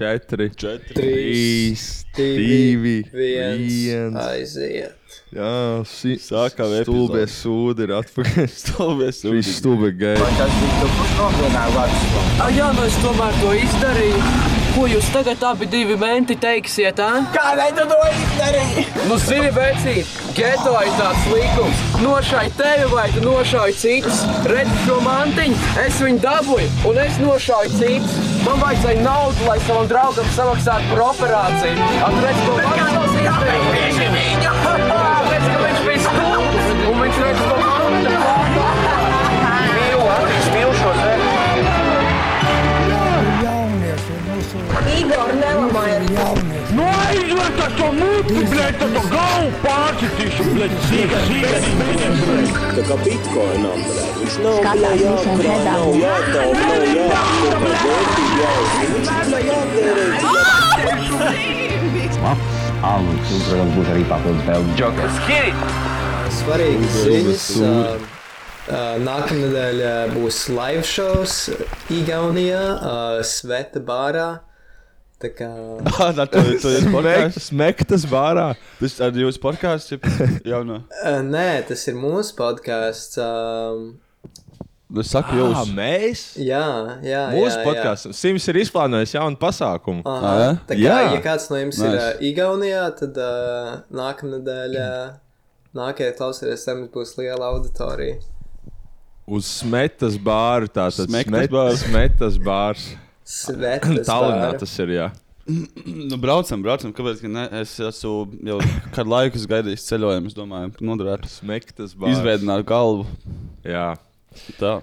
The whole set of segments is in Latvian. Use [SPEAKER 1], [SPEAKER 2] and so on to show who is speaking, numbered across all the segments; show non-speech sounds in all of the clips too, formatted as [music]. [SPEAKER 1] četri,
[SPEAKER 2] Četri.
[SPEAKER 1] trīs,
[SPEAKER 3] divi,
[SPEAKER 1] divi, viens.
[SPEAKER 3] aiziet.
[SPEAKER 1] Jā, si,
[SPEAKER 2] Sākam
[SPEAKER 1] stulbie
[SPEAKER 2] epizodi.
[SPEAKER 1] sūdi ir
[SPEAKER 2] [laughs]
[SPEAKER 1] atpakaļ.
[SPEAKER 2] Stāvies
[SPEAKER 1] Šī stulbie gaisa.
[SPEAKER 4] Tas bija tukšs nopietnā vārds.
[SPEAKER 5] Ah, jā, nu es tomēr to izdarīju. Ko jūs tagad abi divi menti teiksiet? Eh?
[SPEAKER 4] Kādēļ tu to izdarīji?
[SPEAKER 5] Nu, zini, vecīt, geto ir tāds līkums. Nošai tevi vai tu nošai citus. Redzi šo mantiņu, es viņu dabūju un es nošāju citus. Man vajadzēja naudu, lai savam draugam samaksātu par operāciju. Atredz, ko Maksons izdarīja. Tāpēc, ka viņš bija stulbs un viņš redz, ko Maksons Mīlu, Andriņš, mīlu šo zemi.
[SPEAKER 6] Igor, nelamājiet!
[SPEAKER 7] Ну, а известно, что мы, блядь, это гау партитишь, блядь, сих, сих,
[SPEAKER 8] Tā kā bitkoinam, blēd, viņš nav
[SPEAKER 6] Skatās
[SPEAKER 8] blēd,
[SPEAKER 6] visiem redzam.
[SPEAKER 8] jākrāj, nav jātaupa, nav jāapkopē, vērtība jāuzņem, viņš nav jātērē.
[SPEAKER 3] Svarīgi
[SPEAKER 1] Stulbi
[SPEAKER 3] ziņas.
[SPEAKER 1] sūdi.
[SPEAKER 3] ā, ā, Nākamnedēļ ā, būs live shows Igaunijā, ā, Sveta bārā. Tā kā
[SPEAKER 2] Ā, tā ir tā līnija.
[SPEAKER 1] Smektas bārā.
[SPEAKER 2] Tas ir jūsu podkāsts,
[SPEAKER 1] [laughs]
[SPEAKER 2] jau no.
[SPEAKER 3] ā, uh, nē, tas ir mūsu podkāsts. ā,
[SPEAKER 2] Nu, saku
[SPEAKER 1] Jā,
[SPEAKER 2] jūs.
[SPEAKER 1] mēs.
[SPEAKER 3] Jā, jā.
[SPEAKER 1] Mūsu
[SPEAKER 3] jā, jā.
[SPEAKER 1] podkāsts. Sims ir izplānojis jaunu pasākumu.
[SPEAKER 3] Aha,
[SPEAKER 2] Ā,
[SPEAKER 3] tā kā,
[SPEAKER 2] jā.
[SPEAKER 3] ja kāds no jums nice. ir
[SPEAKER 2] Nice.
[SPEAKER 3] uh, Igaunijā, tad uh, nākamnedēļ, uh, nākamajā klausīties, tam būs liela auditorija.
[SPEAKER 1] Uz smetas bāru. Tātad
[SPEAKER 2] Smektas
[SPEAKER 1] smet-
[SPEAKER 2] bārs.
[SPEAKER 1] smetas bārs.
[SPEAKER 3] Svetas
[SPEAKER 1] [laughs] Tallinā
[SPEAKER 3] bārā.
[SPEAKER 1] tas ir, jā.
[SPEAKER 2] Nu, braucam, braucam, kāpēc gan ne? Es esmu jau kādu laiku es gaidījis ceļojumu. Es domāju, ka noderētu
[SPEAKER 1] Smektas bārs.
[SPEAKER 2] izveidot galvu.
[SPEAKER 1] Jā. [clears throat]
[SPEAKER 2] Tā.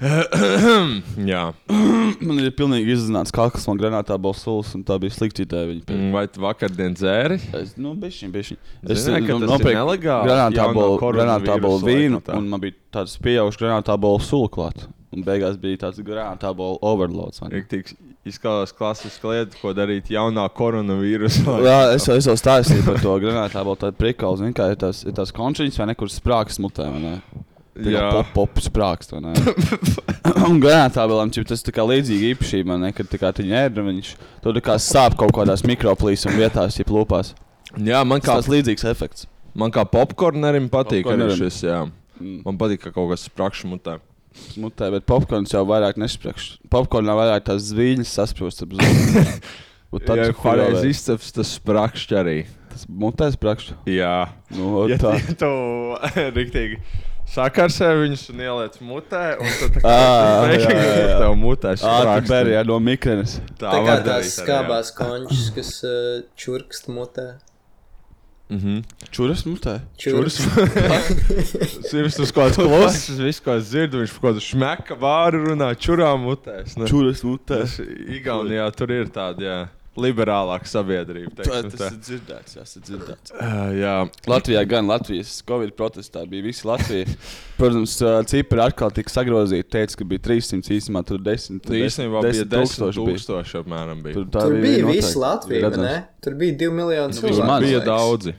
[SPEAKER 1] jā.
[SPEAKER 2] Man ir pilnīgi izzināts, kā kas man granātā bija sulas, un tā bija slikta ideja. Viņa pie-
[SPEAKER 1] Mm, Vai tu vakardien dzēri?
[SPEAKER 2] Es, nu, bišķiņ, bišķiņ. es
[SPEAKER 1] Zināji, ka tas ir nelegāli jauno
[SPEAKER 2] grāmatā
[SPEAKER 1] koronavīrusa
[SPEAKER 2] grāmatā vīnu,
[SPEAKER 1] laikmetā?
[SPEAKER 2] un man bija tāds pieaugušs grāmatā sula klāt. Un beigās bija tāds grāmatā overloads. vai ne?
[SPEAKER 1] Ir tik izskatās klasiska lieta, ko darīt jaunā koronavīrusa [laughs] laikā.
[SPEAKER 2] Jā, es, jau- es jau stāstīju par to grāmatā, jau tādu prikalu, zinu, kā ir tās, ir tās končiņas vai nekur sprāgs mutē. vai ne? Tā kā pop, pop sprāgst. vai ne? [laughs] Un grāmatā vēl tam tas tā kā līdzīga īpašība, vai ne, kad tā kā tu viņu ēd, un viņš to tā kā sāp kaut kādās mikroplīsuma vietās, ja plūpās.
[SPEAKER 1] jā man, kā,
[SPEAKER 2] Kāds līdzīgs efekts.
[SPEAKER 1] man kā popkornerim Mm. patīk arī
[SPEAKER 2] Popkornerim.
[SPEAKER 1] šis. Jā. Man patīk, ka kaut kas sprakšķis mutē.
[SPEAKER 2] Mutē, bet popkorns jau vairāk nesprāgst. Popkornā vairāk tās zviņas sasprāst ap [laughs] zvaigznēm.
[SPEAKER 1] Tad,
[SPEAKER 2] Tad
[SPEAKER 1] ja ir
[SPEAKER 2] ja
[SPEAKER 1] pareizi izceps, tas sprakšķis arī.
[SPEAKER 2] Tas mutē sprāgst.
[SPEAKER 1] Jā,
[SPEAKER 2] [laughs] Nu,
[SPEAKER 1] ja
[SPEAKER 2] tā.
[SPEAKER 1] [laughs] tu rīktīgi sakarsē viņus un ieliec mutē, un tad tā [laughs] kā
[SPEAKER 2] Ā,
[SPEAKER 1] tas
[SPEAKER 2] jā,
[SPEAKER 1] beigās
[SPEAKER 2] jā, jā.
[SPEAKER 1] tev mutē
[SPEAKER 2] Ā,
[SPEAKER 1] sprakšķi.
[SPEAKER 2] tā ir jā, no mikrēnas.
[SPEAKER 1] tā
[SPEAKER 3] Tā kā
[SPEAKER 1] var darīt
[SPEAKER 3] tās
[SPEAKER 1] arī, jā.
[SPEAKER 3] skābās končus, kas uh, čurkst mutē.
[SPEAKER 1] Mhm.
[SPEAKER 2] Čuras mutē.
[SPEAKER 3] Čurks. [laughs]
[SPEAKER 1] Sims uz kaut
[SPEAKER 2] [laughs]
[SPEAKER 1] kādas klases, visu, ko es dzirdu, viņš kaut kādu šmeka vāru runā, čurā mutē. es ne-
[SPEAKER 2] Čuras mutē.
[SPEAKER 1] Tas Igaunijā tur ir tāda jā, liberālāka sabiedrība.
[SPEAKER 2] Tā,
[SPEAKER 1] teiksim
[SPEAKER 2] tas
[SPEAKER 1] Tā,
[SPEAKER 2] ir dzirdēts, jā, tas ir dzirdēts.
[SPEAKER 1] Uh, jā,
[SPEAKER 2] Latvijā gan Latvijas Covid protestā bija visi Latvija. Protams, ā, cipari atkal tika sagrozīti. Teica, ka bija 300 īsumā, tur 10.
[SPEAKER 1] tur īstenībā Nu, bija 10
[SPEAKER 2] tūkstoši bija.
[SPEAKER 1] tūkstoši apmēram. Bija.
[SPEAKER 2] Tur, tā
[SPEAKER 3] Tur bija
[SPEAKER 2] noteikti,
[SPEAKER 3] visi Latvija, vai
[SPEAKER 2] redzams.
[SPEAKER 3] ne? Tur bija 2 miljoni
[SPEAKER 1] Tur
[SPEAKER 3] cilvēku.
[SPEAKER 2] maz.
[SPEAKER 1] Nu, bija
[SPEAKER 3] liekas.
[SPEAKER 1] daudzi.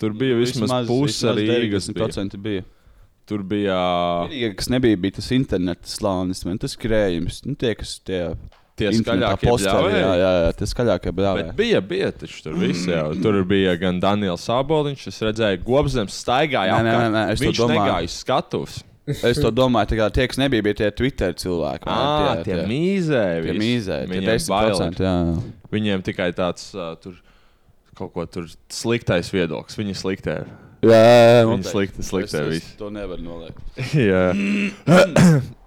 [SPEAKER 1] Tur bija vismaz, vismaz puse Rīgas. bija.
[SPEAKER 2] 90% bija.
[SPEAKER 1] Tur bija
[SPEAKER 2] Vienīgā, kas nebija, bija tas interneta slānis, man tas skrējums. Nu, tie, kas tie
[SPEAKER 1] tie
[SPEAKER 2] internetā
[SPEAKER 1] skaļākie
[SPEAKER 2] posteri, jā,
[SPEAKER 1] posteri.
[SPEAKER 2] jā, jā, tie skaļākie
[SPEAKER 1] Bet
[SPEAKER 2] brāļi.
[SPEAKER 1] bija, bija taču tur viss. Jā. Tur bija gan Daniels Aboliņš, es redzēju, Gobzems staigāja.
[SPEAKER 2] Nē, nē,
[SPEAKER 1] apkārt.
[SPEAKER 2] nē, nē, es to
[SPEAKER 1] Viņš
[SPEAKER 2] domāju.
[SPEAKER 1] negāja uz skatuves.
[SPEAKER 2] Es to domāju, tā kā tie, kas nebija, bija tie Twitter cilvēki.
[SPEAKER 1] Ā,
[SPEAKER 2] vai ne,
[SPEAKER 1] Ah, tie
[SPEAKER 2] tie-
[SPEAKER 1] mīzēji.
[SPEAKER 2] tie
[SPEAKER 1] visi.
[SPEAKER 2] mīzē, tie
[SPEAKER 1] Viņiem bail.
[SPEAKER 2] 10%. Jā, jā.
[SPEAKER 1] Viņiem tikai tāds uh, tur kaut ko tur sliktais viedoklis. Viņi sliktē.
[SPEAKER 2] Jā, jā, jā,
[SPEAKER 1] Viņi
[SPEAKER 2] noteikti.
[SPEAKER 1] slikti,
[SPEAKER 2] Es-
[SPEAKER 1] sliktē
[SPEAKER 2] es
[SPEAKER 1] visu.
[SPEAKER 2] To nevar noliegt.
[SPEAKER 1] [laughs] Jā. [coughs]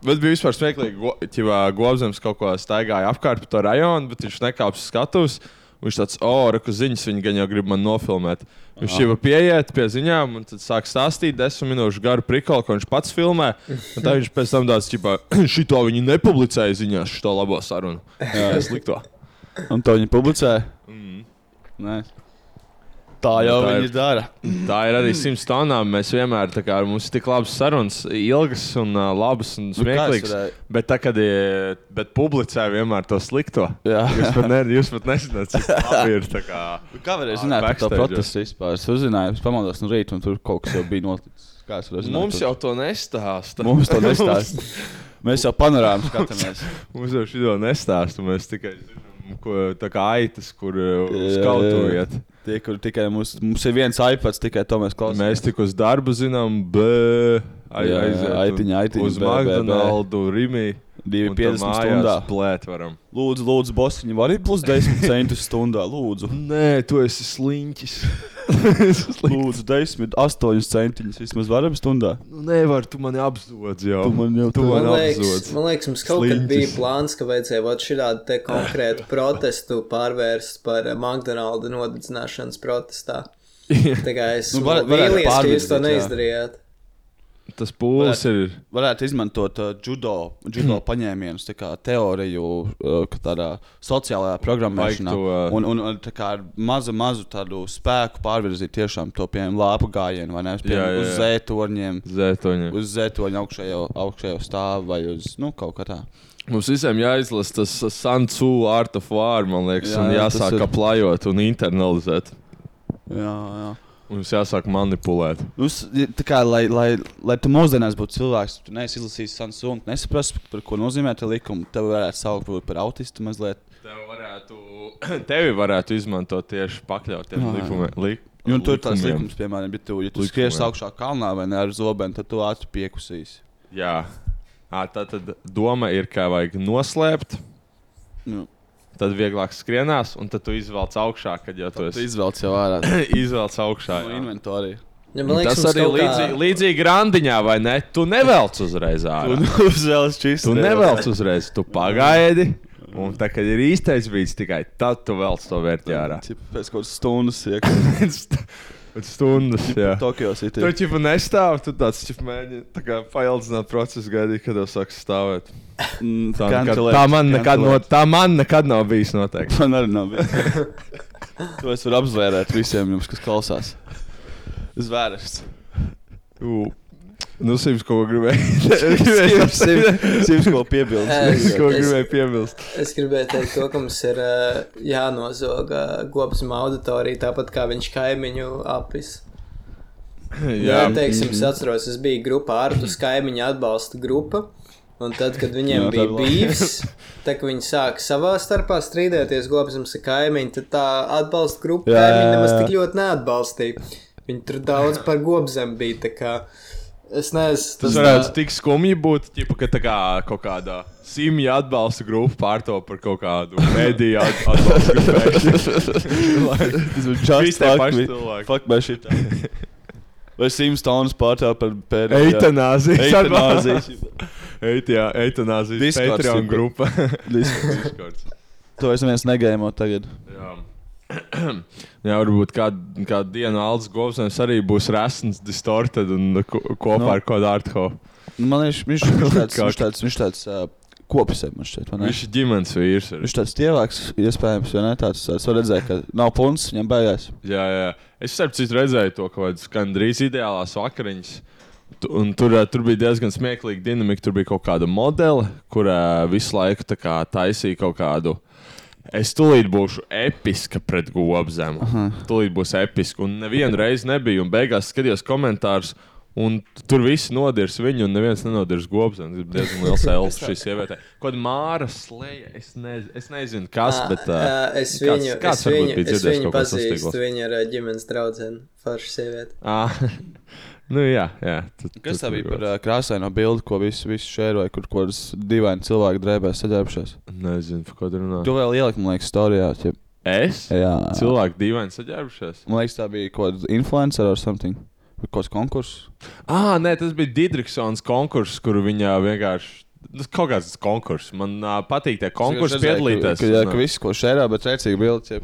[SPEAKER 1] bet bija vispār smieklīgi, ka Gobsams kaut ko staigāja apkārt pa to rajonu, bet viņš nekāps uz skatuves. Viņš tāds, oh, reku ziņas, viņi gan jau grib man nofilmēt. Viņš jau pieiet pie ziņām, un tad sāk stāstīt desmit minūšu garu prikalu, ko viņš pats filmē. Un tā viņš pēc tam tāds, ka [clears throat] šito viņi nepublicēja ziņās, šo labo sarunu. Jā, [laughs] slikto.
[SPEAKER 2] Un to viņi publicē? Nē. Tā jau
[SPEAKER 1] Nu, Mm. tā
[SPEAKER 2] viņi
[SPEAKER 1] ir-
[SPEAKER 2] dara.
[SPEAKER 1] Tā ir arī simts tonām. Mēs vienmēr tā kā mums ir tik labas sarunas, ilgas un uh, labas un
[SPEAKER 2] Nu, kā es
[SPEAKER 1] smieklīgas.
[SPEAKER 2] varēju?
[SPEAKER 1] Bet tā, kad ir- bet publicē vienmēr to slikto.
[SPEAKER 2] Jā.
[SPEAKER 1] Jūs pat, ne, jūs pat nezināt, cik labi ir. tā kā.
[SPEAKER 2] Nu, Kā varēja
[SPEAKER 1] Ā,
[SPEAKER 2] zināt par to
[SPEAKER 1] backstage, jā.
[SPEAKER 2] protestu vispār? Es uzzināju, es pamodos no rīta, un tur kaut kas jau bija noticis. Kā es varu zināt?
[SPEAKER 1] Mums
[SPEAKER 2] to?
[SPEAKER 1] jau to nestāsta. [laughs]
[SPEAKER 2] Mums to nestāsta. Mēs jau panorāmu skatāmies.
[SPEAKER 1] Mums jau šī to nestāsta. Mēs tikai zinām, ko- tā kā aitas, kur uh, [laughs] uz
[SPEAKER 2] Jā,
[SPEAKER 1] kaut ko
[SPEAKER 2] jā.
[SPEAKER 1] iet.
[SPEAKER 2] Tie, kur tikai mums, mums ir viens iPads, tikai to mēs klausāmies.
[SPEAKER 1] Mēs tik uz darbu zinām, bē, ai-
[SPEAKER 2] Jā, jā,
[SPEAKER 1] aiziet un
[SPEAKER 2] aitiņa, aitiņa,
[SPEAKER 1] uz
[SPEAKER 2] bē, bē, bē.
[SPEAKER 1] McDonaldu, Rimī.
[SPEAKER 2] Divi
[SPEAKER 1] un tad
[SPEAKER 2] 50
[SPEAKER 1] mājās
[SPEAKER 2] stundā.
[SPEAKER 1] Plēt varam.
[SPEAKER 2] Lūdzu, lūdzu, bosiņi, var arī plus 10 centus stundā. [laughs] Lūdzu,
[SPEAKER 1] Nē, tu esi [laughs] sliņķis.
[SPEAKER 2] lūdzu 10, 8 centiņus vismaz varam stundā.
[SPEAKER 1] Nu, nevar, tu mani apzodz jau.
[SPEAKER 2] Tu man jau
[SPEAKER 1] tu man
[SPEAKER 3] Man
[SPEAKER 1] apzodz.
[SPEAKER 3] liekas,
[SPEAKER 1] [laughs]
[SPEAKER 3] man liekas, mums kaut kad
[SPEAKER 1] Sliņķis.
[SPEAKER 3] bija plāns, ka vajadzēja vat šādu te
[SPEAKER 1] [laughs]
[SPEAKER 3] konkrētu protestu pārvērst par eh, McDonalda nodedzināšanas protestā. Tā kā es
[SPEAKER 2] Nu,
[SPEAKER 3] nu,
[SPEAKER 2] var- varētu
[SPEAKER 3] vīlies, ka jūs to
[SPEAKER 2] pārvirzīt, jā.
[SPEAKER 3] neizdarījāt.
[SPEAKER 1] Tas pūlis ir.
[SPEAKER 2] Varētu izmantot uh, judo, [clears throat] judo paņēmienus, tā kā teoriju, uh, ka tādā sociālajā programmēšanā.
[SPEAKER 1] Vajag to, uh,
[SPEAKER 2] Un, un, un tā kā ar mazu, mazu tādu spēku pārvirzīt tiešām to, piemēram, lāpu gājienu vai ne? Uz,
[SPEAKER 1] Jā, jā,
[SPEAKER 2] piemēram, uz
[SPEAKER 1] jā.
[SPEAKER 2] zētorņiem.
[SPEAKER 1] Zētoņi.
[SPEAKER 2] Uz zētoņa augšējo, augšējo stāvu vai uz nu, kaut kā tā.
[SPEAKER 1] Mums visiem jāizlasa tas Sanktūna Art of War, man liekas, jā,
[SPEAKER 2] Jā,
[SPEAKER 1] un
[SPEAKER 2] jā, tas
[SPEAKER 1] jāsāk
[SPEAKER 2] ir.
[SPEAKER 1] ir... aplājot un internalizēt.
[SPEAKER 2] Jā, jā.
[SPEAKER 1] Mums jāsāk manipulēt.
[SPEAKER 2] Nu, s- ja- tā kā, lai, lai, lai tu mūsdienās būtu cilvēks, tu neesi izlasījis Sansu un nesaprastu, par ko nozīmē tā likuma. Tev varētu saukt varbūt par autistu mazliet.
[SPEAKER 1] Tev varētu, [clears throat] tevi varētu izmantot tieši pakļautiem
[SPEAKER 2] Jā, jā.
[SPEAKER 1] likumiem. Li,
[SPEAKER 2] Jo tur ir tāds
[SPEAKER 1] likumiem.
[SPEAKER 2] likums, piemēram, ja tu, ja tu
[SPEAKER 1] Likumiem.
[SPEAKER 2] skriesi augšā kalnā vai ne ar zobenu, tad tu ātri piekusīsi.
[SPEAKER 1] Jā, à, tā tad doma ir, ka vajag noslēpt.
[SPEAKER 2] Nu.
[SPEAKER 1] Tad vieglāk skrienās, un tad tu izvelc augšā, kad jau to
[SPEAKER 2] Tu
[SPEAKER 1] esi
[SPEAKER 2] izvelc jau ārā
[SPEAKER 1] izvelc augšā.
[SPEAKER 2] no
[SPEAKER 1] jā.
[SPEAKER 2] inventorija.
[SPEAKER 3] Ja, man
[SPEAKER 1] Nu, Tas
[SPEAKER 3] liekas, mums
[SPEAKER 1] arī
[SPEAKER 3] kaut kā-
[SPEAKER 1] līdzīgi, līdzīgi randiņā, vai ne? Tu nevelc uzreiz ārā.
[SPEAKER 2] [laughs] Uzvēlis čīs.
[SPEAKER 1] Tu nevelc uzreiz, tu pagaidi. Un tā, kad ir īstais brīdis, tikai tad tu velc to vērtī ārā.
[SPEAKER 2] Pēc kaut kādas stundas [laughs] iekšā.
[SPEAKER 1] Pēc stundas, jā.
[SPEAKER 2] Tokijos ir
[SPEAKER 1] Tu jau nestāv, tu tāds jau mēģini tā kā paildzināt procesu, gaidīt, kad jau sāks stāvēt.
[SPEAKER 2] Mm,
[SPEAKER 1] Tā, nekad, tā, man nekad no, tā man nekad nav bijis noteikti.
[SPEAKER 2] [laughs] Man arī nav bijis. to es varu apzvērēt visiem jums, kas klausās. Zvērsts.
[SPEAKER 1] Jū. Nu, Sims, ko gribēju? Sims,
[SPEAKER 2] Sims, ko piebilst.
[SPEAKER 3] Es-
[SPEAKER 1] ko gribēju piebilst.
[SPEAKER 3] Es gribēju teikt, to, ka mums ir eh, jānozog eh, gobsma auditorija, tāpat kā viņš kaimiņu apis. Jā,
[SPEAKER 1] Mhm.
[SPEAKER 3] teiksim, es atceros, es biju grupā ar to kaimiņu atbalsta grupa. Un tad, kad viņiem
[SPEAKER 2] Jā,
[SPEAKER 3] jā, bija
[SPEAKER 2] tad labi.
[SPEAKER 3] bijis, tad viņi sāka savā starpā strīdēties, gobsams ar kaimiņu, tad tā atbalsta grupa
[SPEAKER 2] Jā, jā,
[SPEAKER 3] kaimiņu nemaz
[SPEAKER 2] jā.
[SPEAKER 3] tik ļoti neatbalstīja. Viņi tur daudz par gobzem bija. tā kā Es nezinu,
[SPEAKER 1] Tas varētu tik skumji būt, ķipa, ka tā kā kaut kāda simja atbalsta grupa pārto par kaut kādu mediju at- atbalsta
[SPEAKER 2] [laughs]
[SPEAKER 1] grupu.
[SPEAKER 2] Tas ir
[SPEAKER 1] Visi
[SPEAKER 2] just
[SPEAKER 1] tie
[SPEAKER 2] fuck
[SPEAKER 1] paši
[SPEAKER 2] me.
[SPEAKER 1] cilvēki.
[SPEAKER 2] Fuck me shit. Vai Sims Towns pārtāv par pēdējo?
[SPEAKER 1] Eitanāzijas
[SPEAKER 2] Eitanāzijas.
[SPEAKER 1] Eit, jā, eitanāzijas
[SPEAKER 2] Discords,
[SPEAKER 1] Patreon
[SPEAKER 2] tipa.
[SPEAKER 1] grupa. [laughs]
[SPEAKER 2] Discords.
[SPEAKER 1] Discords.
[SPEAKER 2] To es neviens negaimo tagad.
[SPEAKER 1] Jā. [clears throat] Jā, varbūt kādu kād dienu Alans Govsnēs arī būs resns, distorted un ko, kopā
[SPEAKER 2] Nu.
[SPEAKER 1] ar kādu artho.
[SPEAKER 2] Nu, Man liekas, viņš viņš tāds,
[SPEAKER 1] Kā-
[SPEAKER 2] viņš tāds, viņš tāds uh, kopis, man šķiet, vai ne?
[SPEAKER 1] Viņš ir ģimenes vīrs. arī.
[SPEAKER 2] Viņš tāds tievāks, iespējams, vai ne? Tāds, tāds var redzēt, ka nav punts, viņam baigās.
[SPEAKER 1] Jā, jā. Es starp citu redzēju to kaut kādas gandrīz ideālās vakariņas. Tu- Un tur, ā, tur bija diezgan smieklīga dinamika. Tur bija kaut kāda modele, kur ā, visu laiku tā kā taisīja kaut kādu. Es tūlīt būšu episka pret gobzemu. Tūlīt būs episka. Un nevienu reizi nebija. Un beigās skatījos komentārus. Un tur viss nodirs viņu, un neviens nenodirs gobzemu. Tas bija diezgan liels elpas šīs sievietē. Kaut kā māra slēja. Es, nez, es nezinu, kas,
[SPEAKER 3] Ā,
[SPEAKER 1] bet. ah,
[SPEAKER 3] ā,
[SPEAKER 1] ā,
[SPEAKER 3] Ah, es viņu,
[SPEAKER 1] kāds, kāds
[SPEAKER 3] es
[SPEAKER 1] varbūt
[SPEAKER 3] viņu,
[SPEAKER 1] bija
[SPEAKER 3] es
[SPEAKER 1] dzirdējis
[SPEAKER 3] viņu
[SPEAKER 1] kaut ko sastīgo?
[SPEAKER 3] pazīstu. Viņa ir eh, ģimenes draudzene, forša sieviete.
[SPEAKER 1] Ah, [laughs] nu jā, jā. Tu,
[SPEAKER 2] Kas
[SPEAKER 1] tu-
[SPEAKER 2] tā bija
[SPEAKER 1] tu-
[SPEAKER 2] par uh, krāsaino bildi, ko visi, visi šēroja, kur kaut kādas dīvainas cilvēku drēbēs saģērbušies?
[SPEAKER 1] Nezinu, par ko tu runā.
[SPEAKER 2] To vēl ielikt, man liekas, storijā. Ja,
[SPEAKER 1] Es?
[SPEAKER 2] jā,
[SPEAKER 1] Cilvēki dīvaini saģērbušies.
[SPEAKER 2] man liekas, tā bija kaut kāda influencer or something. Vai Kaut kāds konkurss.
[SPEAKER 1] Ah, nē, tas bija Digitrisons konkurss, kur viņa vienkārši. Tas kaut kāds konkurss. Man uh, patīk tie konkursi
[SPEAKER 2] Es redzēju,
[SPEAKER 1] piedalīties.
[SPEAKER 2] Ka, ka, jā,
[SPEAKER 1] un,
[SPEAKER 2] ka viss, ko šērā, bet rēcīgi bildi.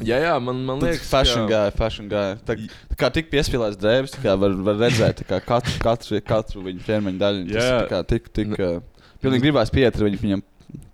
[SPEAKER 2] Ja.
[SPEAKER 1] jā, jā, man, man
[SPEAKER 2] Liekas,
[SPEAKER 1] liekas,
[SPEAKER 2] fashion
[SPEAKER 1] jā.
[SPEAKER 2] guy, fashion guy. Tā, tā kā tik piespīlēts drēbes, tā kā var, var redzēt tā kā katru, katru, katru viņa ķermeņa daļu. Tas
[SPEAKER 1] Jā.
[SPEAKER 2] yeah. tā kā tik, tik, uh, pilnīgi gribās pieiet ar viņu, viņam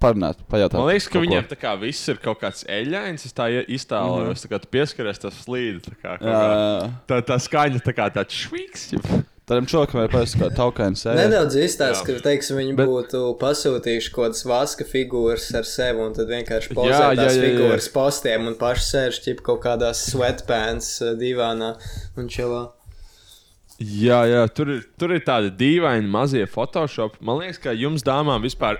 [SPEAKER 2] parunāt, pajautāt.
[SPEAKER 1] Man liekas, ka
[SPEAKER 2] kaut ko. Mhm.
[SPEAKER 1] viņiem tā kā viss ir kaut kāds eļļains. Es tā ie- iztēlojos, mm -hmm. kā tu pieskaries tam slīdam. Tā, kā kaut
[SPEAKER 2] Jā, jā,
[SPEAKER 1] kā-
[SPEAKER 2] jā.
[SPEAKER 1] tā, tā skaņa tā kā tāds švīks. jeb-
[SPEAKER 2] Tādam čokam ir parasti kaut kā taukains sēde.
[SPEAKER 3] Nedaudz izstāsta, ka, teiksim, viņi
[SPEAKER 1] Bet-
[SPEAKER 3] Bet... būtu pasūtījuši kaut kādas vaska figūras ar sevi, un tad
[SPEAKER 1] Jā, jā,
[SPEAKER 3] vienkārši pozē
[SPEAKER 1] jā,
[SPEAKER 3] tās
[SPEAKER 1] jā.
[SPEAKER 3] figūras postiem, un paši sēž ķip kaut kādās sweatpants eh, divānā un čilā.
[SPEAKER 1] Jā, jā, tur ir, tur ir tādi dīvaini mazie Photoshop. Man liekas, ka jums, dāmām, vispār,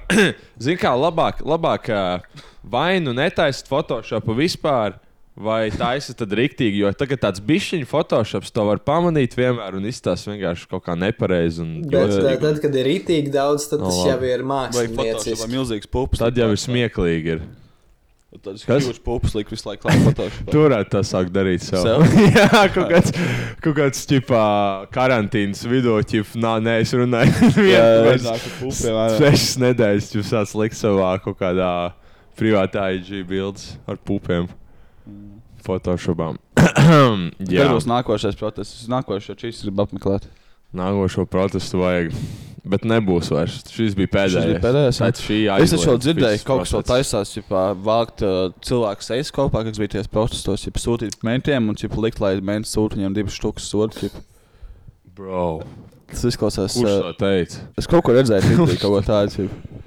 [SPEAKER 1] [clears throat] zināmā kā labāk, labāk ā, vai nu netaisat Photoshopu vispār, vai taisat tad rīktīgi. Jo tagad tāds bišķiņu Photoshops to var pamanīt vienmēr un izstāsta vienkārši kaut kā nepareizi. un
[SPEAKER 3] Bet
[SPEAKER 1] jocīgi.
[SPEAKER 3] tā, tad, kad ir rītīgi daudz, tad tas
[SPEAKER 1] Nu, labi.
[SPEAKER 3] jau ir
[SPEAKER 2] Vai fotošā
[SPEAKER 3] mākslinieks.
[SPEAKER 2] vai milzīgs pupas?
[SPEAKER 1] Tad jau ir smieklīgi. Ir.
[SPEAKER 2] Tad
[SPEAKER 1] Kas?
[SPEAKER 2] skribi pupas liek visu laiku klāt fotošā.
[SPEAKER 1] Turēt to sākt darīt sev.
[SPEAKER 2] Sev?
[SPEAKER 1] [laughs] jā, kaut kāds, kaut kāds ķipā, karantīnas vidū, ķip, nā, nē, es runāju. [laughs]
[SPEAKER 2] jā,
[SPEAKER 1] Vienmēr
[SPEAKER 2] nāk ar pupiem,
[SPEAKER 1] s-
[SPEAKER 2] jā, jā.
[SPEAKER 1] Sešas nedēļas jūs sāc likt savā kaut kādā privātā IG bildes ar pupiem. Photoshopām.
[SPEAKER 2] Jā,
[SPEAKER 1] [clears throat] jā,
[SPEAKER 2] būs nākošais protests. Nākošais šīs grib apmeklēt.
[SPEAKER 1] nākošo protestu vajag. Bet nebūs vairs. Šis bija
[SPEAKER 2] Šis
[SPEAKER 1] pēdējais.
[SPEAKER 2] bija pēdējais, jā.
[SPEAKER 1] Tad šī
[SPEAKER 2] Es taču jau
[SPEAKER 1] aizliedz
[SPEAKER 2] dzirdēju,
[SPEAKER 1] visus
[SPEAKER 2] ka kaut kas vēl
[SPEAKER 1] protests.
[SPEAKER 2] taisās, ja vākt uh, cilvēku sejas kopā, kas bija tajos protestos, ja sūtīt mentiem un ja likt, lai menti sūta viņam divas štukas sodu. jip.
[SPEAKER 1] Bro,
[SPEAKER 2] Tas izklausās.
[SPEAKER 1] kurš
[SPEAKER 2] Uh,
[SPEAKER 1] to teica?
[SPEAKER 2] es kaut ko
[SPEAKER 1] [laughs]
[SPEAKER 2] redzēju, Twitterī, kaut ko tādu. jip.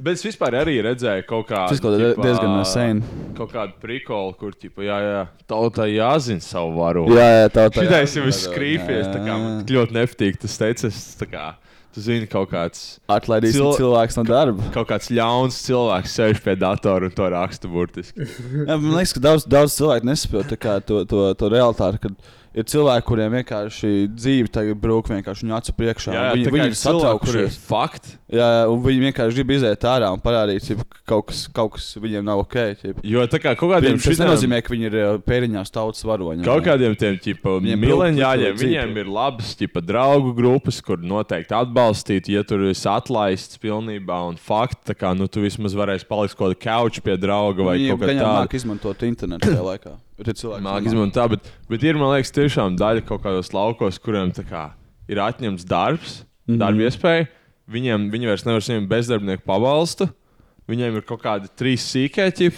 [SPEAKER 1] Bet es vispār arī redzēju kaut kādu.
[SPEAKER 2] Tas izklausās diezgan uh, sen.
[SPEAKER 1] kaut kādu prikolu, kur tipa, jā, jā, tautai jāzina savu varoņu.
[SPEAKER 2] Jā, jā, tā tā.
[SPEAKER 1] Šitais jau ir
[SPEAKER 2] jā,
[SPEAKER 1] skrīpies, tā kā man
[SPEAKER 2] jā.
[SPEAKER 1] ļoti nepatīk tas teicis. tā kā, Tu zini, kaut kāds,
[SPEAKER 2] Atlaidīs
[SPEAKER 1] Cil-
[SPEAKER 2] cilvēks no darba.
[SPEAKER 1] kaut kāds ļauns cilvēks sēž pie datora un to raksta burtiski.
[SPEAKER 2] Jā, man liekas, ka daudz, daudz cilvēku nesaprot tā kā to, to, to realitāti. kad Ir cilvēki, kuriem vienkārši dzīve tagad brūk vienkārši viņu acu priekšā. un viņi, viņi ir satraukušies.
[SPEAKER 1] Fakti.
[SPEAKER 2] Jā, jā, un viņi vienkārši grib iziet ārā un parādīt, ka kaut, kas- kaut kas viņiem nav ok. Jip.
[SPEAKER 1] Jo tā kā kaut kādiem
[SPEAKER 2] Viņam tas
[SPEAKER 1] šitiem,
[SPEAKER 2] nenozīmē, ka viņi ir eh, pēriņās tautas varoņi.
[SPEAKER 1] Kaut kādiem tiem ķipa,
[SPEAKER 2] Viņiem
[SPEAKER 1] mileniāļiem,
[SPEAKER 2] brūk dzīvi.
[SPEAKER 1] viņiem ir labas ķipa, draugu grupas, kur noteikti atbalstīt, ja tur esi atlaists pilnībā un fakti. Tā kā nu, tu vismaz varēsi palikt kaut kādā kaučā pie drauga vai
[SPEAKER 2] Viņi
[SPEAKER 1] kaut kā
[SPEAKER 2] gan
[SPEAKER 1] tāda.
[SPEAKER 2] māk izmantot internetu tajā [coughs] laikā. Bet ir cilvēki,
[SPEAKER 1] Mākslinieks
[SPEAKER 2] kas
[SPEAKER 1] izmanto tā, bet, bet ir, man liekas, tiešām daļa kaut kādos laukos, kuriem tā kā ir atņemts darbs, mm -hmm. darba iespēja. Viņiem, viņi vairs nevar saņemt bezdarbnieku pabalstu. Viņiem ir kaut kādi trīs sīkēķi.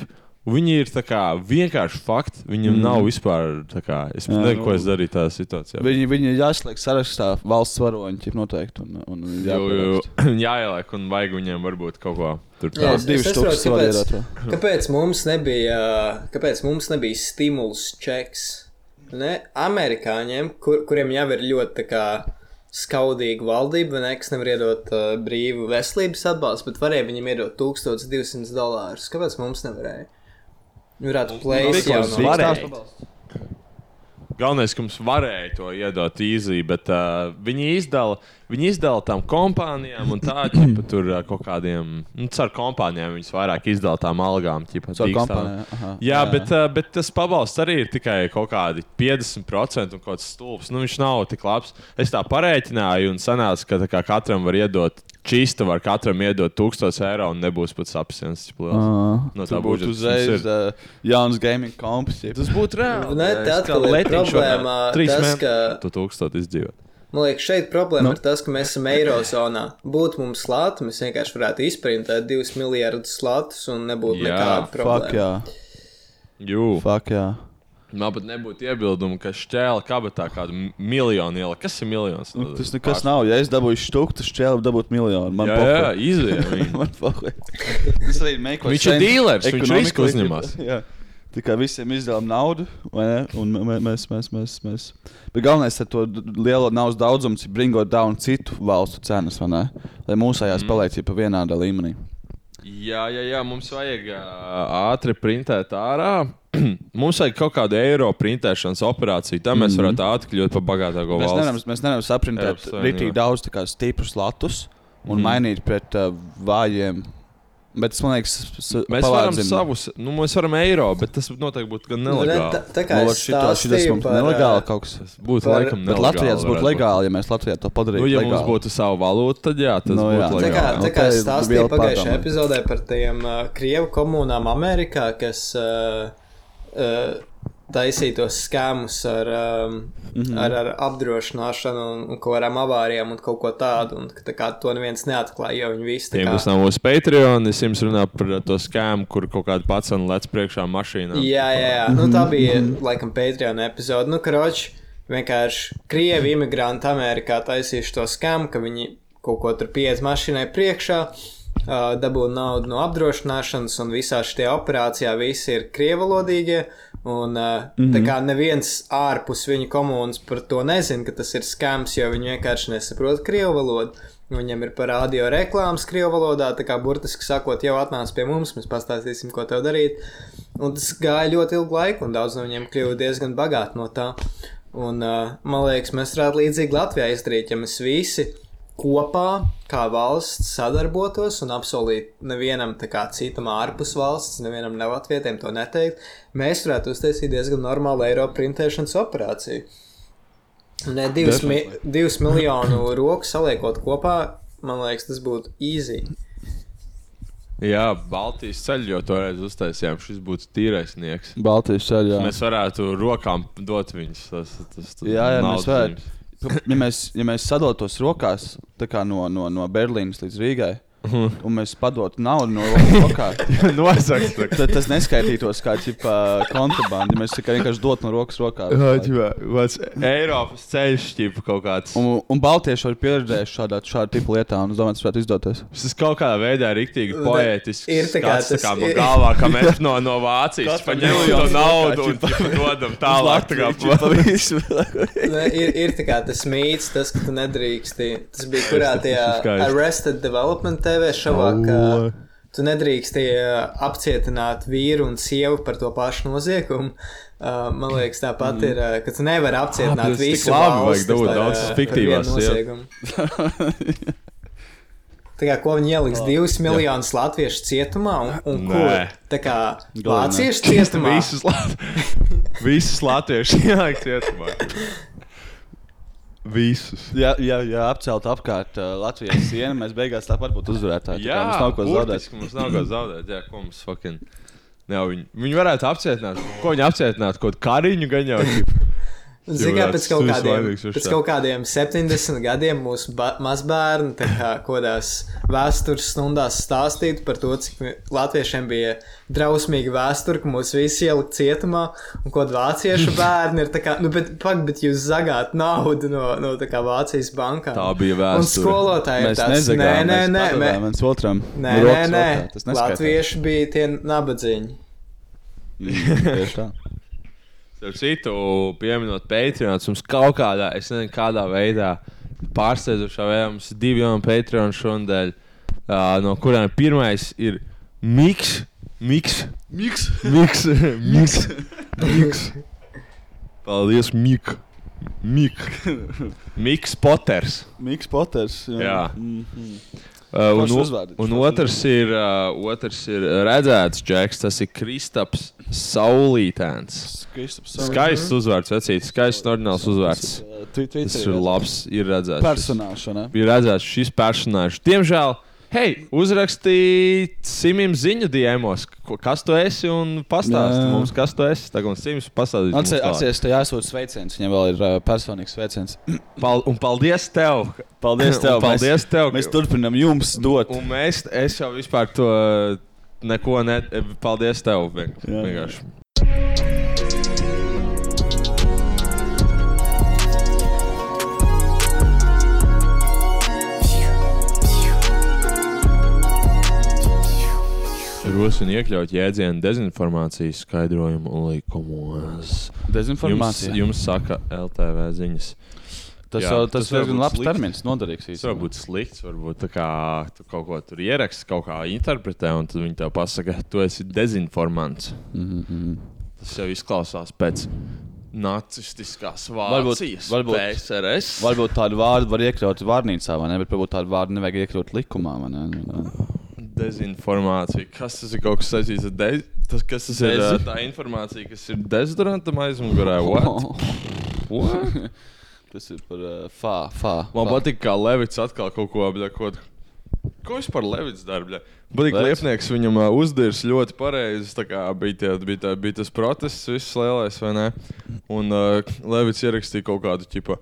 [SPEAKER 1] Viņi ir tā kā vienkārši fakti. Viņam mm. nav vispār tā kā. Es nezinu, ko es darīju tādā situācijā.
[SPEAKER 2] Viņi, viņi ir jāslēdz sarakstā valsts varoņi, jip, noteikti. Un, un
[SPEAKER 1] jau, jau,
[SPEAKER 2] jāparakst.
[SPEAKER 1] [clears throat] jāieliek un vajag viņiem varbūt kaut ko tur
[SPEAKER 3] Jā,
[SPEAKER 1] tādu.
[SPEAKER 3] es-
[SPEAKER 2] divas
[SPEAKER 3] es
[SPEAKER 2] štukas
[SPEAKER 3] saprotu,
[SPEAKER 2] var
[SPEAKER 3] kāpēc-
[SPEAKER 2] iedot,
[SPEAKER 3] Kāpēc mums nebija, kāpēc mums nebija stimuls čeks? Ne? Amerikāņiem, kur, kuriem jau ir ļoti tā kā, skaudīga valdība, vai ne, kas nevar iedot uh, brīvu veselības atbalstu, bet varēja viņam iedot 1200 dolārus. Kāpēc mums nevarēja? Varētu plēsīt, jau
[SPEAKER 2] nu,
[SPEAKER 1] likās,
[SPEAKER 3] no
[SPEAKER 1] varēja. Galvenais, ka mums varēja to iedot īzī, bet uh, viņi izdala, viņi izdala tam kompānijām un
[SPEAKER 2] [clears throat]
[SPEAKER 1] tādiem tur uh, kaut kādiem, nu, caur kompānijām viņas vairāk izdala tām algām. Ķipa,
[SPEAKER 2] Caur
[SPEAKER 1] dīkstām.
[SPEAKER 2] kompānijām, aha,
[SPEAKER 1] Jā, jā,
[SPEAKER 2] jā,
[SPEAKER 1] bet, uh, bet tas pabalsts arī ir tikai kaut kādi 50% un kaut kas stulbs. Nu, viņš nav tik labs. Es tā parēķināju un sanāca, ka tā kā katram var iedot. Čīsta var katram iedot 1000 eiro un nebūs pat sapsienas. cik liels. No
[SPEAKER 2] Tā
[SPEAKER 1] tā budžeta, kas
[SPEAKER 2] būtu
[SPEAKER 1] mums ir.
[SPEAKER 2] uzreiz uh, jauns gaming komps. jip.
[SPEAKER 1] Tas būtu reāli.
[SPEAKER 3] Ne, te atkal ir problēma tas, ka-
[SPEAKER 1] tu tūkstot izdzīvot.
[SPEAKER 3] Man liekas, šeit
[SPEAKER 2] Nu.
[SPEAKER 3] problēma no. ir tas, ka mēs esam Eirozonā. Būtu mums slāņi, mēs vienkārši varētu izprintēt divus miljardus slāņus un nebūtu
[SPEAKER 1] Jā,
[SPEAKER 3] nekāda
[SPEAKER 2] [coughs] Fuck,
[SPEAKER 3] problēma.
[SPEAKER 2] jā.
[SPEAKER 1] Jū.
[SPEAKER 2] Fuck, jā.
[SPEAKER 1] Man pat nebūtu iebildumu, ka šķēla kabatā kādu m- miljonu iela. Kas ir miljons?
[SPEAKER 2] Nu, tas nekas nav. Ja es dabūju štuku, tad čēlu dabūtu miljonu. Man
[SPEAKER 1] Jā, jā
[SPEAKER 2] pofai.
[SPEAKER 1] [laughs] izvēlējās.
[SPEAKER 2] [laughs] Man pofai. Tas arī meklē.
[SPEAKER 1] Viņš ir dealers, viņš risku uzņemas.
[SPEAKER 2] Jā. Tā kā visiem izdevām naudu, vai ne? un mē- mē- mēs, mēs, mēs, mēs. Bet galvenais ar to d- lielo naudas daudzumu ir bringot down citu valstu cenas, vai ne? Lai mūsējās mm. paliek pa vienādā līmenī.
[SPEAKER 1] Jā, jā, jā, mums vajag ā, ātri printēt ārā. [clears throat] mums vajag kaut kādu eiro printēšanas operāciju. Tā mēs varētu ātri kļūt par bagātāko
[SPEAKER 2] Mhm. Mēs nevaram,
[SPEAKER 1] valsti.
[SPEAKER 2] mēs nevaram
[SPEAKER 1] Eiropas
[SPEAKER 2] saprintēt
[SPEAKER 1] Savienībā.
[SPEAKER 2] rītīgi daudz tā kā stiprus latus un mm. mainīt pret uh, vājiem. Bet es domāju, ka
[SPEAKER 1] Mēs varam savus, nu, mēs varam eiro, bet tas noteikti būtu gan
[SPEAKER 3] Nu, ne,
[SPEAKER 1] nelegāli.
[SPEAKER 3] tā, tā kā es
[SPEAKER 2] Tas
[SPEAKER 3] stāstīju
[SPEAKER 2] mums
[SPEAKER 3] par, uh,
[SPEAKER 2] ir nelegāli
[SPEAKER 3] ā,
[SPEAKER 2] kaut kas.
[SPEAKER 1] Būtu
[SPEAKER 3] Par-
[SPEAKER 1] laikam
[SPEAKER 2] Bet
[SPEAKER 1] nelegāli.
[SPEAKER 2] Latvijā tas būtu
[SPEAKER 1] varētu būt.
[SPEAKER 2] legāli, ja mēs Latvijā to padarītu.
[SPEAKER 1] Nu, ja
[SPEAKER 2] legāli.
[SPEAKER 1] mums būtu sava valūta, tad jā, tas
[SPEAKER 2] Nu,
[SPEAKER 1] būtu
[SPEAKER 2] jā.
[SPEAKER 3] Tā kā,
[SPEAKER 1] legāli.
[SPEAKER 2] Nu,
[SPEAKER 3] tā kā
[SPEAKER 2] tā
[SPEAKER 3] es
[SPEAKER 2] ir
[SPEAKER 3] stāstīju
[SPEAKER 2] liela
[SPEAKER 3] pagājušajā
[SPEAKER 2] pārdomā.
[SPEAKER 3] epizodē par tiem uh, krievu komunām Amerikā, kas uh, uh, taisīja tos skēmus ar, um, mm
[SPEAKER 2] Mhm.
[SPEAKER 3] -hmm. ar, ar apdrošināšanu un, un kaut kādām avārijām un kaut ko tādu. Un, ka tā kā to neviens neatklāja, jo viņi visi tā
[SPEAKER 1] Tiem,
[SPEAKER 3] kā.
[SPEAKER 1] kas nav mūsu Patreon, es jums runāju par uh, to skēmu, kur kaut kāda pacēla lec priekšā mašīnā.
[SPEAKER 3] Jā, jā, jā. Nu, tā bija laikam Patreon epizode. Nu, karoči, vienkārši krievi imigranti Amerikā taisījuši to skamu, ka viņi kaut ko tur pieiet mašīnai priekšā, uh, dabū naudu no apdrošināšanas, un visā šajā operācijā visi ir krievalodīgie. Un uh, mm -hmm. tā kā neviens ārpus viņu komunas par to nezina, ka tas ir skams, jo viņi vienkārši nesaprot krievu valodu. Viņam ir parādīja reklāmas krievu valodā, tā kā burtiski sakot, jau atnāc pie mums, mēs pastāstīsim, ko tev darīt. Un tas gāja ļoti ilgu laiku, un daudz no viņiem kļuva diezgan bagāti no tā. Un, uh, man liekas, mēs varētu līdzīgi Latvijā izdarīt, ja mēs visi kopā, kā valsts, sadarbotos un apsolītu nevienam kā, citam ārpus valsts, nevienam nevatvietiem to neteikt, mēs varētu uztaisīt diezgan normālu eiro printēšanas operāciju. Ne, divus, mi divus miljonu roku saliekot kopā, man liekas, tas būtu easy.
[SPEAKER 1] Jā, Baltijas ceļš jau toreiz uztaisījām. Šis būtu tīrais nieks.
[SPEAKER 2] Baltijas ceļā.
[SPEAKER 1] Mēs varētu rokām dot viņus. Tas, tas, tas
[SPEAKER 2] Jā, jā
[SPEAKER 1] naudas
[SPEAKER 2] mēs varam.
[SPEAKER 1] viņus.
[SPEAKER 2] Ja mēs, ja mēs sadotos rokās, tā kā no, no, no Berlīnas līdz Rīgai,
[SPEAKER 1] Mhm.
[SPEAKER 2] un mēs padotu naudu no
[SPEAKER 1] [laughs]
[SPEAKER 2] rokām,
[SPEAKER 1] Nosaks, Nu, tā kā
[SPEAKER 2] tad tas neskaitītos kā ķipa, kontrabanda. Ja mēs tā kā vienkārši dotu no rokas rokā.
[SPEAKER 1] tas ir Eiropas ceļš, ķipa kaut kāds.
[SPEAKER 2] Un, un Baltieši jau ir pieredzējuši šādā, šādu tipu lietā, un es domāju, tas varētu izdoties.
[SPEAKER 1] Tas kaut kādā veidā ir rīktīgi poētisks.
[SPEAKER 3] Ir tā kā
[SPEAKER 1] skats, tā
[SPEAKER 3] tas-
[SPEAKER 1] kā man galvā, ka mēs no, no Vācijas
[SPEAKER 2] Katram
[SPEAKER 1] paņemam to
[SPEAKER 2] miljonu
[SPEAKER 1] naudu un ķipa, dodam tālāk. Tā kā,
[SPEAKER 3] Ne, Nu, ir, ir tā kā tas mīts, tas, ka tu nedrīksti. Tas bija kurā tajā
[SPEAKER 1] skaisti.
[SPEAKER 3] Arrested Development TV šovā, ka tu nedrīksti ā, apcietināt vīru un sievu par to pašu noziegumu. Uh, man liekas, tāpat mm. ir, ā, ka tu nevari
[SPEAKER 1] Ah,
[SPEAKER 3] apcietināt
[SPEAKER 1] bet tas tik
[SPEAKER 3] visu
[SPEAKER 1] labi,
[SPEAKER 3] valsti
[SPEAKER 1] vajag dabūt
[SPEAKER 3] par,
[SPEAKER 1] daudz
[SPEAKER 3] ā, par
[SPEAKER 1] fiktīvās
[SPEAKER 3] vienu noziegumu.
[SPEAKER 1] [laughs]
[SPEAKER 3] Tā kā, ko viņi ieliks divus miljonus latviešu cietumā, un, un
[SPEAKER 1] Nē.
[SPEAKER 3] kur tā kā
[SPEAKER 2] Galvenais.
[SPEAKER 3] vāciešu
[SPEAKER 1] [laughs]
[SPEAKER 3] cietumā?
[SPEAKER 1] Visus, lat... Visus [laughs] latviešus ielikt cietumā. Visus.
[SPEAKER 2] Ja, ja, ja apceltu apkārt uh, Latvijas sienu, mēs beigās tāpat būtu uzvarētāji.
[SPEAKER 1] Jā,
[SPEAKER 2] tā kā mums nav ko zaudēt.
[SPEAKER 1] burtiski Mums nav ko zaudēt. Jā, ko mums fucking. Jā, viņi, viņi varētu apcietināt. Ko viņi apcietinātu? Kaut kariņu gan jau.
[SPEAKER 2] [laughs]
[SPEAKER 1] ķip.
[SPEAKER 3] Ziniet, kā
[SPEAKER 1] Cilvēks,
[SPEAKER 3] pēc kaut,
[SPEAKER 1] tu esi
[SPEAKER 3] kādiem,
[SPEAKER 1] vainīgs uz
[SPEAKER 3] pēc
[SPEAKER 1] tā.
[SPEAKER 3] kaut kādiem 70 gadiem mūsu ba- mazbērni tā kā kādās vēstures stundās stāstītu par to, cik vi- latviešiem bija drausmīga vēsture, ka mūs visi ielika cietumā, un ko vāciešu
[SPEAKER 1] [laughs]
[SPEAKER 3] bērni ir tā kā, nu, bet, pak, bet jūs zagāt naudu no, no tā kā Vācijas bankām.
[SPEAKER 1] Tā bija
[SPEAKER 3] Un
[SPEAKER 1] vēsture.
[SPEAKER 3] skolotāji ir
[SPEAKER 2] Mēs
[SPEAKER 3] tāds,
[SPEAKER 2] nezagām,
[SPEAKER 3] nē, nē, nē,
[SPEAKER 2] mēs
[SPEAKER 3] mē-
[SPEAKER 2] padodām viens otram.
[SPEAKER 3] nē, nē,
[SPEAKER 2] no rokas rokā. Tas
[SPEAKER 3] nē,
[SPEAKER 2] neskaitās.
[SPEAKER 3] latvieši bija tie nabadzīgi.
[SPEAKER 2] Mm, [laughs] Tieši tā.
[SPEAKER 1] Starp citu, pieminot Patreon, mums kaut kādā, es nezinu, kādā veidā pārsteidzošā veidā mums ir divi jauni Patreon šodien, uh, no kuriem pirmais ir Miks. Miks. Miks. Miks. Miks. Miks. Paldies, Mik. Mik. Miks Poters.
[SPEAKER 2] Miks Poters.
[SPEAKER 1] Jā.
[SPEAKER 2] Mm.
[SPEAKER 1] Uh, un,
[SPEAKER 2] Foršs
[SPEAKER 1] o-
[SPEAKER 2] uzvārdi,
[SPEAKER 1] un
[SPEAKER 2] foršs
[SPEAKER 1] otrs ir, uh, otrs ir redzēts, Džeks, tas ir Kristaps Saulītēns. Skaists uzvārds, vecīt, skaists, ordināls uzvārds. Tas ir labs, ir redzēts.
[SPEAKER 2] Personāšu, ne?
[SPEAKER 1] Ir redzēts šis personāžs. Diemžēl, hei, uzrakstīt Simim ziņu diemos, ko- kas tu esi un pastāsti
[SPEAKER 2] Jā.
[SPEAKER 1] mums, kas tu esi. Tagad mums Sims pastāstīs. mums tālāk.
[SPEAKER 2] Atcerieties, tajā jāsūta sveiciens. Viņam vēl ir uh, personīgs sveiciens.
[SPEAKER 1] Pal un paldies [laughs] tev!
[SPEAKER 2] Paldies tev!
[SPEAKER 1] Un paldies
[SPEAKER 2] mēs,
[SPEAKER 1] tev!
[SPEAKER 2] Mēs turpinam jums dot.
[SPEAKER 1] Un mēs, es jau vispār to eh, neko ne... Paldies tev! vien-
[SPEAKER 2] Jā.
[SPEAKER 1] Vienkārši. Rosina iekļaut jēdzienu dezinformācijas skaidrojumu likumos. Jums,
[SPEAKER 2] Dezinformācija.
[SPEAKER 1] jums saka LTV ziņas.
[SPEAKER 2] tas
[SPEAKER 1] jā,
[SPEAKER 2] jā,
[SPEAKER 1] tas
[SPEAKER 2] tas
[SPEAKER 1] var
[SPEAKER 2] ir diezgan
[SPEAKER 1] būt
[SPEAKER 2] labs
[SPEAKER 1] slikti.
[SPEAKER 2] termins, noderīgs.
[SPEAKER 1] Tas var būt slikts, varbūt tā kā tu kaut ko tur ieraksti, kaut kā interpretē, un tad viņi tev pasaka, tu esi dezinformants.
[SPEAKER 2] Mm -hmm.
[SPEAKER 1] Tas jau izklausās pēc nacistiskās
[SPEAKER 2] Varbūt-
[SPEAKER 1] Vācijas,
[SPEAKER 2] varbūt-
[SPEAKER 1] PSRS.
[SPEAKER 2] Varbūt tādu vārdu var iekļaut vārnīcā, vai ne? Bet varbūt tādu vārdu nevajag iekļaut likumā. vai ne?
[SPEAKER 1] Dezinformācija. Kas tas ir kaut kas saistīts ar dezi? Tas, kas tas ir? ā,
[SPEAKER 2] Dezi?
[SPEAKER 1] Tā informācija, kas ir dezodorantam
[SPEAKER 2] [laughs]
[SPEAKER 1] aizmugurē. What? What?
[SPEAKER 2] Tas ir par uh, fā, fā.
[SPEAKER 1] Man
[SPEAKER 2] fā.
[SPEAKER 1] patīk, kā Levits atkal kaut ko apgādājot. Ko vispār Levits darīja? Būtībā
[SPEAKER 2] Levits?
[SPEAKER 1] Liepnieks viņam ā, uzdirs ļoti pareizi. tā kā Bija, tie, bija, tā, bija tas protests, viss lielais, vai ne? Un uh, Levits ierakstīja kaut kādu tipu.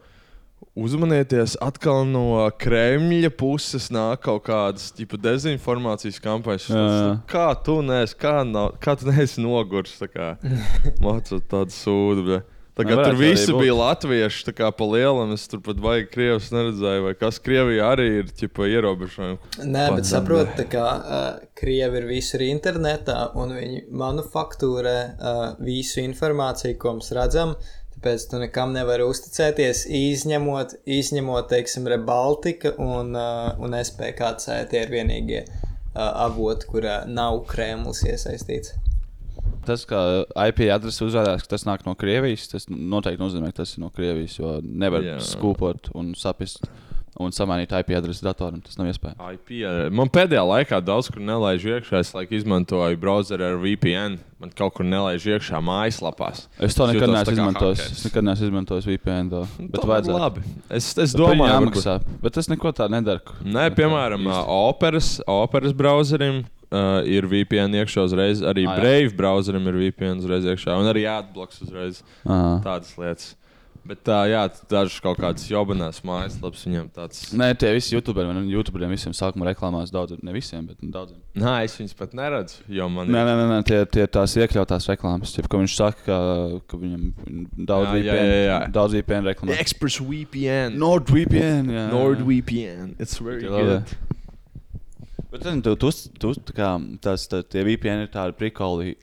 [SPEAKER 1] Uzmanieties, atkal no Kremļa puses nāk kaut kādas tipu, dezinformācijas kampaņas.
[SPEAKER 2] Jā, jā.
[SPEAKER 1] Kā
[SPEAKER 2] [laughs]
[SPEAKER 1] tu neesi, kā, nav, kā tu neesi nogurs? tā kā? Mācot tādu sūdu. bļa. Tā kā
[SPEAKER 2] Varētu
[SPEAKER 1] tur
[SPEAKER 2] arī
[SPEAKER 1] visi
[SPEAKER 2] būt.
[SPEAKER 1] bija latvieši, tā kā pa lielam es tur pat baigi krievis neredzēju, vai kas Krievijā arī ir ķipa ierobežojumi.
[SPEAKER 3] Nē,
[SPEAKER 1] Pazemē.
[SPEAKER 3] bet saprotu, tā kā uh, krievi ir visur internetā un viņi manufaktūrē uh, visu informāciju, ko mēs redzam. Tāpēc tu nekam nevari uzticēties, izņemot, izņemot teiksim, Rebaltika un, uh, un SPKC. Tie ir vienīgie uh, avoti, kurā nav Kremlis iesaistīts.
[SPEAKER 2] Tas, ka IP adrese uzrādās, ka tas nāk no Krievijas, tas noteikti nozīmē, ka tas ir no Krievijas. Jo nevar
[SPEAKER 1] Jā.
[SPEAKER 2] yeah. skūpot un sapist un samainīt IP adresi datoram. Tas nav iespējams.
[SPEAKER 1] IP. Man pēdējā laikā daudz kur nelaiž iekšā. Es laikam izmantoju browseri ar VPN. Man kaut kur nelaiž iekšā mājaslapās.
[SPEAKER 2] Es to nekad
[SPEAKER 1] jūtos
[SPEAKER 2] neesmu
[SPEAKER 1] tā kā
[SPEAKER 2] izmantojis.
[SPEAKER 1] hakeris.
[SPEAKER 2] Es nekad neesmu izmantojis VPN. To. Bet
[SPEAKER 1] Tomēr
[SPEAKER 2] vajadzētu.
[SPEAKER 1] Labi. Es, es
[SPEAKER 2] Par viņu
[SPEAKER 1] domāju, varbūt-
[SPEAKER 2] jāmaksā. Bet tas neko tādu nedara.
[SPEAKER 1] Nē, piemēram, ā, operas, operas browserim uh, ir VPN iekšā uzreiz. Arī
[SPEAKER 2] Ah, jā.
[SPEAKER 1] ah, Brave browserim ir VPN uzreiz iekšā. Un arī jāatbloks uzreiz
[SPEAKER 2] Ā.
[SPEAKER 1] tādas lietas. Bet tā, jā, dažas kaut kādas jobanās mājaslapas viņam tāds.
[SPEAKER 2] Nē, tie visi YouTuberi, man YouTuberiem visiem sākumā reklāmās daudz, ne visiem, bet nu, daudziem.
[SPEAKER 1] Nē, es viņus pat neredzu, jo man
[SPEAKER 2] Nē,
[SPEAKER 1] ir.
[SPEAKER 2] nē, nē, nē tie ir tās iekļautās reklāmas. Jeb, ka viņš saka, ka, ka viņam daudz
[SPEAKER 1] Jā, jā,
[SPEAKER 2] VPN,
[SPEAKER 1] jā, jā.
[SPEAKER 2] Daudz VPN reklāmas.
[SPEAKER 1] Express VPN.
[SPEAKER 2] NordVPN. jā, jā.
[SPEAKER 1] NordVPN. It's very
[SPEAKER 2] Tie labi.
[SPEAKER 1] good.
[SPEAKER 2] Bet, zini, tu, tu, tu tā kā tās tā, tie VPN ir tādi prikoli.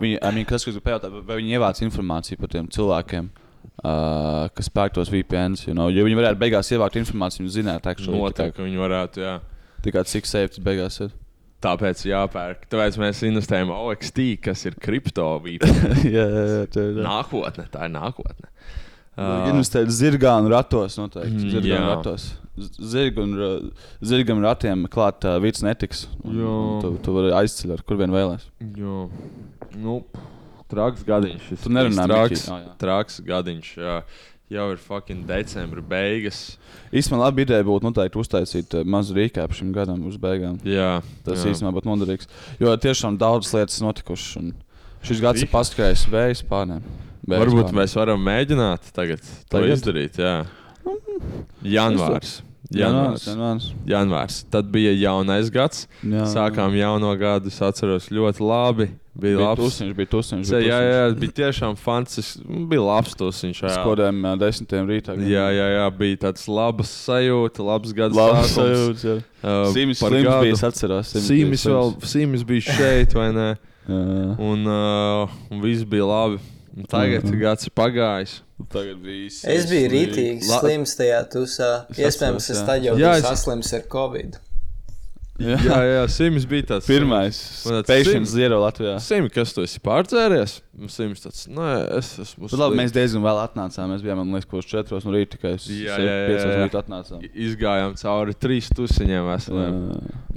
[SPEAKER 2] Viņi, I mean, kas, kas pajautā, vai- vai viņi ievāc informāciju par tiem cilvēkiem, uh, kas pērk tos VPNs, you know? jo viņi varētu beigās ievākt informāciju un zināt, actually, tā,
[SPEAKER 1] Noteikti,
[SPEAKER 2] kā,
[SPEAKER 1] ka viņi varētu, jā.
[SPEAKER 2] tā kā cik safe tas beigās ir.
[SPEAKER 1] Tāpēc jāpērk. Tāpēc mēs investējam OXT, kas ir kripto
[SPEAKER 2] jā, [laughs]
[SPEAKER 1] VPN.
[SPEAKER 2] [laughs] jā, jā, tā ir.
[SPEAKER 1] nākotne, tā ir nākotne.
[SPEAKER 2] Vajag
[SPEAKER 1] Ā,
[SPEAKER 2] Investēt zirgā un ratos.
[SPEAKER 1] Uh,
[SPEAKER 2] Noteikti.
[SPEAKER 1] Mm,
[SPEAKER 2] Zirgā un
[SPEAKER 1] jā.
[SPEAKER 2] ratos. Z- Zirga un, ra- zirgam un ratiem klāt uh, vīrs netiks. Un,
[SPEAKER 1] Jā.
[SPEAKER 2] un tu, tu vari aizceļot, ar kur vien vēlēs.
[SPEAKER 1] Jā, nu, traks gadiņš. šis
[SPEAKER 2] Tu nerunā,
[SPEAKER 1] traks,
[SPEAKER 2] Miķi. Ā, jā.
[SPEAKER 1] traks gadiņš. Jā. Jau ir fucking decembris, beigas.
[SPEAKER 2] Īstenībā labi ideja būtu noteikti uztaisīt uh, mazu rīkāpu šim gadam uz beigām.
[SPEAKER 1] Jā,
[SPEAKER 2] Tas
[SPEAKER 1] jā.
[SPEAKER 2] īstenībā būtu noderīgs. Jo tiešām daudzas lietas notikušas. un Šis gads ir
[SPEAKER 1] Rīkāps?
[SPEAKER 2] paskrājis vējas pārnēm. Vējas
[SPEAKER 1] Varbūt
[SPEAKER 2] pārnēm.
[SPEAKER 1] mēs varam mēģināt tagad to
[SPEAKER 2] Tagad? Mm.
[SPEAKER 1] izdarīt. Jā. Janvārs.
[SPEAKER 2] Janvārs,
[SPEAKER 1] Janvārs.
[SPEAKER 2] janvārs.
[SPEAKER 1] Janvārs. Tad bija jaunais gads.
[SPEAKER 2] Jā.
[SPEAKER 1] Sākām jauno gadu. Es atceros ļoti labi. Bija
[SPEAKER 2] Bija
[SPEAKER 1] labs.
[SPEAKER 2] tusiņš, bija tusiņš.
[SPEAKER 1] Jā, jā, jā, bija tiešām fantastisks. Bija labs tusiņš. jā.
[SPEAKER 2] Skodēm uh, desmitiem rītā.
[SPEAKER 1] Jā, jā, jā, bija tāds labs sajūta, labs gads.
[SPEAKER 2] Labi,
[SPEAKER 1] sākums.
[SPEAKER 2] sajūts. jā.
[SPEAKER 1] Uh,
[SPEAKER 2] Sīmis
[SPEAKER 1] par
[SPEAKER 2] slims
[SPEAKER 1] gadu.
[SPEAKER 2] bija, es atceros.
[SPEAKER 1] Sīmis vēl Sīmis bija šeit, vai ne?
[SPEAKER 2] vēl.
[SPEAKER 1] Un, uh, un viss bija labi. Un Tagad
[SPEAKER 2] Mhm.
[SPEAKER 1] gads ir pagājis.
[SPEAKER 2] Tagad viss.
[SPEAKER 3] Es biju rītīgi
[SPEAKER 1] La-
[SPEAKER 3] slims tajā tusā.
[SPEAKER 2] Es
[SPEAKER 3] Iespējams,
[SPEAKER 2] atceros,
[SPEAKER 3] es
[SPEAKER 2] jā.
[SPEAKER 3] tad jau
[SPEAKER 1] Jā,
[SPEAKER 3] biju
[SPEAKER 1] es-
[SPEAKER 3] saslims ar Covid.
[SPEAKER 1] Jā, jā, Sīmis bija tāds.
[SPEAKER 2] [laughs] Pirmais.
[SPEAKER 1] Man tāds Sims.
[SPEAKER 2] Patients zero Latvijā.
[SPEAKER 1] Sīmis, kas tu esi pārdzēries? Un Sīmis tāds, nē, es esmu.
[SPEAKER 2] Bet labi,
[SPEAKER 1] slims."
[SPEAKER 2] mēs diezgan vēl atnācām. Mēs bijām, man liekas, kaut kur 4 no rīta, tikai
[SPEAKER 1] Jā, jā, jā,
[SPEAKER 2] 5 no
[SPEAKER 1] jā.
[SPEAKER 2] rīta atnācām.
[SPEAKER 1] izgājām cauri trīs tusiņiem.
[SPEAKER 2] Jā.
[SPEAKER 1] veseliem.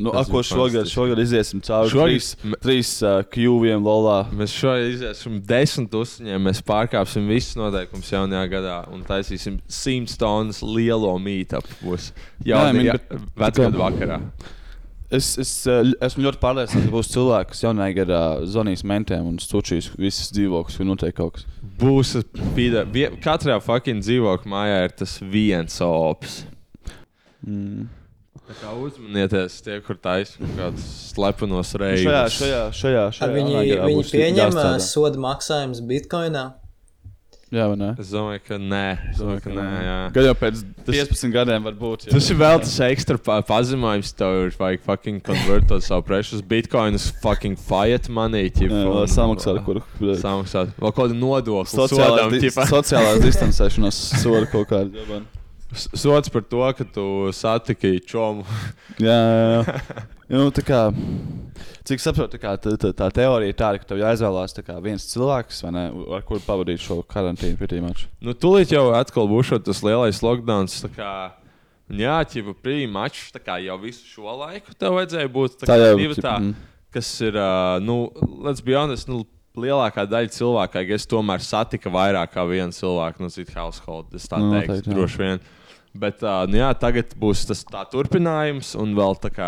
[SPEAKER 2] Nu,
[SPEAKER 1] Tas
[SPEAKER 2] ak, ko
[SPEAKER 1] ir
[SPEAKER 2] šogad,
[SPEAKER 1] fantastiski.
[SPEAKER 2] šogad iziesim cauri
[SPEAKER 1] Šogad-
[SPEAKER 2] šogad... trīs, trīs uh, kļūviem lolā.
[SPEAKER 1] Mēs šodien iziesim desmit tusiņiem, mēs pārkāpsim visus noteikumus jaunajā gadā un taisīsim simts tonnas lielo mītāpu. Būs jau
[SPEAKER 2] Nē, min-
[SPEAKER 1] tādā
[SPEAKER 2] bet-
[SPEAKER 1] vecā vakarā.
[SPEAKER 2] Es, es uh, ļ- esmu ļoti pārliecināts, ka būs cilvēki, kas jaunajā gadā zvanīs mentēm un stūčīs visas dzīvokļus, kur notiek kaut kas.
[SPEAKER 1] Būs pīda. vie- Katrā fucking dzīvokļa mājā ir tas viens ops.
[SPEAKER 2] Mm.
[SPEAKER 1] Tā kā Uzmanieties, tie, kur taisno kaut kādus slepenos reizes.
[SPEAKER 2] Nu, Šajā, šajā, šajā, šajā.
[SPEAKER 3] Viņi,
[SPEAKER 2] jaunajā gadā
[SPEAKER 3] viņi
[SPEAKER 2] būs
[SPEAKER 3] pieņem ā,
[SPEAKER 2] jāstrādā.
[SPEAKER 3] sodu maksājumus bitkoinā.
[SPEAKER 2] Jā, vai ne?
[SPEAKER 1] Es domāju, ka nē. Es domāju, ka nē jā.
[SPEAKER 2] Gan jau pēc 15 gadiem var būt. jā.
[SPEAKER 1] Tas ir vēl tas ekstra pa- pazīmējums, tev ir vajag fucking konvertēt savu precious bitcoinus, fucking fiat money. ķip,
[SPEAKER 2] Jā, lai
[SPEAKER 1] un-
[SPEAKER 2] Samaksāt, kur
[SPEAKER 1] Samaksāt. Vēl kaut kādu nodokli.
[SPEAKER 2] sociālās,
[SPEAKER 1] sodam, [laughs]
[SPEAKER 2] di
[SPEAKER 1] ķipa.
[SPEAKER 2] sociālās distancēšanās soda kaut kāda.
[SPEAKER 1] S- Sots par to, ka tu satiki čomu.
[SPEAKER 2] Jā, jā, jā. Nu, tā kā, cik saprotu, tā, kā tā, tā, tā teorija ir tāda, ka tev jāizvēlās tā kā viens cilvēks, vai ne, ar kuru pavadīt šo karantīnu pietiekami.
[SPEAKER 1] Nu, tūlīt jau atkal būs tas lielais lockdown. Jā, ķipa, prīmačs, tā kā jau visu šo laiku tev vajadzēja būt tā
[SPEAKER 2] Tā
[SPEAKER 1] kā
[SPEAKER 2] jau,
[SPEAKER 1] divi
[SPEAKER 2] ķip,
[SPEAKER 1] tā,
[SPEAKER 2] mhm.
[SPEAKER 1] kas ir, ā, nu, let's be honest, nu, lielākā daļa cilvēku, es tomēr satika vairāk kā vienu cilvēku no citas household, es tā
[SPEAKER 2] Nu,
[SPEAKER 1] teiktu,
[SPEAKER 2] noteikti, jā.
[SPEAKER 1] droši vien. Bet, ā, nu jā, tagad būs tas tā turpinājums, un vēl tā kā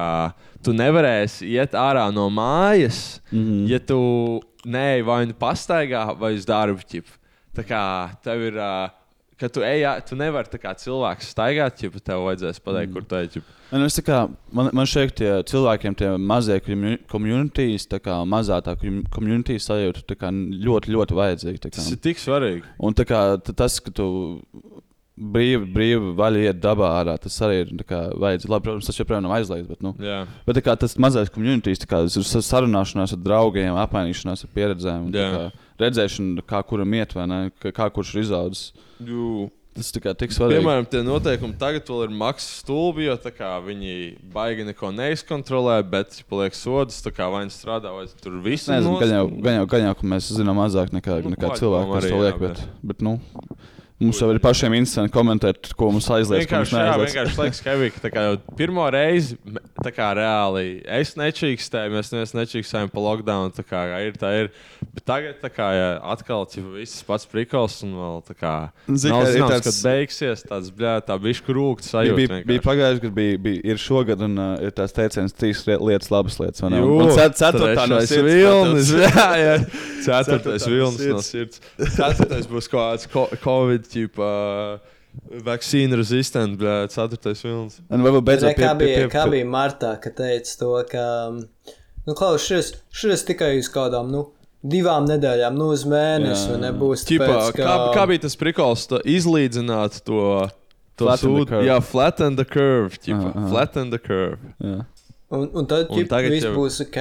[SPEAKER 1] tu nevarēsi iet ārā no mājas,
[SPEAKER 2] Mhm.
[SPEAKER 1] mm. ja tu neej vai nu pastaigā, vai uz darbu ķipu. Tā kā tev ir. ā, ka tu ej, ā- tu nevari tā kā cilvēks staigāt, ja tev vajadzēs pateikt, kur tā ir.
[SPEAKER 2] Man, nu, es, Mhm. tā kā, man, man šeit tie cilvēkiem, tie mazie komunitīs, tā kā mazā tā komunitīs sajūta tā kā, ļoti, ļoti vajadzīga. tā kā.
[SPEAKER 1] Tas ir tik svarīgi.
[SPEAKER 2] Un tā kā, t- tas, ka tu brīvi, brīvi vaļā iet dabā ārā, tas arī ir tā kā, vajadzīgs. Labi, protams, tas joprojām nav aizliegts, bet, nu,
[SPEAKER 1] Jā,
[SPEAKER 2] bet tā kā, tas mazais komunitīs, tas ir sa- sarunāšanās ar draugiem, apmainīšanās ar pieredzēm, un, tā
[SPEAKER 1] Jā.
[SPEAKER 2] kā, redzēšana, kā kuram iet, vai ne, kā, kā kurš ir izaudzis.
[SPEAKER 1] Jū.
[SPEAKER 2] Tas tā kā, tik svarīgi.
[SPEAKER 1] Piemēram, tie noteikumi tagad vēl ir maksas stulbi, jo tā kā viņi baigi neko neizkontrolē, bet ja paliek sodas, tā kā vai viņi strādā, vai tur viss ir.
[SPEAKER 2] Nezinu,
[SPEAKER 1] nost.
[SPEAKER 2] gan jau, gan jau, gan jau, ka mēs zinām mazāk nekā,
[SPEAKER 1] Nu,
[SPEAKER 2] nu, nekā
[SPEAKER 1] paļ-
[SPEAKER 2] cilvēki, kas
[SPEAKER 1] arī,
[SPEAKER 2] to
[SPEAKER 1] jā,
[SPEAKER 2] liek. Bet, bet, nu, mums jau ir pašiem interesanti komentēt, ko mums aizliedz. ko mums
[SPEAKER 1] Vienkārši, jā,
[SPEAKER 2] neaizliedz.
[SPEAKER 1] vienkārši liekas, ka Evika, tā kā jau pirmo reizi, me- tā kā reāli, es nečīkstēju, mēs neviens nečīkstējām pa lockdown, tā kā ir, tā ir. Bet tagad, tā kā jā, atkal, tas viss pats prikals un vēl tā kā.
[SPEAKER 2] Zini,
[SPEAKER 1] Nav
[SPEAKER 2] kā ir
[SPEAKER 1] zināms,
[SPEAKER 2] tāds-
[SPEAKER 1] kad beigsies, tāds, bļā, tā bišķi rūkt sajūta.
[SPEAKER 2] Bija, bija, bija
[SPEAKER 1] vienkārši.
[SPEAKER 2] pagājuši gadu, bija, bija ir šogad, un uh, ir tās teiciens, trīs rie- lietas, labas lietas. vai ne? Un-
[SPEAKER 1] Jū,
[SPEAKER 2] un cet- ceturtā no
[SPEAKER 1] trešais
[SPEAKER 2] sirds,
[SPEAKER 1] vilnis,
[SPEAKER 2] protams.
[SPEAKER 1] [laughs] jā, jā. Ceturtais
[SPEAKER 2] [laughs] Ceturtā no
[SPEAKER 1] vilnis no
[SPEAKER 2] sirds.
[SPEAKER 1] sirds. Ceturtais būs kaut kāds ko- covid tipa vaccīna resistent, bļā, ceturtais vilnis.
[SPEAKER 2] Un varbūt
[SPEAKER 3] Re,
[SPEAKER 2] beidzot
[SPEAKER 3] kā,
[SPEAKER 2] pie, pie,
[SPEAKER 3] bija,
[SPEAKER 2] pie,
[SPEAKER 3] kā
[SPEAKER 2] pie,
[SPEAKER 3] bija Martā, ka teica to, ka, nu, klaus, šis, šis tikai uz kādām, nu, divām nedēļām, nu, uz mēnesi,
[SPEAKER 2] Jā.
[SPEAKER 3] vai nebūs
[SPEAKER 1] Ķipā,
[SPEAKER 3] tāpēc,
[SPEAKER 1] kā, kā bija tas prikals to izlīdzināt to? to
[SPEAKER 2] Flatten the
[SPEAKER 1] sūdu?
[SPEAKER 2] curve.
[SPEAKER 1] Jā, flatten the curve. Ķipā,
[SPEAKER 2] Aha, aha.
[SPEAKER 1] Flatten the curve.
[SPEAKER 2] jā.
[SPEAKER 3] Un, un tad,
[SPEAKER 1] Un
[SPEAKER 3] ja
[SPEAKER 1] tagad
[SPEAKER 3] viss
[SPEAKER 1] jau-
[SPEAKER 3] būs ok.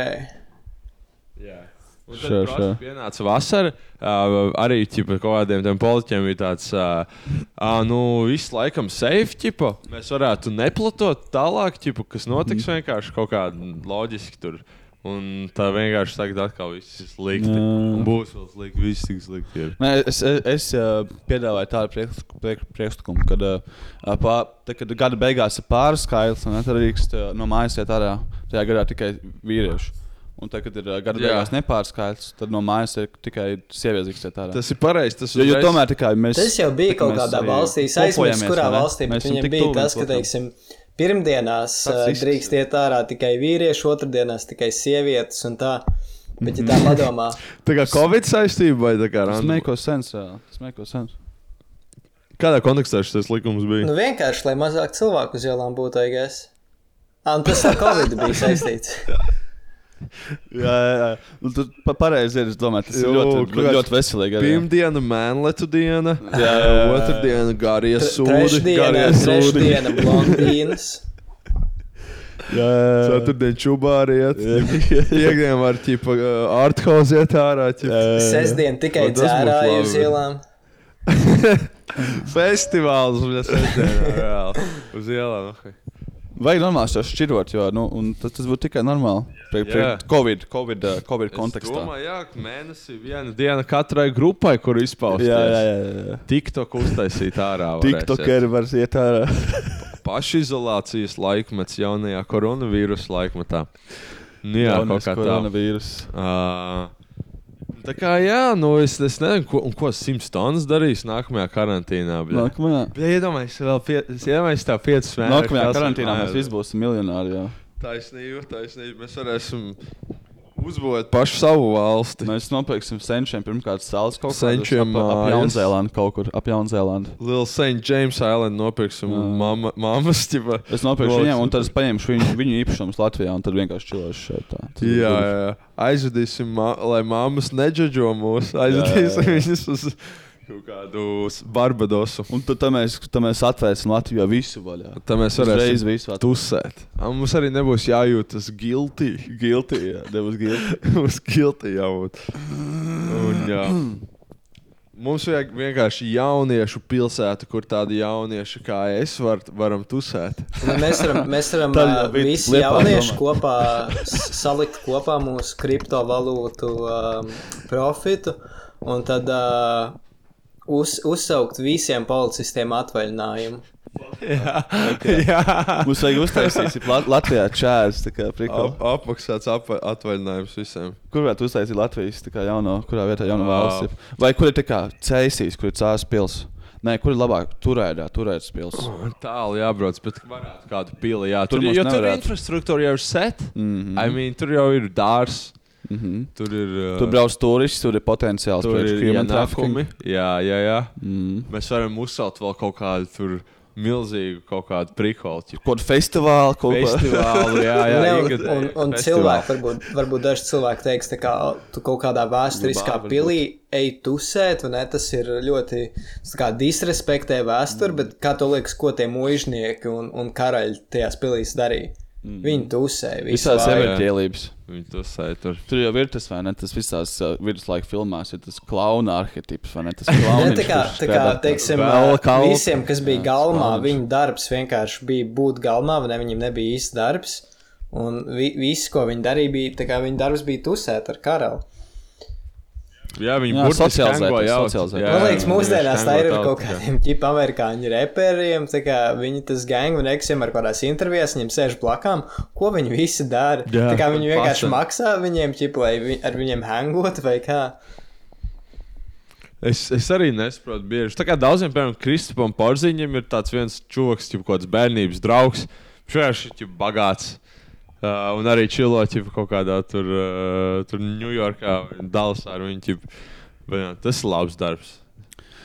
[SPEAKER 1] Jā. Un tad
[SPEAKER 2] Sure,
[SPEAKER 1] protams,
[SPEAKER 2] sure.
[SPEAKER 1] Pienāca vasara. Uh, arī ķipa, kaut kādiem tiem politiķiem bija tāds, uh, uh, nu, viss laikam safe. Ķipa. Mēs varētu neplatot tālāk, ķipa, kas notiks
[SPEAKER 2] Mhm.
[SPEAKER 1] vienkārši kaut kādā loģiski tur. Un tā vienkārši tagad atkal viss ir slikti.
[SPEAKER 2] Jā.
[SPEAKER 1] Un būs vēl slikti, viss tik slikti. ir.
[SPEAKER 2] Nē, es, es, es uh, piedāvāju tādu priekšliku- priek- priekšlikumu, kad, uh, pā, tad, kad gada beigās ir pāris skaitlis, un tad drīkst uh, no mājas iet ārā. Tajā gadā tikai vīrieši. Un tad, kad ir uh, gada
[SPEAKER 1] Jā.
[SPEAKER 2] beigās nepārskaitlis, tad no mājas ir tikai sievietes drīkst iet ārā.
[SPEAKER 1] Tas ir pareizi. Tas
[SPEAKER 2] Jo, jo
[SPEAKER 1] uzreiz-
[SPEAKER 2] tomēr tā kā mēs.
[SPEAKER 3] Tas jau bija
[SPEAKER 2] tā kā
[SPEAKER 3] kaut
[SPEAKER 2] mēs
[SPEAKER 3] kādā
[SPEAKER 2] arī
[SPEAKER 3] valstī, es
[SPEAKER 2] kopojamies,
[SPEAKER 3] aizmirsu, kurā
[SPEAKER 2] vai ne?
[SPEAKER 3] valstī,
[SPEAKER 2] Mēs
[SPEAKER 3] bet
[SPEAKER 2] esam
[SPEAKER 3] viņam
[SPEAKER 2] tik
[SPEAKER 3] bija
[SPEAKER 2] tuvu
[SPEAKER 3] tas,
[SPEAKER 2] viens
[SPEAKER 3] ka,
[SPEAKER 2] otram.
[SPEAKER 3] teiksim, pirmdienās
[SPEAKER 2] Tāds
[SPEAKER 3] eh,
[SPEAKER 2] izskats,
[SPEAKER 3] drīkst iet ārā tikai vīrieši, otrdienās tikai sievietes un tā. Bet, ja tā
[SPEAKER 2] Mhm.
[SPEAKER 3] padomā,
[SPEAKER 1] Tā kā Covid saistība vai tā kā
[SPEAKER 2] Tas
[SPEAKER 1] random?
[SPEAKER 2] make sense. jā. Tas make sense.
[SPEAKER 1] Kādā kontekstā šis likums bija?
[SPEAKER 3] nu vienkārši, lai mazāk cilvēku uz ielām būtu, I guess. Ah, un tas ar Covid bija
[SPEAKER 2] [laughs]
[SPEAKER 3] saistīts.
[SPEAKER 2] Jā, jā, jā. Nu, tur pa, pareizi ir. Es domāju, tas
[SPEAKER 1] Jū,
[SPEAKER 2] ir
[SPEAKER 1] kāds-
[SPEAKER 2] ļoti, ļoti, ļoti veselīgi. arī, jā.
[SPEAKER 1] Pirmdiena, mēnletu diena,
[SPEAKER 2] Jā, jā.
[SPEAKER 1] otrdiena, gāries sūdi,
[SPEAKER 3] Trešdiena,
[SPEAKER 1] gāries sūdi.
[SPEAKER 3] trešdiena, blondīnas.
[SPEAKER 1] [laughs] Ceturtdien čubāriet, piekdien var ķipa arthaus iet ārā, ķipa
[SPEAKER 3] Sestdien tikai
[SPEAKER 1] O, tas būtu
[SPEAKER 3] dzērāju uz
[SPEAKER 1] labi.
[SPEAKER 3] ielām.
[SPEAKER 1] [laughs] festivāls, un es redzēju, reāli, uz ielām. ok.
[SPEAKER 2] Vajag normāli to šķirot, jo nu, un tas, tas būtu tikai normāli. Prie, prie
[SPEAKER 1] Jā.
[SPEAKER 2] COVID, COVID, uh, COVID
[SPEAKER 1] Es
[SPEAKER 2] kontekstā.
[SPEAKER 1] Domāju, jā, ka mēnesī viena diena katrai grupai, kur izpausties.
[SPEAKER 2] Jā, jā, jā. jā.
[SPEAKER 1] TikTok uztaisīt ārā. varēsiet.
[SPEAKER 2] TikTokeri var iet ārā.
[SPEAKER 1] Pašizolācijas laikmets jaunajā koronavīrusa laikmetā. Nu, jā,
[SPEAKER 2] Jaunais
[SPEAKER 1] kaut kā tā.
[SPEAKER 2] koronavīrus.
[SPEAKER 1] Ā, Tā kā, jā, nu es, es nezinu, ko, un ko Simpsons darīs nākamajā karantīnā. bļa.
[SPEAKER 2] Nākamajā.
[SPEAKER 1] Bļa, Iedomājieties, vēl pie, es iedomājos tā piecas mēnešus.
[SPEAKER 2] Nākamajā karantīnā mēs visi būsim miljonāri. Jā.
[SPEAKER 1] Taisnība, taisnība. Mēs varēsim uzbūvēt pašu savu valsti.
[SPEAKER 2] Mēs nopirksim senčiem pirmkārt sāls kaut kādas
[SPEAKER 1] Senčiem
[SPEAKER 2] ap, ap
[SPEAKER 1] mājas.
[SPEAKER 2] Jaunzēlandu kaut kur. Ap Jaunzēlandu.
[SPEAKER 1] Liela St. James Island nopirksim
[SPEAKER 2] Jā.
[SPEAKER 1] mamma- mammas ģipa.
[SPEAKER 2] Es nopirku viņiem, un
[SPEAKER 1] Nopirksim.
[SPEAKER 2] tad es paņemšu viņu, viņu īpašumus Latvijā, un tad vienkārši čilošu šeit. Tā. Tas būs
[SPEAKER 1] Jā,
[SPEAKER 2] labi.
[SPEAKER 1] jā. aizvedīsim, ma lai mammas neģeģo mūs. Aizvedīsim
[SPEAKER 2] Jā, jā, jā.
[SPEAKER 1] viņus uz kaut kādu s- Barbadosu.
[SPEAKER 2] Un tad tā mēs, tad mēs atvērsim Latvijā visu vaļā.
[SPEAKER 1] Tā mēs
[SPEAKER 2] Uzreiz
[SPEAKER 1] varēsim
[SPEAKER 2] visu atvērsim.
[SPEAKER 1] tusēt. Un mums arī nebūs jājūtas guilty.
[SPEAKER 2] Guilty, jā, devas guilty.
[SPEAKER 1] [laughs] mums guilty jābūt. Un, jā. Mums vajag vienkārši jauniešu pilsētu, kur tādi jaunieši kā es var, varam tusēt.
[SPEAKER 3] Nu, Mēs varam, mēs varam
[SPEAKER 2] Tad
[SPEAKER 3] ā,
[SPEAKER 2] jau bija
[SPEAKER 3] visi
[SPEAKER 2] Liepājas
[SPEAKER 3] jaunieši
[SPEAKER 2] domā.
[SPEAKER 3] kopā s- salikt kopā mūsu kriptovalūtu um, profitu un tad uh, uz, uzsaukt visiem policistiem atvaļinājumu.
[SPEAKER 1] [laughs] jā.
[SPEAKER 2] Mums vajag uztaisīt ir Lat- Latvijā čērs, tā kā prikal.
[SPEAKER 1] Ap, apmaksāts apa, atvaļinājums visiem.
[SPEAKER 2] Kur varētu uztaisīt Latvijas, tā kā jauno, kurā vietā jauno
[SPEAKER 1] Vau.
[SPEAKER 2] valsts ir? Vai kur ir tā kā cēsīs, kur ir cēs pils? Nē, kur ir labāk? Turēdā, turēdas pils.
[SPEAKER 1] Tālu jābrauc, bet varētu kādu pili. Jā,
[SPEAKER 2] Tur
[SPEAKER 1] tur,
[SPEAKER 2] mums
[SPEAKER 1] jo tur
[SPEAKER 2] nevarētu.
[SPEAKER 1] infrastruktūra jau ir set.
[SPEAKER 2] Mhm.
[SPEAKER 1] I mean, tur jau ir dārs.
[SPEAKER 2] Mhm.
[SPEAKER 1] Tur ir. ā,
[SPEAKER 2] Tur brauc turists, tur ir potenciāls
[SPEAKER 1] tur
[SPEAKER 2] priekš
[SPEAKER 1] ir
[SPEAKER 2] human
[SPEAKER 1] ienākumi.
[SPEAKER 2] trafficking.
[SPEAKER 1] Jā, jā, jā.
[SPEAKER 2] Mm.
[SPEAKER 1] Mēs varam uzsākt vēl kaut kādu tur milzīgu kaut kādu prikolu.
[SPEAKER 2] Kaut festivāli, kaut
[SPEAKER 1] Festivālu, jā, jā.
[SPEAKER 3] Ne, un,
[SPEAKER 1] Inga-
[SPEAKER 3] un,
[SPEAKER 1] festivālu.
[SPEAKER 3] un cilvēki, varbūt, varbūt daži cilvēki teiks, tā kā tu kaut kādā vēsturiskā
[SPEAKER 1] Lubā varbūt.
[SPEAKER 3] pilī ej tusēt, vai ne? Tas ir ļoti tas tā kā disrespektē vēsturi, bet kā tu liekas, ko tie mūžnieki un, un karaļi tajās pilīs darīja? Viņi tusēja visu
[SPEAKER 2] [laughs] Visās
[SPEAKER 1] Jā, jā.
[SPEAKER 3] laiku.
[SPEAKER 2] evertielības.
[SPEAKER 1] Viņi to sēž tur.
[SPEAKER 2] Tur jau ir tas, vai ne? Tas visās uh, viduslaika filmās ir tas klauna arhetips, vai ne?
[SPEAKER 3] [laughs]
[SPEAKER 2] Tas klauna
[SPEAKER 3] Ne, Nu, tā kā, tā kā teiksim, uh,
[SPEAKER 2] kā
[SPEAKER 3] visiem, kas bija galvā, viņu darbs vienkārši bija būt galvā, vai ne? Viņiem nebija īsts darbs. Un vi, viss, ko viņi darīja, bija tā kā viņa darbs bija tusēt ar karalu.
[SPEAKER 1] Jā, viņi
[SPEAKER 2] Jā,
[SPEAKER 1] burtiski
[SPEAKER 2] socializēties,
[SPEAKER 1] hango jaut.
[SPEAKER 2] socializēties.
[SPEAKER 1] Jā,
[SPEAKER 3] Man liekas,
[SPEAKER 1] viņi
[SPEAKER 3] mūsdienās
[SPEAKER 1] vienkārši
[SPEAKER 3] tā ir ar
[SPEAKER 1] hango
[SPEAKER 3] kaut
[SPEAKER 1] jaut, jā.
[SPEAKER 3] kādiem ķipa amerikāņu reperiem. tā kā Viņi tas gangu nekas vienmēr kaut kādās intervijās, viņiem sēž blakām, ko viņi visi dara.
[SPEAKER 1] Jā,
[SPEAKER 3] tā kā viņi vienkārši
[SPEAKER 1] pasa.
[SPEAKER 3] maksā viņiem, ķipa, lai vi, ar viņiem hangot vai kā.
[SPEAKER 1] Es, es arī nesaprotu, bieži. Tā kā daudziem, piemēram, Kristupam Porziņam ir tāds viens čūlis, jau kāds bērnības draugs. Viņš vienkārši ir bagāts. Uh, un arī čiloķi kaut kādā tur, uh, tur Ņujorkā, Dallasā. ar Viņu, ķip, vai ne, tas ir labs darbs.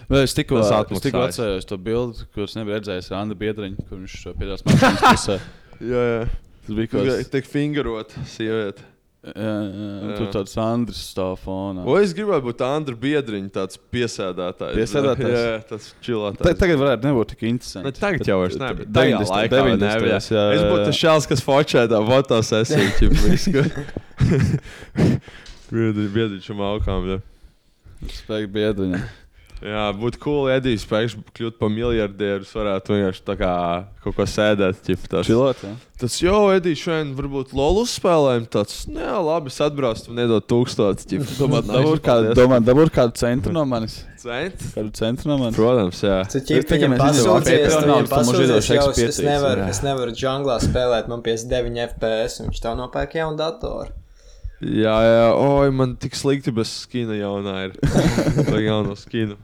[SPEAKER 2] Vai Es tikko
[SPEAKER 1] Tas
[SPEAKER 2] es tikko
[SPEAKER 1] atmaksājas.
[SPEAKER 2] atceros to bildi, kurus nebija redzējis Randa Biedriņa, kur viņš uh, piedās mašīnas
[SPEAKER 1] [laughs]
[SPEAKER 2] pusē.
[SPEAKER 1] Jā, jā.
[SPEAKER 2] Tas bija kaut kas.
[SPEAKER 1] tiek fingerot sieviete.
[SPEAKER 2] Jā, jā, un Tur
[SPEAKER 1] Jā.
[SPEAKER 2] tāds Andris stāv fonā.
[SPEAKER 1] O, es gribētu būt Andra Biedriņa, tāds piesēdētājs.
[SPEAKER 2] Piesēdētājs?
[SPEAKER 1] Jā, jā, tas
[SPEAKER 2] Ta-
[SPEAKER 1] čilotājs.
[SPEAKER 2] Tagad varētu nebūt tik
[SPEAKER 1] Ne,
[SPEAKER 2] interesanti.
[SPEAKER 1] tagad jau vairs ne, bet tajā
[SPEAKER 2] 90,
[SPEAKER 1] laikā vēl
[SPEAKER 2] 90,
[SPEAKER 1] nebija.
[SPEAKER 2] jā, jā,
[SPEAKER 1] Es būtu
[SPEAKER 2] jā.
[SPEAKER 1] tas šāds, kas fočētā fotosesiju. ķip, visu. [laughs] Biedri, biedri šim augām. Jā.
[SPEAKER 2] Spēk Biedriņa.
[SPEAKER 1] jā, būtu cool, ja Edijs spēks kļūt par miljardieru, varētu vienkārši tā kā kaut ko sēdēt. Ķip, tas.
[SPEAKER 2] Čilot, jā?
[SPEAKER 1] tas jau, Edijs, šodien varbūt lolu spēlēm tāds, jā, labi, es atbraucu, tu nedod tūkstotis. ķip. [laughs]
[SPEAKER 2] Domāt,
[SPEAKER 1] Nice,
[SPEAKER 2] dabūt kādu,
[SPEAKER 1] paldies.
[SPEAKER 2] domāt, dabūt kādu centru no manis.
[SPEAKER 1] Cent?
[SPEAKER 2] Kādu centru no manis.
[SPEAKER 1] Protams, jā.
[SPEAKER 3] Tu ķipa,
[SPEAKER 2] tikai
[SPEAKER 3] viņam
[SPEAKER 2] mēs izdomājam,
[SPEAKER 3] pasūdzies,
[SPEAKER 2] Patreonā,
[SPEAKER 3] tu viņam
[SPEAKER 2] tu mums
[SPEAKER 3] pasūdzies,
[SPEAKER 2] iedos
[SPEAKER 3] jau
[SPEAKER 2] X5
[SPEAKER 3] es nevaru,
[SPEAKER 2] jā.
[SPEAKER 3] es nevaru džunglā spēlēt, man 59 FPS, un viņš tev nopērk jaunu datoru.
[SPEAKER 1] Jā, jā, oi, man tik slikti bez skina jaunā ir. [laughs] Tā jauno skinu.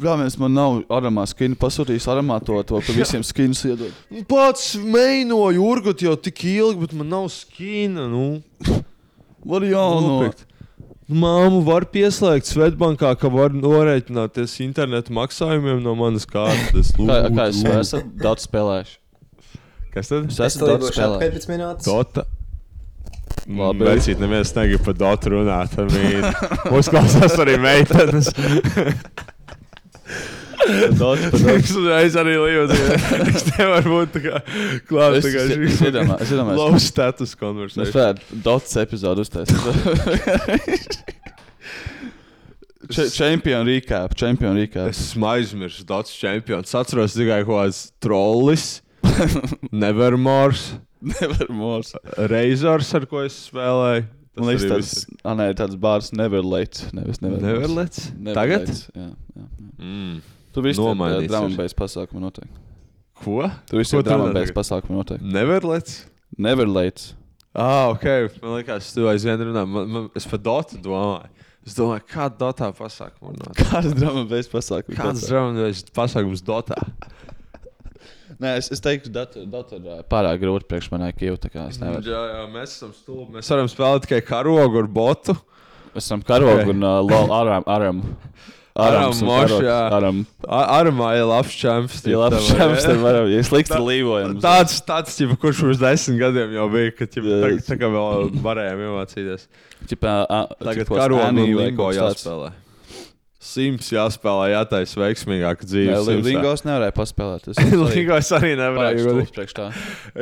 [SPEAKER 2] Brālēns man nav aramā skinu pasūtījis aramā to, to pa visiem skinus iedod.
[SPEAKER 1] Nu, Pats mēģināju urgot jau tik ilgi, bet man nav skina. Nu,
[SPEAKER 2] Var jauno.
[SPEAKER 1] nopirkt. Nu, Māmu var pieslēgt Svetbankā, ka var norēķināties internetu maksājumiem no manas kārtas.
[SPEAKER 2] Kā,
[SPEAKER 1] Lūdzu,
[SPEAKER 2] kā es
[SPEAKER 1] lūdzu.
[SPEAKER 2] esmu daudz spēlējuši?
[SPEAKER 1] Kas tad?
[SPEAKER 2] Es
[SPEAKER 3] Es
[SPEAKER 2] esmu
[SPEAKER 3] tev
[SPEAKER 2] daudz
[SPEAKER 3] būšu
[SPEAKER 2] spēlējis.
[SPEAKER 3] 15 minūtes.
[SPEAKER 1] Dota. Mm,
[SPEAKER 2] Labi.
[SPEAKER 1] Vecīt, neviens negrib par Dotu runāt. I
[SPEAKER 2] [laughs]
[SPEAKER 1] mean, Uzklausās arī meitenes.
[SPEAKER 2] Daudz spēlējis.
[SPEAKER 1] Es [laughs] uzreiz arī līdzi. Es nevaru būt tā kā klāts.
[SPEAKER 2] Es es iedomā- es iedomājos.
[SPEAKER 1] Low status
[SPEAKER 2] Mēs
[SPEAKER 1] konverzācija.
[SPEAKER 2] varētu daudz epizodu uztaisīt. Če- Champion recap, champion recap.
[SPEAKER 1] Es [laughs] esmu aizmirsis, daudz čempions. Atceros tikai kaut kāds trollis, [laughs] Nevermors,
[SPEAKER 2] Never more.
[SPEAKER 1] Razors, ar ko es spēlēju. Tas
[SPEAKER 2] Man liekas,
[SPEAKER 1] arī
[SPEAKER 2] tāds, ah, nē, tāds bārs never late. Nevis never
[SPEAKER 1] viss.
[SPEAKER 2] more.
[SPEAKER 1] Neverlets.
[SPEAKER 2] Never
[SPEAKER 1] Tagad?
[SPEAKER 2] late, Jā, jā. jā.
[SPEAKER 1] Mm.
[SPEAKER 2] Tur viss ir
[SPEAKER 1] Nomainīts
[SPEAKER 2] drāmas
[SPEAKER 1] ir.
[SPEAKER 2] beigas pasākuma noteikti.
[SPEAKER 1] Ko?
[SPEAKER 2] Tur viss
[SPEAKER 1] Ko
[SPEAKER 2] ir
[SPEAKER 1] tur
[SPEAKER 2] drāmas
[SPEAKER 1] tagad?
[SPEAKER 2] beigas pasākuma noteikti.
[SPEAKER 1] Neverlets.
[SPEAKER 2] Never late.
[SPEAKER 1] Ah, ok. Man liekas, tu aizvien runā. Man, man, es par Dotu domāju. Es domāju, kāda Dotā pasākuma notiek.
[SPEAKER 2] [laughs] Kāds drāmas beigas pasākuma?
[SPEAKER 1] Kāds drāmas pasākums Dotā?
[SPEAKER 2] Nē, es, es teiktu, datorā pārāk grūti priekš manai Kievu. tā kā Es nevaru.
[SPEAKER 1] Jā, jā, mēs esam stulbi. Mēs varam spēlēt tikai karogu ar botu.
[SPEAKER 2] Mēs esam karogi un uh, [laughs] lo- aram. Aram,
[SPEAKER 1] Aram
[SPEAKER 2] esam
[SPEAKER 1] moš,
[SPEAKER 2] karogi,
[SPEAKER 1] jā.
[SPEAKER 2] Aram.
[SPEAKER 1] Ar māju labs čempions.
[SPEAKER 2] Jā, [laughs] labi, šāms te varam. Ja slikti līvojam.
[SPEAKER 1] Tāds, tāds jau, kurš pirms desmit gadiem jau bija, kad jau tā,
[SPEAKER 2] Jā.
[SPEAKER 1] tā kā vēl varējām iemācīties.
[SPEAKER 2] Ķipā, a,
[SPEAKER 1] Tagad
[SPEAKER 2] ķipos
[SPEAKER 1] karogu
[SPEAKER 2] Annie
[SPEAKER 1] un
[SPEAKER 2] vai
[SPEAKER 1] lingo
[SPEAKER 2] kaut kas tāds.
[SPEAKER 1] jāspēlē. Simts jāspēlē, jātais veiksmīgāk
[SPEAKER 2] Jā,
[SPEAKER 1] dzīves.
[SPEAKER 2] li-
[SPEAKER 1] Simsā. [laughs]
[SPEAKER 2] Lingos nevarēja paspēlēt. Es [laughs]
[SPEAKER 1] Lingo es arī nevarēju. godīgi.
[SPEAKER 2] Pārāk stulbs priekš tā.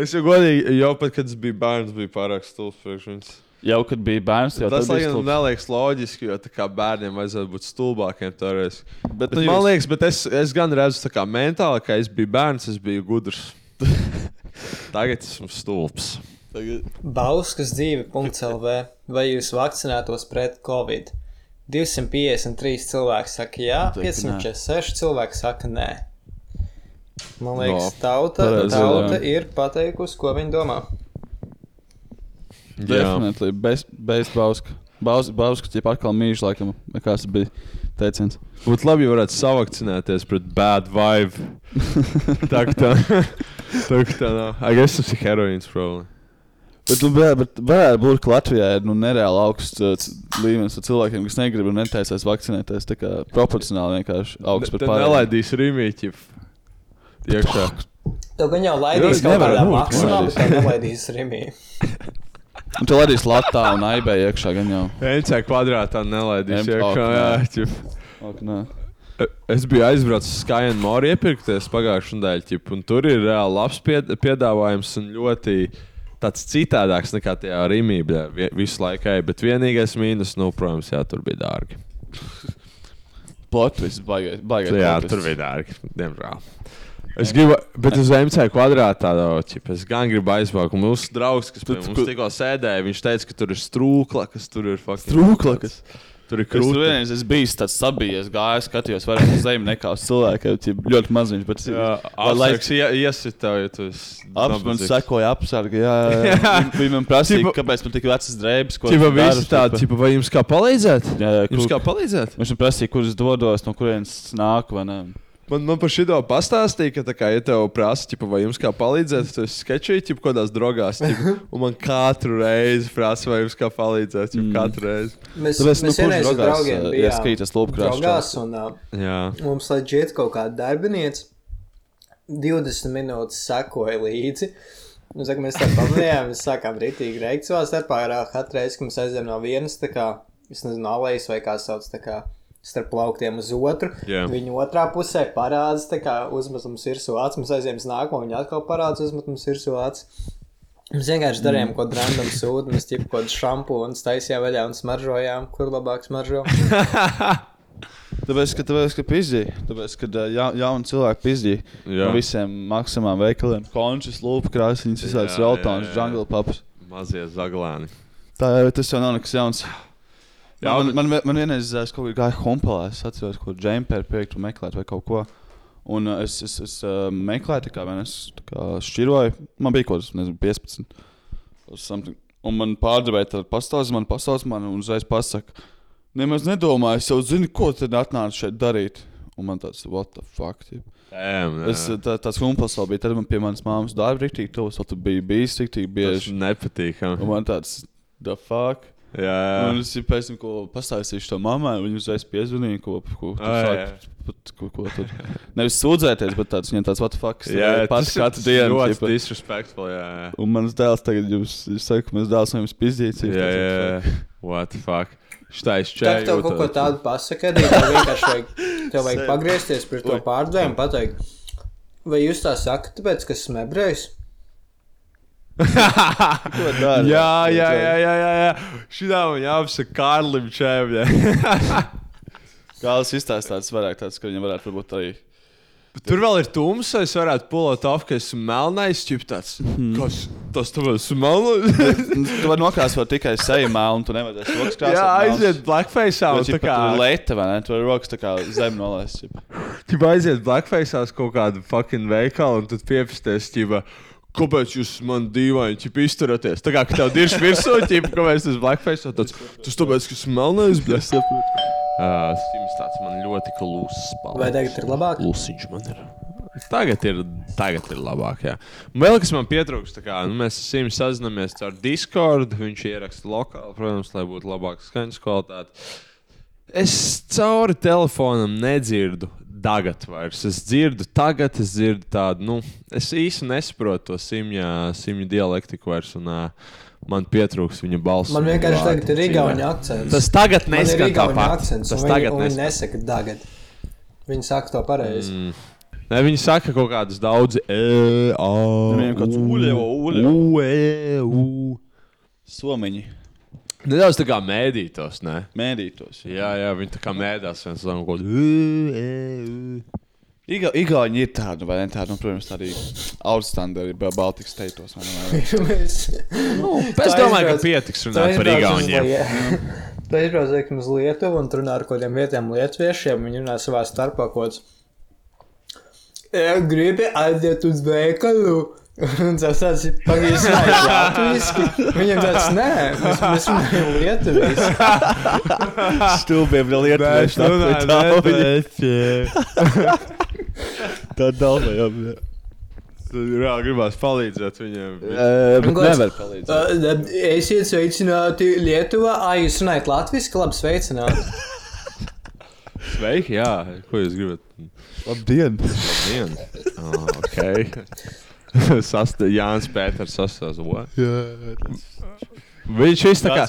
[SPEAKER 1] Es jau godīgi, jau pat, kad es biju bērns, bija pārāk stulbs priekš viņas.
[SPEAKER 2] Jau, kad bija bērns, jau
[SPEAKER 1] Tas,
[SPEAKER 2] tas bija
[SPEAKER 1] laikam,
[SPEAKER 2] stulbs.
[SPEAKER 1] neliekas loģiski, jo tā kā bērniem vajadzētu būt stulbākiem toreiz.
[SPEAKER 2] Bet, nu
[SPEAKER 1] Bet, man liekas, bet es, es gan redzu, tā kā mentāli, ka es biju bērns, es biju
[SPEAKER 2] [laughs]
[SPEAKER 1] gudrs. Tagad esmu stulbs.
[SPEAKER 3] Bauskas dzīve. CELV. Vai jūs vakcinētos pret covid? 253 cilvēki saka jā,
[SPEAKER 2] Noteikti nē.
[SPEAKER 3] 546 cilvēki saka nē. Man liekas, no, tauta,
[SPEAKER 2] Pareizi,
[SPEAKER 3] tauta
[SPEAKER 2] jā.
[SPEAKER 3] ir pateikusi, ko viņa domā.
[SPEAKER 2] Definitīvi, bez, bez Bauska. Baus- Bauskas jau atkal mīļš, laikam, vai kāds bija
[SPEAKER 1] [laughs]
[SPEAKER 2] teiciens.
[SPEAKER 1] Būtu labi, ja varētu savakcinēties pret bad vibe. tā kā tā, tā, kā tā nav. I guess tas ir heroīns, probably.
[SPEAKER 2] [laughs] Bet, nu, bē, bet bērnu burbuļu Latvijā ir nu, nereāli augsts uh, c- līmenis ar cilvēkiem, kas negrib un netaisās vakcinēties. Tā kā proporcionāli vienkārši augsts par
[SPEAKER 1] Tad nelaidīs rīmīķi iekšā.
[SPEAKER 3] Tu gan jau laidīs
[SPEAKER 2] Jā,
[SPEAKER 3] kaut
[SPEAKER 2] nevar
[SPEAKER 3] kādā
[SPEAKER 2] būt,
[SPEAKER 3] maksimā,
[SPEAKER 2] nelaidīs.
[SPEAKER 3] bet tā nelaidīs
[SPEAKER 2] [laughs]
[SPEAKER 3] rimī.
[SPEAKER 2] Un tu laidīs latā un aibē iekšā gan jau.
[SPEAKER 1] NC kvadrātā nelaidīs
[SPEAKER 2] Em- ok,
[SPEAKER 1] iekšā. Jā,
[SPEAKER 2] nē.
[SPEAKER 1] ķip.
[SPEAKER 2] Ok, nē.
[SPEAKER 1] Es biju aizbraucis uz Skype Mori iepirkties pagājušā nedēļa, un tur ir reāli labs pied- piedāvājums un ļoti tāds citādāks nekā tajā rīmībā visu laiku. ej, Bet vienīgais mīnus, nu, protams, jā, tur bija dārgi.
[SPEAKER 2] Plotvis, baigais.
[SPEAKER 1] Nu Jā, tur bija dārgi, diemžēl. Es gribu, bet uz MC kvadrātā jau tādu es gan gribu aizbraukt. Un Mūsu draugs, kas pie
[SPEAKER 2] Tu-
[SPEAKER 1] mums
[SPEAKER 2] ko-
[SPEAKER 1] tikko sēdēja, viņš teica, ka tur ir strūkla, kas tur ir faktiski.
[SPEAKER 2] Trūklakas.
[SPEAKER 1] Tur ir
[SPEAKER 2] Es tur
[SPEAKER 1] krūtis.
[SPEAKER 2] vienreiz esmu bijis tāds sabijies, gājis, skatījos vairāk uz zemi nekā uz cilvēkiem. Tie ļoti maziņš, bet
[SPEAKER 1] Apsveiks, iesit tev, ja tu esi.
[SPEAKER 2] Apsargs man
[SPEAKER 1] nabadzīgs.
[SPEAKER 2] sekoja, apsargi. Jā,
[SPEAKER 1] [laughs]
[SPEAKER 2] jā. jā.
[SPEAKER 1] Jā.
[SPEAKER 2] Viņi man prasīja,
[SPEAKER 1] Tipa-
[SPEAKER 2] kāpēc man tik vecas drēbes, ko
[SPEAKER 1] Čipa,
[SPEAKER 2] esmu
[SPEAKER 1] visi
[SPEAKER 2] darus,
[SPEAKER 1] tādi, čipa, vai jums kā palīdzēt?
[SPEAKER 2] Jā, jā,
[SPEAKER 1] Jums
[SPEAKER 2] kuk.
[SPEAKER 1] kā palīdzēt?
[SPEAKER 2] Viņš man prasīja, kur es dodos, no kurienes nāku. vai ne.
[SPEAKER 1] Man, man par šito pastāstīja, ka, tā kā, ja tev prasa, čipa, vai jums kā palīdzēt, tad es skečēju, čipa, kādās drogās, čipa, [laughs] un man katru reizi prasa, vai jums kā palīdzēt, čipa, mm. katru reizi.
[SPEAKER 3] Mēs,
[SPEAKER 2] Tāpēc,
[SPEAKER 3] mēs nu,
[SPEAKER 2] nu, kurš
[SPEAKER 3] vienreiz ar
[SPEAKER 2] drogās,
[SPEAKER 3] draugiem
[SPEAKER 2] eh,
[SPEAKER 3] bijām
[SPEAKER 2] ieskaitas lopkrāšs
[SPEAKER 3] draugās, un uh,
[SPEAKER 1] Jā.
[SPEAKER 3] mums leģiet kaut kāda darbinieca 20 minūtes sekoja līdzi. Nu, saka, mēs tam pamanījām, mēs sākām rītīgi reikt savā starpā. ar, ā, Katru reizi, kad mēs aizējām no vienas, tā kā, es nezinu, alējas vai kā sauc, tā kā starp plauktiem uz otru.
[SPEAKER 1] Jā.
[SPEAKER 3] Viņa otrā pusē parādās, tā kā uzmetums ir sūāts, mēs aizējām uz nākamo, viņa atkal parādās, uzmetums ir sūāts. Mēs vienkārši darījām kaut kādu random sūdu, mēs tipā kaut kādu šampūnu taisījām vaļā un smaržojām, kur labāk smaržo.
[SPEAKER 2] Tāpēc, ka tāpēc, ka pizdīja, tāpēc, ka ā, ja, jauni cilvēki pizdīja
[SPEAKER 1] Jā.
[SPEAKER 2] no visiem maksimām veikaliem, končus, lūpkrāsniņas, visādas
[SPEAKER 1] Jā, jā,
[SPEAKER 2] veltānas,
[SPEAKER 1] jā.
[SPEAKER 2] jungle papas.
[SPEAKER 1] Mazie zaglēni.
[SPEAKER 2] Tā jau tas jau nav nekas jauns. Jā,
[SPEAKER 1] Jā,
[SPEAKER 2] man,
[SPEAKER 1] bet-
[SPEAKER 2] man, man, man vienreiz es kaut kā gāju humpelē, es atceros, ko džempēri piekrītu meklēt vai kaut ko. Un uh, es, es, es uh, meklēju, tā kā man es tā kā šķiroju, man bija kaut kas, nezinu, 15. or something. Un man pārdevēja tādu pastāstu, man pastāsta, man un uzreiz pasaka, nemaz nedomāju, es jau zinu, ko tad atnāca šeit darīt. Un man tāds, what the fuck, tip.
[SPEAKER 1] Tēm,
[SPEAKER 2] Es, eh, tā, tāds humpels vēl bija, tad man pie manas māmas darba riktīgi tuvs, vēl tu biji bijis riktīgi
[SPEAKER 1] tas
[SPEAKER 2] bieži. Un
[SPEAKER 1] nepatīkami.
[SPEAKER 2] man tāds, the fuck.
[SPEAKER 1] Jā,
[SPEAKER 2] Un
[SPEAKER 1] jā.
[SPEAKER 2] es jau pēc tam, ko pastāstīju to mammai, viņa uzreiz piezvanīja, ko, ko, ko,
[SPEAKER 1] Ai,
[SPEAKER 2] sāk, pat- ko, ko tur nevis sūdzēties, bet tāds viņam tāds vatfaks.
[SPEAKER 1] Jā,
[SPEAKER 2] eh, pats
[SPEAKER 1] tas ir- tas
[SPEAKER 2] katru
[SPEAKER 1] ir
[SPEAKER 2] dienu.
[SPEAKER 1] Ļoti
[SPEAKER 2] tipa.
[SPEAKER 1] disrespektful, jā. jā.
[SPEAKER 2] Un mans dēls tagad jums, es saku, mēs dēls no jums pizdīts.
[SPEAKER 1] Jā, jā, jā. What the fuck? Šitā es
[SPEAKER 3] Tā kā
[SPEAKER 1] čēju.
[SPEAKER 3] tev kaut ko
[SPEAKER 1] [laughs]
[SPEAKER 3] tādu pasaka, arī tev vienkārši vajag, tev vajag pagriezties pret to pārdevēju un pateikt, vai jūs tā sakat, tāpēc, ka esmu ebrejs?
[SPEAKER 2] jā,
[SPEAKER 1] Jā, jā, jā, jā, jā, jā. Šitā man jāapsaka Kārlim Čēm. jā.
[SPEAKER 2] Gāls izstāsta tāds vairāk, tāds, ka viņam varētu būt arī.
[SPEAKER 1] [laughs] Tur vēl ir tums, es varētu pulot off, ka esmu melnais, čip tāds.
[SPEAKER 2] Mhm.
[SPEAKER 1] Kas tas tev esmu [laughs] melnais?
[SPEAKER 2] Tu vari nokrāsot tikai seju mēlu, un tu nevari tās rokas krāsot.
[SPEAKER 1] Jā, aiziet blackface, un
[SPEAKER 2] Tā
[SPEAKER 1] tā
[SPEAKER 2] kā
[SPEAKER 1] kā
[SPEAKER 2] lēta, vai ne? Tu vari rokas tā kā zem nolaist. ķipa.
[SPEAKER 1] tu aiziet blackface uz kaut kādu fucking veikalu un tad piepisties, ķipa. Kāpēc jūs man dīvaini ķip, izturaties? Tā kā ka tev dirž virsū, ķip, kāpēc tas blackface un tāds. Tas tāpēc, ka esmu melnais, bļa. Es saprotu. Uh, Sims tāds man ļoti klūss.
[SPEAKER 3] Vai tagad ir labāk?
[SPEAKER 1] Lūsiņš man ir. Tagad ir, tagad ir labāk. Jā. Un Vēl kas man pietrūkst, tā kā nu, mēs ar viņu sazināmies ar Discord. Viņš ieraksta lokāli, protams, lai būtu labāka skaņas kvalitāte. Es cauri telefonam nedzirdu. Tagad vairs. es dzirdu, tagad es dzirdu tādu, nu, es īsti nesaprotu to simjā, simju dialektiku vairs, un uh, man pietrūks viņa balss.
[SPEAKER 3] Man
[SPEAKER 1] un
[SPEAKER 3] vienkārši
[SPEAKER 1] vārdi
[SPEAKER 3] tagad ir
[SPEAKER 1] dzīvē.
[SPEAKER 3] igauņa akcents.
[SPEAKER 1] Tas tagad
[SPEAKER 3] Man ir
[SPEAKER 1] neskan
[SPEAKER 3] igauņa
[SPEAKER 1] tāpat.
[SPEAKER 3] akcents,
[SPEAKER 1] Tas
[SPEAKER 3] un viņi-
[SPEAKER 1] tagad
[SPEAKER 3] un Viņi
[SPEAKER 1] neskan.
[SPEAKER 3] nesaka tagad. Viņi saka to pareizi. [laughs] Mm.
[SPEAKER 1] Ne, viņi saka kaut kādas daudzi. e, a,
[SPEAKER 2] Viņiem kāds
[SPEAKER 1] u,
[SPEAKER 2] uļevo, uļevo.
[SPEAKER 1] u, e, u.
[SPEAKER 2] Somiņi
[SPEAKER 1] Nedaudz tā kā mēdītos, ne?
[SPEAKER 2] mēdītos.
[SPEAKER 1] Jā, jā, viņi tā kā mēdās viens otram kaut "E, ko.
[SPEAKER 2] Iga, Igauni ir tādi, vai ne? Tādi, nu, protams, arī outstanderi Ba- Baltics teitos. vai ne,
[SPEAKER 3] [laughs]
[SPEAKER 2] vai ne?
[SPEAKER 1] Es
[SPEAKER 3] Nu, Tā
[SPEAKER 1] domāju, ka
[SPEAKER 3] izbrauc-
[SPEAKER 1] pietiks runāt par Igauniem.
[SPEAKER 3] Tā izbrauc uz Lietuvu un tur runā ar kaut kādiem vietējiem lietuviešiem. Viņi runā savā starpā kaut kāds. "E, Gribi aiziet uz veikalu. [laughs] Un tas tāds ir pagājis. Viņam tāds nē, mēs mēs runājam lietuviski.
[SPEAKER 2] Stulbiem vēl ir
[SPEAKER 1] Nē, es runāju, nē, [laughs]
[SPEAKER 2] Tā dalba jau.
[SPEAKER 1] Reāli gribās palīdzēt viņiem. [laughs] bet-
[SPEAKER 2] Bet
[SPEAKER 3] Gods.
[SPEAKER 2] nevar palīdzēt.
[SPEAKER 3] Uh, Esiet sveicināti Lietuvā. Ai, jūs runājat latviešu, labi sveicināti.
[SPEAKER 1] Sveiki, jā. Ko jūs gribat?
[SPEAKER 2] Labdien!
[SPEAKER 1] Labdien. Oh, ok. Sasta, Jānis Pēters sastāvā. Viņš viss tā kā.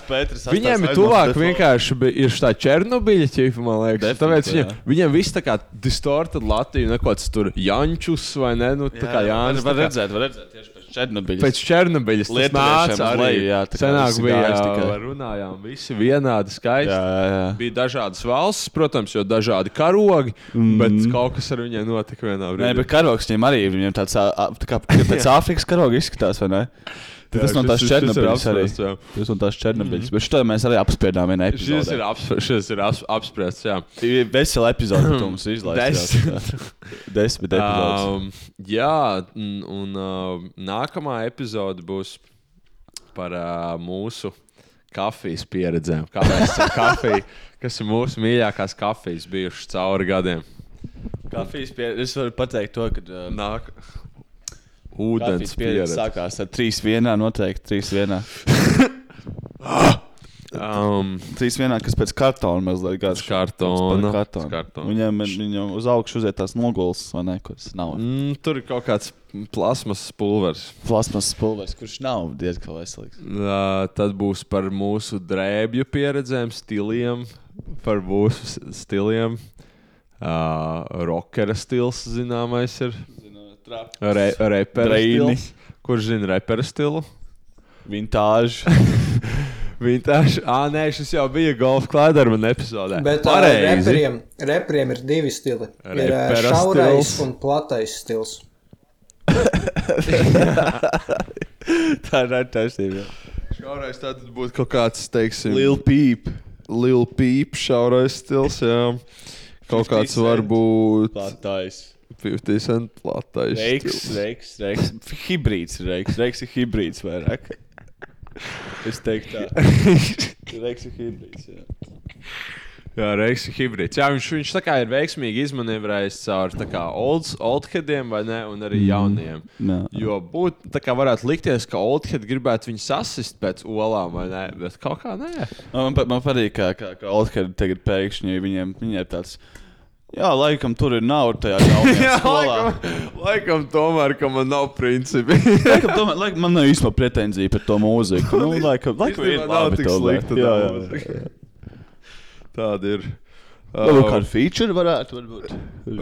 [SPEAKER 1] Viņiem ir tuvāk vienkārši bi- ir šī Černobiļa ķīpa, man liekas.
[SPEAKER 2] Definitely,
[SPEAKER 1] Tāpēc viņiem,
[SPEAKER 2] jā.
[SPEAKER 1] viņiem viss tā kā distorted Latviju, nekots tur Jančus vai ne? Nu, tā kā Jānis. tā
[SPEAKER 2] Var
[SPEAKER 1] kā-
[SPEAKER 2] redzēt, var redzēt, tieši pēc Černobiļas.
[SPEAKER 1] Pēc Černobiļas tas
[SPEAKER 2] Lietuviešiem uz
[SPEAKER 1] nāca arī.
[SPEAKER 2] leju, jā, tā kā
[SPEAKER 1] Senāk
[SPEAKER 2] visi
[SPEAKER 1] bija,
[SPEAKER 2] gājas
[SPEAKER 1] jā,
[SPEAKER 2] tikai.
[SPEAKER 1] runājām, visi vienādi skaisti.
[SPEAKER 2] Jā, jā, jā.
[SPEAKER 1] Bija dažādas valsts, protams, jo dažādi karogi, mm. bet kaut kas ar viņiem notika vienā brīdī.
[SPEAKER 2] Nē, bet karogs viņam arī ir. Viņam tāds ā, ā, tā kā ja
[SPEAKER 1] [laughs]
[SPEAKER 2] pēc Āfrikas karoga izskatās, vai ne? Tad
[SPEAKER 1] Jā,
[SPEAKER 2] tas no tās
[SPEAKER 1] šis- šis ir
[SPEAKER 2] Černobiļas arī.
[SPEAKER 1] apspriests, jā. Mhm.
[SPEAKER 2] Tas no tās Černobiļas. Bet šo mēs arī apspiedām vienā
[SPEAKER 1] Šis ir,
[SPEAKER 2] epizodē.
[SPEAKER 1] apspr šis ir aps apspriests, jā.
[SPEAKER 2] Ir vesela epizode,
[SPEAKER 1] [clears throat]
[SPEAKER 2] bet tu mums izlaiž. Desmit epizodes.
[SPEAKER 1] Um, jā, un, un uh, nākamā epizode būs par uh, mūsu kafijas pieredzēm. Kāpēc tā kafija, kas ir mūsu mīļākās kafijas bijušas cauri gadiem?
[SPEAKER 2] Kafijas pieredze. Es varu pateikt to, ka um,
[SPEAKER 1] Nāk. Ūdens
[SPEAKER 2] kafijas
[SPEAKER 1] pieredze.
[SPEAKER 2] pieredze sākās ar 3-1. Noteikti 3-1.
[SPEAKER 1] Um,
[SPEAKER 2] 3-1, kas pēc kartona mazliet garš.
[SPEAKER 1] kartona.
[SPEAKER 2] Pēc kartona.
[SPEAKER 1] Uz kartona.
[SPEAKER 2] Viņam, viņam uz augšu uziet tās nogulas, vai ne, kuras nav.
[SPEAKER 1] mm, tur ir kaut kāds plasmas pulvers.
[SPEAKER 2] Plasmas pulveris, kurš nav diezgan [laughs] veselīgs.
[SPEAKER 1] Uh, tad būs par mūsu drēbju pieredzēm, stiliem, par mūsu s- stiliem. Uh, rockera stils zināmais ir. Re, repera
[SPEAKER 2] Dreini.
[SPEAKER 1] stils. Kurš zina repera stilu?
[SPEAKER 2] Vintāžs.
[SPEAKER 1] Viņa taču, ah, nē, šis jau bija golf klādermanā epizodē.
[SPEAKER 3] Bet ā,
[SPEAKER 1] pareizi.
[SPEAKER 3] reperiem, reperiem ir divi stili. Ir ā,
[SPEAKER 1] Repera
[SPEAKER 3] šaurais
[SPEAKER 1] stils.
[SPEAKER 3] un platais stils.
[SPEAKER 2] [laughs] Tā ir ar taisnība.
[SPEAKER 1] Šaurais tad būtu kaut kāds, teiksim,
[SPEAKER 2] Lil Peep.
[SPEAKER 1] Lil Peep šaurais stils, jā. Kaut kāds
[SPEAKER 2] 50 cent.
[SPEAKER 1] varbūt
[SPEAKER 2] Platais.
[SPEAKER 1] 50 cent platais.
[SPEAKER 2] Reiks,
[SPEAKER 1] stils.
[SPEAKER 2] reiks, reiks. Hibrīds, reiks. Reiks ir hibrīds [laughs] vairāk. Es teiktu tā.
[SPEAKER 1] [laughs]
[SPEAKER 2] Reiks ir hibrīds, jā.
[SPEAKER 1] Jā, Reiks ir hibrīds. Jā, viņš, viņš tā kā ir veiksmīgi izmanevrējis caur tā kā old, oldheadiem vai ne, un arī jauniem.
[SPEAKER 2] Mhm. Jā.
[SPEAKER 1] Jo būtu, tā kā varētu likties, ka oldhead gribētu viņu sasist pēc olām vai ne, bet kaut kā nē.
[SPEAKER 2] Man, pa- man patīk, ka, ka, ka Olimpiskā tagad pēkšņi viņiem, viņiem ir tāds. Jā, laikam tur ir nauda
[SPEAKER 1] [laughs]
[SPEAKER 2] tajā jaunajā skolā.
[SPEAKER 1] laikam tomēr, ka man nav
[SPEAKER 2] [laughs]
[SPEAKER 1] principi.
[SPEAKER 2] Laikam, tomēr, laikam, man nav īstenībā pretenzija par to mūziku. Nu, laikam, laikam ir
[SPEAKER 1] Īstenībā nav
[SPEAKER 2] labi,
[SPEAKER 1] tik
[SPEAKER 2] tomēr.
[SPEAKER 1] slikta tā
[SPEAKER 2] Jā, jā, jā.
[SPEAKER 1] mūzika. Oh. Tāda ir.
[SPEAKER 2] Varbūt kāda feature varētu būt.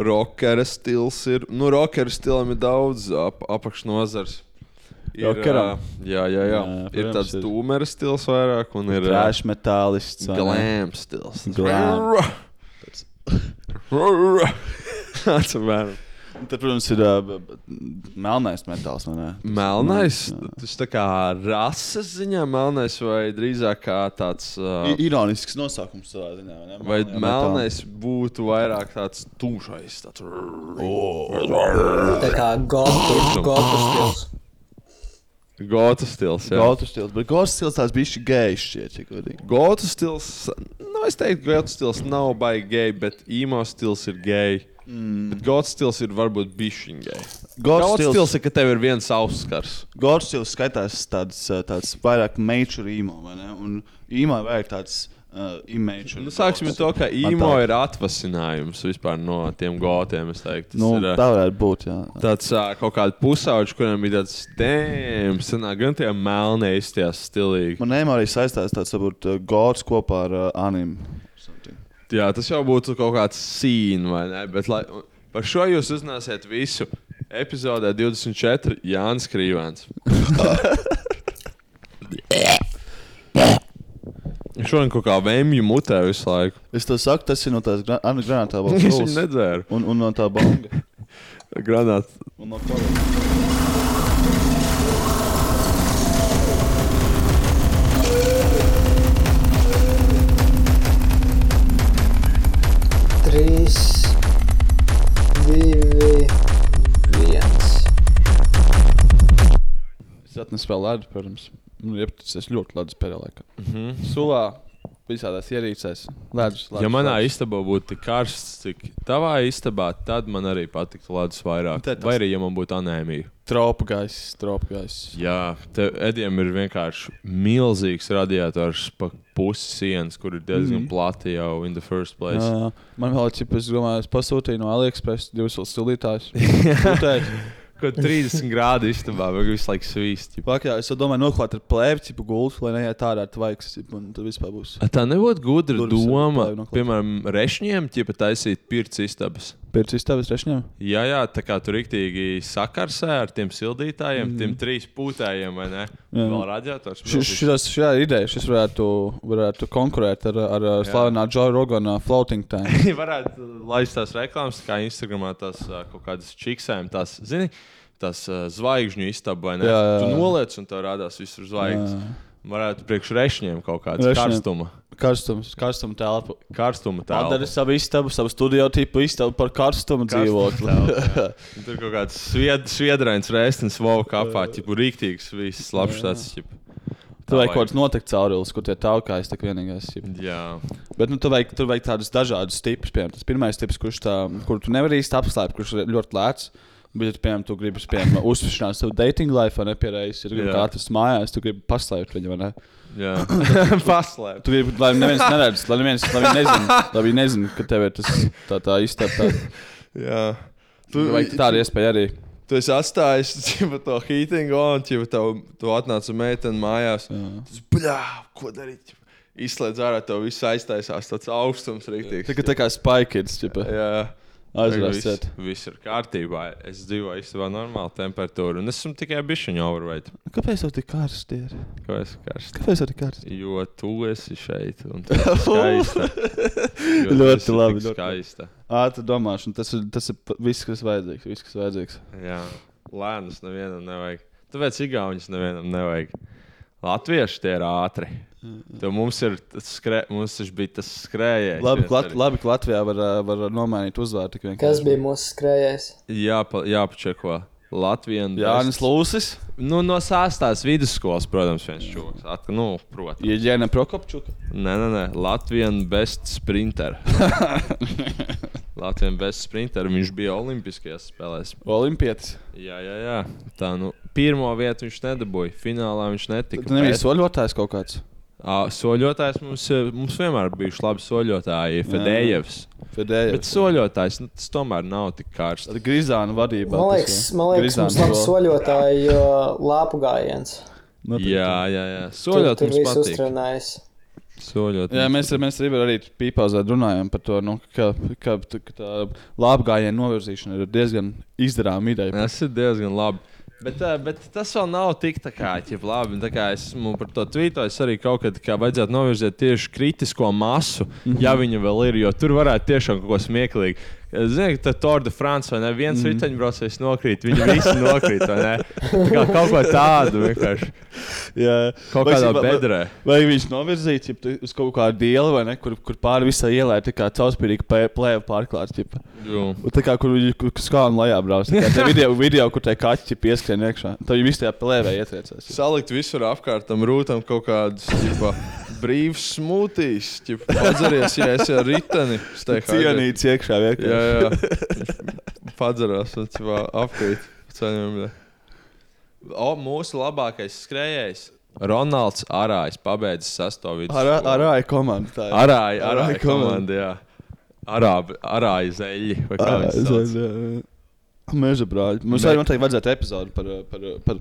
[SPEAKER 1] Rockera stils ir. Nu, rockera stilam ir daudz ap, apakšnozars. Ir,
[SPEAKER 2] Rockeram?
[SPEAKER 1] ā, jā, jā, jā.
[SPEAKER 2] Jā,
[SPEAKER 1] ir
[SPEAKER 2] protams,
[SPEAKER 1] tāds
[SPEAKER 2] ir.
[SPEAKER 1] dūmera stils vairāk, un ir ā,
[SPEAKER 2] Trash metālists. vai ne?
[SPEAKER 1] glam stils.
[SPEAKER 2] Glam.
[SPEAKER 1] [laughs] Tāds ir
[SPEAKER 2] Un Tad, protams, ir uh, b- b- melnais metāls. vai ne?
[SPEAKER 1] melnais.
[SPEAKER 2] Jā.
[SPEAKER 1] Tas tā kā rases ziņā melnais, vai drīzāk kā tāds. ā,
[SPEAKER 2] I- Ironisks nosaukums savā ziņā. vai ne?
[SPEAKER 1] Vai
[SPEAKER 2] Melnajā
[SPEAKER 1] melnais būtu vairāk tāds tūšais? Tāds...
[SPEAKER 2] Oh.
[SPEAKER 3] Tā kā
[SPEAKER 1] Nu.
[SPEAKER 3] gotu, gotu stils.
[SPEAKER 1] Gota stils. jā.
[SPEAKER 2] Gautas stils, bet Gautas stils tāds bija šis gejs, šķiet, cik godīgi.
[SPEAKER 1] Gotu stils, nu, es teiktu, ka gotu stils nav baigi gejs, bet īmo stils ir gejs. Mm. Bet gotu stils ir varbūt bišķiņa gejs.
[SPEAKER 2] Gotu
[SPEAKER 1] Gotu
[SPEAKER 2] stils-
[SPEAKER 1] stils... stils ir, ka tev ir viens auskars.
[SPEAKER 2] Gorčs jau skaitās tāds, uh, tāds vairāk mačur īmo, vai ne? Un īmā vajag tāds uh, image.
[SPEAKER 1] Nu, sāksim ar to, ka īmo ir atvasinājums vispār no tiem gotiem. Es teiktu, tas
[SPEAKER 2] Nu,
[SPEAKER 1] ir eh,
[SPEAKER 2] tā varētu būt, jā.
[SPEAKER 1] tāds ā, kaut kāds pusauģis, kuram ir tāds dēmons, gan tie melnie izties stilīgi.
[SPEAKER 2] Man neimā arī saistās tāds, varbūt, uh, Gorčs kopā ar uh, anim. Something.
[SPEAKER 1] Jā, tas jau būtu kaut kāds sīns, vai ne? Bet lai, un par šo jūs uzzināsiet visu epizodē 24. Jānis Krīvāns. Šodien kaut kā vēmju mutē visu
[SPEAKER 2] [laughs]
[SPEAKER 1] laiku.
[SPEAKER 2] Es to saku, tas ir no tās gra Anna [laughs] granātā
[SPEAKER 1] Viņš viņu
[SPEAKER 2] balsts.
[SPEAKER 1] nedzēra.
[SPEAKER 2] Un, un no tā
[SPEAKER 1] [laughs]
[SPEAKER 2] bonga.
[SPEAKER 1] Granāt.
[SPEAKER 2] Un no kola.
[SPEAKER 3] Trīs, divi, viens.
[SPEAKER 1] Nu,
[SPEAKER 2] Es atnesu vēl lēdu, protams. Man ir jāpatic, es ļoti lēdu spēlē laikā. Mm -hmm. Sulā. visādās ierīcēs. Ledus, ledus,
[SPEAKER 1] Ja manā
[SPEAKER 2] ledus.
[SPEAKER 1] istabā būtu tik karsts, cik tavā istabā, tad man arī patiktu ledus vairāk.
[SPEAKER 2] Te tas-
[SPEAKER 1] Vai arī, ja man būtu anēmija.
[SPEAKER 2] tropu gaiss, tropu gaiss.
[SPEAKER 1] Jā, tev Edijam ir vienkārši milzīgs radiators pa pusi sienas, kur ir diezgan mm. plati jau in the first place. Jā.
[SPEAKER 2] Uh, man vēl ir tas, domāju, es pasūtīju no AliExpress divus vēl
[SPEAKER 1] [laughs]
[SPEAKER 2] silītājus. Sūtēju.
[SPEAKER 1] Ko 30 grādu istabā, vai visu laiku svīst. ķip.
[SPEAKER 2] Vakarā es vēl domāju, noklāt ar plēviņu, pa gultu, lai neiet ārā ar tvaiks, ķip, un tad vispār būs.
[SPEAKER 1] A, Tā nebūtu gudra
[SPEAKER 2] Durvis ir
[SPEAKER 1] doma,
[SPEAKER 2] plāvi noklāt.
[SPEAKER 1] piemēram, rešņiem, ja pat taisīt pirts istabas.
[SPEAKER 2] Pēc izstāvis rešņiem?
[SPEAKER 1] Jā, jā, tā kā tur rīktīgi sakarsē ar tiem sildītājiem, mm. tiem trīs pūtējiem, vai ne? Jā. Vēl radiators.
[SPEAKER 2] Šis, šis, šajā idejā šis varētu, varētu konkurēt ar, ar, ar slavenā Džona Rogana floating time.
[SPEAKER 1] Viņi [laughs] varētu laist tās reklāmas, kā Instagramā tās ā, kaut kādas čiksēm, tās, zini, tās ā, zvaigžņu istabā, vai ne?
[SPEAKER 2] Jā, jā,
[SPEAKER 1] Tu
[SPEAKER 2] jā.
[SPEAKER 1] noliec un tev rādās visur zvaigznes.
[SPEAKER 2] Jā.
[SPEAKER 1] Varētu priekš rešņiem kaut kāda
[SPEAKER 2] Rešņiem.
[SPEAKER 1] karstuma.
[SPEAKER 2] Karstums, karstuma telpa.
[SPEAKER 1] Karstuma
[SPEAKER 2] Padara
[SPEAKER 1] tāda.
[SPEAKER 2] savu istabu, savu studio tipu istabu par karstumu dzīvokli.
[SPEAKER 1] Tur kaut kāds svied, sviedrains rēstins vauka apā, tipu rīktīgs, viss labs tāds. ķip.
[SPEAKER 2] Tur vajag kaut kāds noteikts caurulis, kur tie taukājas tik vienīgais. ķip.
[SPEAKER 1] Jā,
[SPEAKER 2] Bet nu, tur vajag, tur vajag tādus dažādus tipus. Piemēram, tas pirmais tips, kurš tā, kur tu nevari īsti apslēpt, kurš ir ļoti lēts. Bet, ja, piemēram, tu gribi piemēram, [laughs] uzsvērt savu dating life, vai ne? Pierādījis, ja tu gribi
[SPEAKER 1] Jā.
[SPEAKER 2] kā atrast mājās, tu gribi paslēpt viņu, vai ne?
[SPEAKER 1] jā.
[SPEAKER 2] [coughs] Paslēpt. Tu gribi, lai neviens neredz, lai neviens, lai viņi nezina, lai viņi nezina, ka tev ir tas tā, tā iztapta.
[SPEAKER 1] jā. Tu,
[SPEAKER 2] Vajag tādu iespēju arī.
[SPEAKER 1] Tu esi atstājis [laughs] ķipa, to heatingu, un ķipa, tev, tu atnāc meitene mājās. Tas bļā, ko darīt? ķipa? Izslēdz ārā, tev viss aiztaisās, tāds augstums rīktīgs.
[SPEAKER 2] Tā kā, tā kā spaikids, ja
[SPEAKER 1] jā.
[SPEAKER 2] aizvērsēt.
[SPEAKER 1] Viss- Viss ir kārtībā. Es dzīvoju īstenībā normālu temperatūru, un esmu tikai bišķiņā overweight.
[SPEAKER 2] Nu, Kāpēc tev tik karsti ir?
[SPEAKER 1] Ko es karstu?
[SPEAKER 2] Kāpēc tev tik karsti?
[SPEAKER 1] Jo tu esi šeit, un tu
[SPEAKER 2] [laughs]
[SPEAKER 1] esi skaista. Jo tu
[SPEAKER 2] Ļoti
[SPEAKER 1] esi tik
[SPEAKER 2] labi, ļoti labi.
[SPEAKER 1] Skaista.
[SPEAKER 2] Ātri domāšana, tas ir, tas ir pa- viss, kas vajadzīgs. Viss, kas vajadzīgs.
[SPEAKER 1] Jā, lēnas nevienam nevajag. Tāpēc Igaunijas nevienam nevajag. Latvieši tie ir ātri. Tev mums ir tas, skrē, mums taču bija tas skrējējs.
[SPEAKER 2] Labi,
[SPEAKER 1] viens
[SPEAKER 2] ka Lat
[SPEAKER 1] arī.
[SPEAKER 2] labi, ka Latvijā var, ā, var nomainīt uzvārdu tik vienkārši.
[SPEAKER 3] Kas bija mūsu skrējējs?
[SPEAKER 1] Jāpa, jāpačeko. Latvijas
[SPEAKER 2] Jānis Lūsis,
[SPEAKER 1] Nu, no sāstās vidusskolas, protams, viens čūlis. At, nu, protams.
[SPEAKER 2] Jēna Prokopčuka.
[SPEAKER 1] Nē, nē, nē. Latvijas best
[SPEAKER 2] [laughs]
[SPEAKER 1] sprinter. Latvijas best sprinter. Viņš bija Olimpiskajās spēlēs.
[SPEAKER 2] Olimpietis.
[SPEAKER 1] Jā, jā, jā. Tā, nu, pirmo vietu viņš nedabūja. Finālā viņš netika.
[SPEAKER 2] Tu nebija
[SPEAKER 1] bet-
[SPEAKER 2] soļotājs kaut kāds.
[SPEAKER 1] Ā, Soļotājs mums, eh, mums vienmēr bija labi soļotāji, Fedējevs. Bet
[SPEAKER 2] Fedējais.
[SPEAKER 1] soļotājs nu, tas tomēr nav tik karsts.
[SPEAKER 2] Ar Grizānu vadībā.
[SPEAKER 3] Man liekas,
[SPEAKER 2] tas, jā.
[SPEAKER 3] man liekas
[SPEAKER 2] Grizānu
[SPEAKER 3] mums labi
[SPEAKER 2] vēl.
[SPEAKER 3] soļotāji, jo lāpu gājiens.
[SPEAKER 2] Nu, tad-
[SPEAKER 1] Jā, jā, jā.
[SPEAKER 3] Tur,
[SPEAKER 1] Soļot
[SPEAKER 3] tur
[SPEAKER 1] mums
[SPEAKER 3] viss
[SPEAKER 1] patīk.
[SPEAKER 3] uztrunājis.
[SPEAKER 1] Soļot.
[SPEAKER 2] Jā, mēs, mēs arī, arī pīpāzē runājām par to, nu, ka, ka, t- ka tā labgājienu novirzīšana ir diezgan izdarāma ideja.
[SPEAKER 1] Tas ir diezgan labi. Bet, eh, bet tas vēl nav tik tā kā, ja labi. Tā kā esmu par to tvītoju, es arī kaut kad kā vajadzētu novirzīt tieši kritisko masu, mm
[SPEAKER 2] Mhm.
[SPEAKER 1] -hmm. ja viņa vēl ir, jo tur varētu tiešām kaut ko smieklīgi. Ziniet, ka Tour de France vai neviens
[SPEAKER 2] Mhm.
[SPEAKER 1] mm. riteņbraucējs nokrīt, viņi visi nokrīt, vai ne? Tā kā kaut ko tādu vienkārši.
[SPEAKER 2] Jā,
[SPEAKER 1] Kaut
[SPEAKER 2] Vai
[SPEAKER 1] kādā
[SPEAKER 2] esi- vai-
[SPEAKER 1] bedrē.
[SPEAKER 2] Vai viņš novirzīts ja tu uz kaut kādu dielu, vai ne, kur, kur pāri visai ielai ir tā kā caurspīdīga pē- plēve pārklāts. Ķipa.
[SPEAKER 1] Jū.
[SPEAKER 2] Un Tā kā kur viņi kur skan lejā
[SPEAKER 1] [laughs]
[SPEAKER 2] brauc. Tā kā tajā video, video, kur tā kaķi pieskrien iekšā. Tad viņi visi tajā plēvē
[SPEAKER 1] [laughs]
[SPEAKER 2] ietriecās.
[SPEAKER 1] Salikt visur apkārt tam rūtam kaut kādas ķipa, brīvas smūtijas. Padzeries, ja esi ar riteni. es teiktu,
[SPEAKER 2] Cienīts iekšā vienkārši.
[SPEAKER 1] Jā, jā. Padzeries, un ķipa, apkrīt. Ceņam, o, mūsu labākais skrējējs Ronalds Arājs pabeidzis sesto
[SPEAKER 2] Ar,
[SPEAKER 1] vidusskolu.
[SPEAKER 2] ar AI komandu. tā ir.
[SPEAKER 1] Arāja, Arāja
[SPEAKER 2] Arāja komanda.
[SPEAKER 1] komanda, jā. Arābi, Arāja zeļi, vai kā
[SPEAKER 2] Ā,
[SPEAKER 1] viņi sauc.
[SPEAKER 2] zin, jā, jā. Meža brāļi. Mums
[SPEAKER 1] Me-
[SPEAKER 2] arī noteikti vajadzētu epizodi par, ā, par, ā, par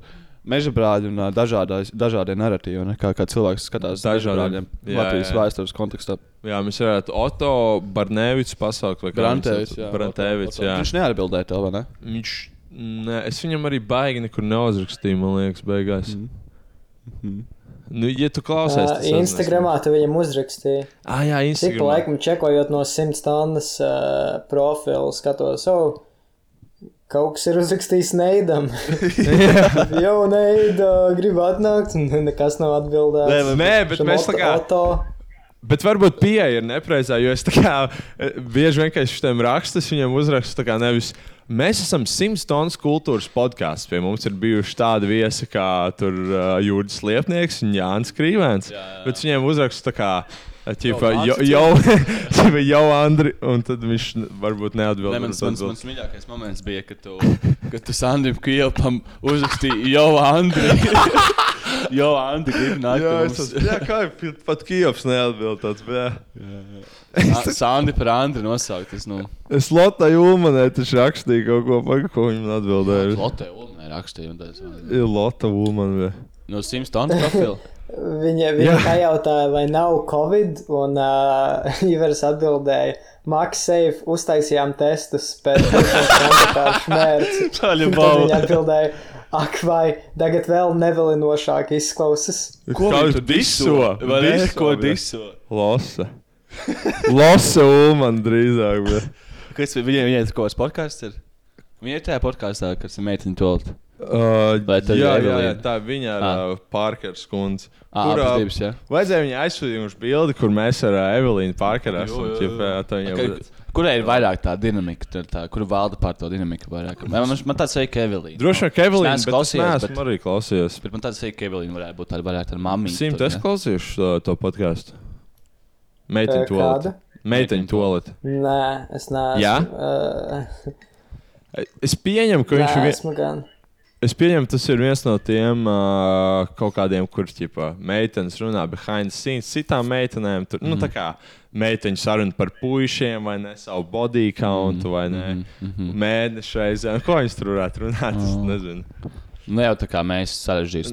[SPEAKER 2] meža brāļu un ā, dažādās- dažādiem narratīviem. ne, Kā, kā cilvēks skatās uz meža
[SPEAKER 1] Dažādiem.
[SPEAKER 2] brāļiem
[SPEAKER 1] Jā,
[SPEAKER 2] Latvijas
[SPEAKER 1] jā.
[SPEAKER 2] vēstures kontekstā.
[SPEAKER 1] Jā, mēs varētu Oto Barnevicu pasaukt, vai kā viņš
[SPEAKER 2] Brantēvis.
[SPEAKER 1] sauc?
[SPEAKER 2] jā,
[SPEAKER 1] Brantēvics,
[SPEAKER 2] Otto- Otto.
[SPEAKER 1] jā.
[SPEAKER 2] Viņš neatbildēja tev, vai ne?
[SPEAKER 1] Viņš, ne, es viņam arī baigi nekur neuzrakstīju, man liekas, beigās. Mm.
[SPEAKER 2] Mhm.
[SPEAKER 1] Nu, ja tu klausies,
[SPEAKER 3] Uh,
[SPEAKER 1] tad
[SPEAKER 3] Instagramā tu viņam uzrakstīji.
[SPEAKER 1] Ah, jā,
[SPEAKER 3] Cik
[SPEAKER 1] Instagramā.
[SPEAKER 3] laikam čekojot no simts tonnas uh, profilu, skatos, oh, kaut kas ir uzrakstījis
[SPEAKER 1] [laughs]
[SPEAKER 3] neidam. Jau neida, gribu atnākt, un nekas nav atbildēts.
[SPEAKER 1] Nē, bet
[SPEAKER 3] Šim
[SPEAKER 1] mēs tā
[SPEAKER 3] Otto-
[SPEAKER 1] kā.
[SPEAKER 3] Otto.
[SPEAKER 1] Bet varbūt pieeja ir nepreizā, jo es tā kā eh, bieži vien, kad es šitiem rakstu, es viņiem uzrakstu tā kā nevis. Mēs esam simts tonnas kultūras podkāsts. Pie mums ir bijuši tādi viesi kā tur, uh, Jūras Liepnieks un Jānis Krīvens. Jā, jā. Bet viņiem uzraksta tā kā. eh, Ķipa,
[SPEAKER 2] Jau
[SPEAKER 1] jau,
[SPEAKER 2] Andris
[SPEAKER 1] [laughs] jau, ķipa, jau Andri, un tad viņš varbūt neatbild.
[SPEAKER 2] Ne, mans,
[SPEAKER 1] varbūt
[SPEAKER 2] mans,
[SPEAKER 1] atbild.
[SPEAKER 2] mans mīļākais moments bija, kad tu, kad tu Sandrija Kjēlpam uzrakstīji jau Andri. [laughs] jo Andri grib nākt
[SPEAKER 1] Jā,
[SPEAKER 2] pie
[SPEAKER 1] es
[SPEAKER 2] mums.
[SPEAKER 1] esmu- jā, kā jau pat- pat Kijovs neatbild tāds, bet.
[SPEAKER 2] Sā- Sandi par Andri nosaukt. Es, nu,
[SPEAKER 1] Es Lotai Ulmanai taču rakstīju kaut ko, par ko viņam atbildēju.
[SPEAKER 2] Lotē Ulmanē rakstīju. un tāds,
[SPEAKER 1] Ir Lota Ulmanai.
[SPEAKER 2] No simts tonu
[SPEAKER 1] [laughs]
[SPEAKER 2] profila.
[SPEAKER 3] Viņa, viņa pajautāja, vai nav covid, un [laughs] uh, Ivers atbildēja, MaxSafe uztaisījām testus pēc komentāru
[SPEAKER 1] [laughs]
[SPEAKER 3] šmērci.
[SPEAKER 2] Tāļa
[SPEAKER 3] Tad viņa atbildēja, ak vai, tagad vēl nevilinošāk izklausas.
[SPEAKER 2] Ko
[SPEAKER 1] Kā
[SPEAKER 2] viņš
[SPEAKER 1] tu
[SPEAKER 2] tur diso?
[SPEAKER 1] diso?
[SPEAKER 2] Vai ne?
[SPEAKER 1] Diso,
[SPEAKER 2] Ko
[SPEAKER 1] bļa.
[SPEAKER 2] diso? [laughs]
[SPEAKER 1] Losa. Losa Ulman drīzāk. Bet.
[SPEAKER 2] Kas vi- viņiem ir kaut kāds podkāsts? Viņai ir tajā podkāstā, kas ir meitene tolta.
[SPEAKER 1] Uh,
[SPEAKER 2] Vai tad
[SPEAKER 1] jā, jā, jā,
[SPEAKER 2] Evelīna?
[SPEAKER 1] tā viņa ir
[SPEAKER 2] Ah.
[SPEAKER 1] uh, Parkers kundze.
[SPEAKER 2] Ah,
[SPEAKER 1] Kur,
[SPEAKER 2] abas
[SPEAKER 1] ā,
[SPEAKER 2] divas, jā.
[SPEAKER 1] Vajadzēja viņai aizsūtīt bildi, kur mēs ar ā, Evelīnu Parkeru esam.
[SPEAKER 2] jā,
[SPEAKER 1] ķip,
[SPEAKER 2] jā.
[SPEAKER 1] ā, tā viņa
[SPEAKER 2] Ka-
[SPEAKER 1] būs.
[SPEAKER 2] Kurai ir vairāk tā dinamika, tur tā, kur valda pār to dinamiku vairāk? Man, man, man tāds vajag Kevilīnu.
[SPEAKER 1] Droši vien, ka Evelīna
[SPEAKER 2] neesmu
[SPEAKER 1] bet es
[SPEAKER 2] klausījies,
[SPEAKER 1] neesmu
[SPEAKER 2] bet-
[SPEAKER 1] arī klausījies.
[SPEAKER 2] Bet man tāds vajag Kevilīnu varētu būt tāda vairāk tāda mamīga.
[SPEAKER 1] Simt es klausījušu to, to podkāstu. Meiteņu
[SPEAKER 3] Eh,
[SPEAKER 1] tolete.
[SPEAKER 3] kāda?
[SPEAKER 1] Meiteņu tolete.
[SPEAKER 3] Nē, es neesmu.
[SPEAKER 1] Jā?
[SPEAKER 3] Uh,
[SPEAKER 1] Es pieņemu, ka
[SPEAKER 3] nē,
[SPEAKER 1] viņš ir.
[SPEAKER 3] esmu gan.
[SPEAKER 1] Es pieņemu, tas ir viens no tiem uh, kaut kādiem, kurš tipā meitenes runā behind the scenes, citām meitenēm. Tur, mm. Nu, tā kā meiteņu saruna par puišiem, vai ne savu body count, mm. vai ne mm. mēnešu reizē. Ko viņas tur varētu runāt? Es nezinu.
[SPEAKER 2] Nu jau tā kā mēs sarežģījām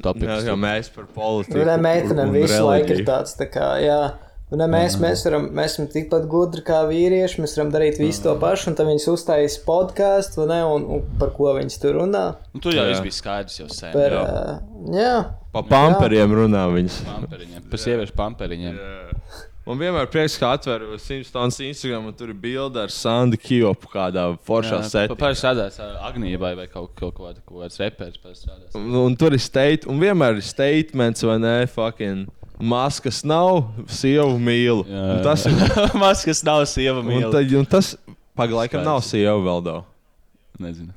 [SPEAKER 1] Jā,
[SPEAKER 2] topiku.
[SPEAKER 1] kā mēs par politiku.
[SPEAKER 3] Nē, meitenēm Nu, visu laiku ir
[SPEAKER 1] tā.
[SPEAKER 3] tāds, tā kā, jā. Un ne, mēs, mēs, varam, mēs esam tikpat gudri kā vīrieši, mēs varam darīt visu to pašu, un tad viņas uztaisīs podkāstu, vai ne, un, un par ko viņas tur runā.
[SPEAKER 2] Nu, tur jau
[SPEAKER 1] Jā.
[SPEAKER 2] viss bija skaidrs jau sen.
[SPEAKER 3] Par, jā.
[SPEAKER 2] jā.
[SPEAKER 3] jā.
[SPEAKER 1] Pa pamperiem runā viņas.
[SPEAKER 2] Pamperiņiem. Par sieviešu pamperiņiem.
[SPEAKER 1] Man vienmēr ir prieks, ka atveru Simpsons Instagram un tur ir bilde ar Sandu Kjopu kādā foršā setā.
[SPEAKER 2] Pārāk strādājis ar Agniju vai vai kaut, kaut, kaut, kaut kāds reperis. pāris strādājis.
[SPEAKER 1] Un, un tur ir state, un vienmēr ir statements, vai ne? Fucking maskas nav, sievu mīlu. Un Tas [laughs] ir.
[SPEAKER 2] [laughs] Maskas nav sieva
[SPEAKER 1] Un,
[SPEAKER 2] mīlestība.
[SPEAKER 1] tad, un tas pagaidām
[SPEAKER 2] Skaidrs.
[SPEAKER 1] nav sieva vēl daudz.
[SPEAKER 2] Nezinu.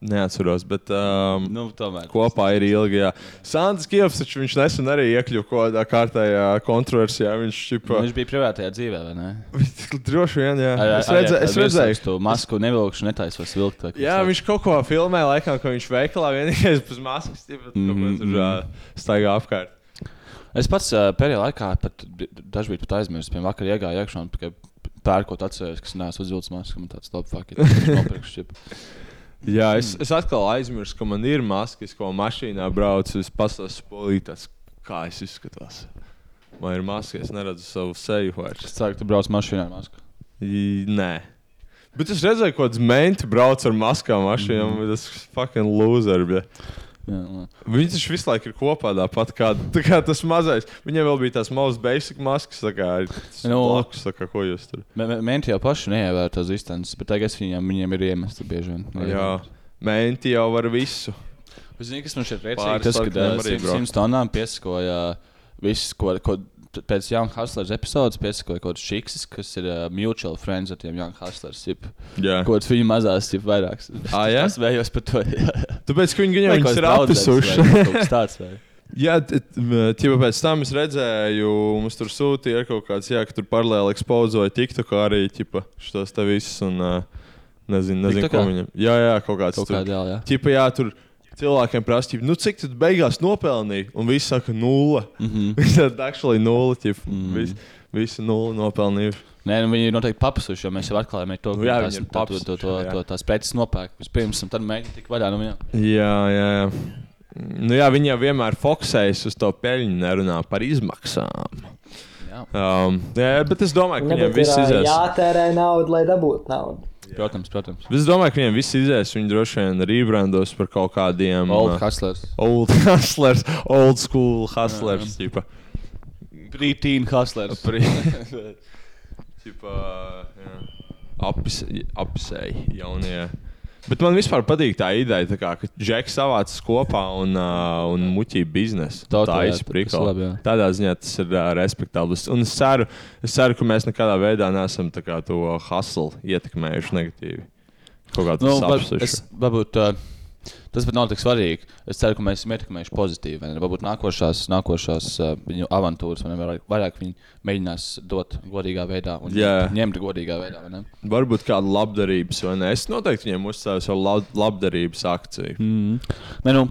[SPEAKER 1] Neatceros, bet. Um,
[SPEAKER 2] Nu, tomēr.
[SPEAKER 1] Kopā ir ilgi. jā. Sandis Kjovs, taču viņš nesen arī iekļuva kaut kādā kārtējā kontroversijā. Viņš čipa,
[SPEAKER 2] Viņš bija privātajā dzīvē, vai ne?
[SPEAKER 1] [laughs] droši vien, jā. Es redzēju, es redzēju.
[SPEAKER 2] to masku nevilkšu, netaisos vilkt. vai kaut
[SPEAKER 1] Jā,
[SPEAKER 2] kas
[SPEAKER 1] viņš kaut ko filmē, laikam, ka viņš veikalā vienīgais bez maskas, tipā, mm -hmm.
[SPEAKER 2] Mhm,
[SPEAKER 1] tur uh, staigā apkārt.
[SPEAKER 2] tāds. Es pats uh, pēdējā laikā pat d- dažkārt pat aizmirsu, piemēram, vakar iegāju iekšā un tikai pērkot atcerējos, kas neesmu uzvilcis masku. Man tāds top fuck, ir [laughs] nopirkšu. čip.
[SPEAKER 1] Jā, es, es atkal aizmirsu, ka man ir maskas, ko mašīnā braucu. Es pasaku, polītas, kā es izskatos. Man ir maskas, es neredzu savu seju vairs.
[SPEAKER 2] Es ceru, ka tu brauc mašīnā ar masku.
[SPEAKER 1] I, nē. Bet es redzēju, ka kāds menti brauc ar maskām mašīnām, mm -hmm. tas ir fucking loser. Bļa.
[SPEAKER 2] Jā, jā.
[SPEAKER 1] Viņi taču visu laiku ir kopā tāpat kā, tā kā tas mazais. Viņiem vēl bija tās mazas basic maskas, tā kā ir tas
[SPEAKER 2] Nu.
[SPEAKER 1] blakus, tā kā, ko jūs tur.
[SPEAKER 2] Mē- mē- Menti jau paši neievēro tās distances, bet tagad viņiem, viņiem ir iemesti bieži vien.
[SPEAKER 1] Jā, menti jau var visu.
[SPEAKER 2] Es zinu, kas man šeit priecīgi.
[SPEAKER 1] Pāris
[SPEAKER 2] Tas, ka
[SPEAKER 1] sarkaniem arī
[SPEAKER 2] 100 tonnām piesakoja viss, ko, ko t- pēc Young Hustlers epizodes piesakoja kaut kāds šiksis, kas ir uh, mutual friends ar tiem Young Hustlers. Jip.
[SPEAKER 1] Jā.
[SPEAKER 2] Kaut kāds viņa mazās ir vairāks.
[SPEAKER 1] Ā, jā?
[SPEAKER 2] [laughs] Es vējos par to. jā.
[SPEAKER 1] Tāpēc, ka viņi
[SPEAKER 2] Vai
[SPEAKER 1] viņam
[SPEAKER 2] kaut
[SPEAKER 1] ir
[SPEAKER 2] kāds draudzens
[SPEAKER 1] apisuši. [laughs]
[SPEAKER 2] vai kaut kas Tāds, [laughs] vai?
[SPEAKER 1] Jā, t- t- m, tiepa pēc tam es redzēju, mums tur sūtīja ir kaut kāds, jā, ka tur paralēli ekspozīcija, TikTokā arī tipa šos te visus un ā, nezinu, nezinu ko
[SPEAKER 2] TikTokā?
[SPEAKER 1] viņam. Jā, jā, kaut kāds.
[SPEAKER 2] Kaut
[SPEAKER 1] tur.
[SPEAKER 2] kādā, jā.
[SPEAKER 1] Tipa, jā, tur cilvēkiem prasa, ķipa, nu cik tad beigās nopelnīja? Un viss saka, nulle. [laughs] Mm
[SPEAKER 2] Mhm.
[SPEAKER 1] -hmm. tad actually nulle, tipa, mm -hmm. visi nulle nopelnījuši.
[SPEAKER 2] Nē, nu, viņi ir noteikti papasuši, jo mēs jau atklājām arī to,
[SPEAKER 1] Nu
[SPEAKER 2] ka
[SPEAKER 1] jā,
[SPEAKER 2] tās-
[SPEAKER 1] viņi ir
[SPEAKER 2] tā- to- to-
[SPEAKER 1] papasuši, jā.
[SPEAKER 2] to- tās preces nopērk vispirms, un tad mēģina tik vaļā nu, no viņiem.
[SPEAKER 1] Jā, jā, jā. Nu, jā, viņi jau vienmēr fokusējas uz to peļņu, nerunā par izmaksām.
[SPEAKER 2] Jā.
[SPEAKER 1] um, jā bet es domāju, ka viņiem viss
[SPEAKER 3] ir ā,
[SPEAKER 1] izies.
[SPEAKER 3] jātērē naudu, lai dabūtu naudu.
[SPEAKER 2] Protams, protams.
[SPEAKER 1] Bet Es domāju, ka viņiem viss izies. Viņi droši vien rebrandos par kaut kādiem
[SPEAKER 2] Old
[SPEAKER 1] uh,
[SPEAKER 2] Hustlers.
[SPEAKER 1] old [laughs] hustlers, old school hustlers.
[SPEAKER 2] [laughs]
[SPEAKER 1] Tipa.
[SPEAKER 2] Rītīna Hustlers.
[SPEAKER 1] [laughs] Tipa, jā. Apis, apisēji jaunie. Bet man vispār patīk tā ideja, tā kā, ka Džeks savācās kopā un, uh, un muķī biznesu.
[SPEAKER 2] Tā,
[SPEAKER 1] tā
[SPEAKER 2] tā,
[SPEAKER 1] ir
[SPEAKER 2] tā, tas ir labi,
[SPEAKER 1] prikla.
[SPEAKER 2] jā.
[SPEAKER 1] Tādā ziņā tas ir uh, respektabls. Un es ceru, es ceru, ka mēs nekādā veidā neesam tā kā, to hustle ietekmējuši negatīvi. Kaut kāds
[SPEAKER 2] Nu,
[SPEAKER 1] nu,
[SPEAKER 2] var,
[SPEAKER 1] sapnis.
[SPEAKER 2] es, varbūt, uh, tas pat nav tik svarīgi. Es ceru, ka mēs esam ietekmējuši pozitīvi. vai ne? Varbūt nākošās, nākošās uh, viņu avantūras vai ne, vairāk, vairāk viņi mēģinās dot godīgā veidā un
[SPEAKER 1] Jā.
[SPEAKER 2] ņemt- ņemt godīgā veidā. vai ne?
[SPEAKER 1] Varbūt kāda labdarības, vai ne? Es noteikti viņiem uzstāju savu lab labdarības akciju. Mm.
[SPEAKER 2] Ne, nu,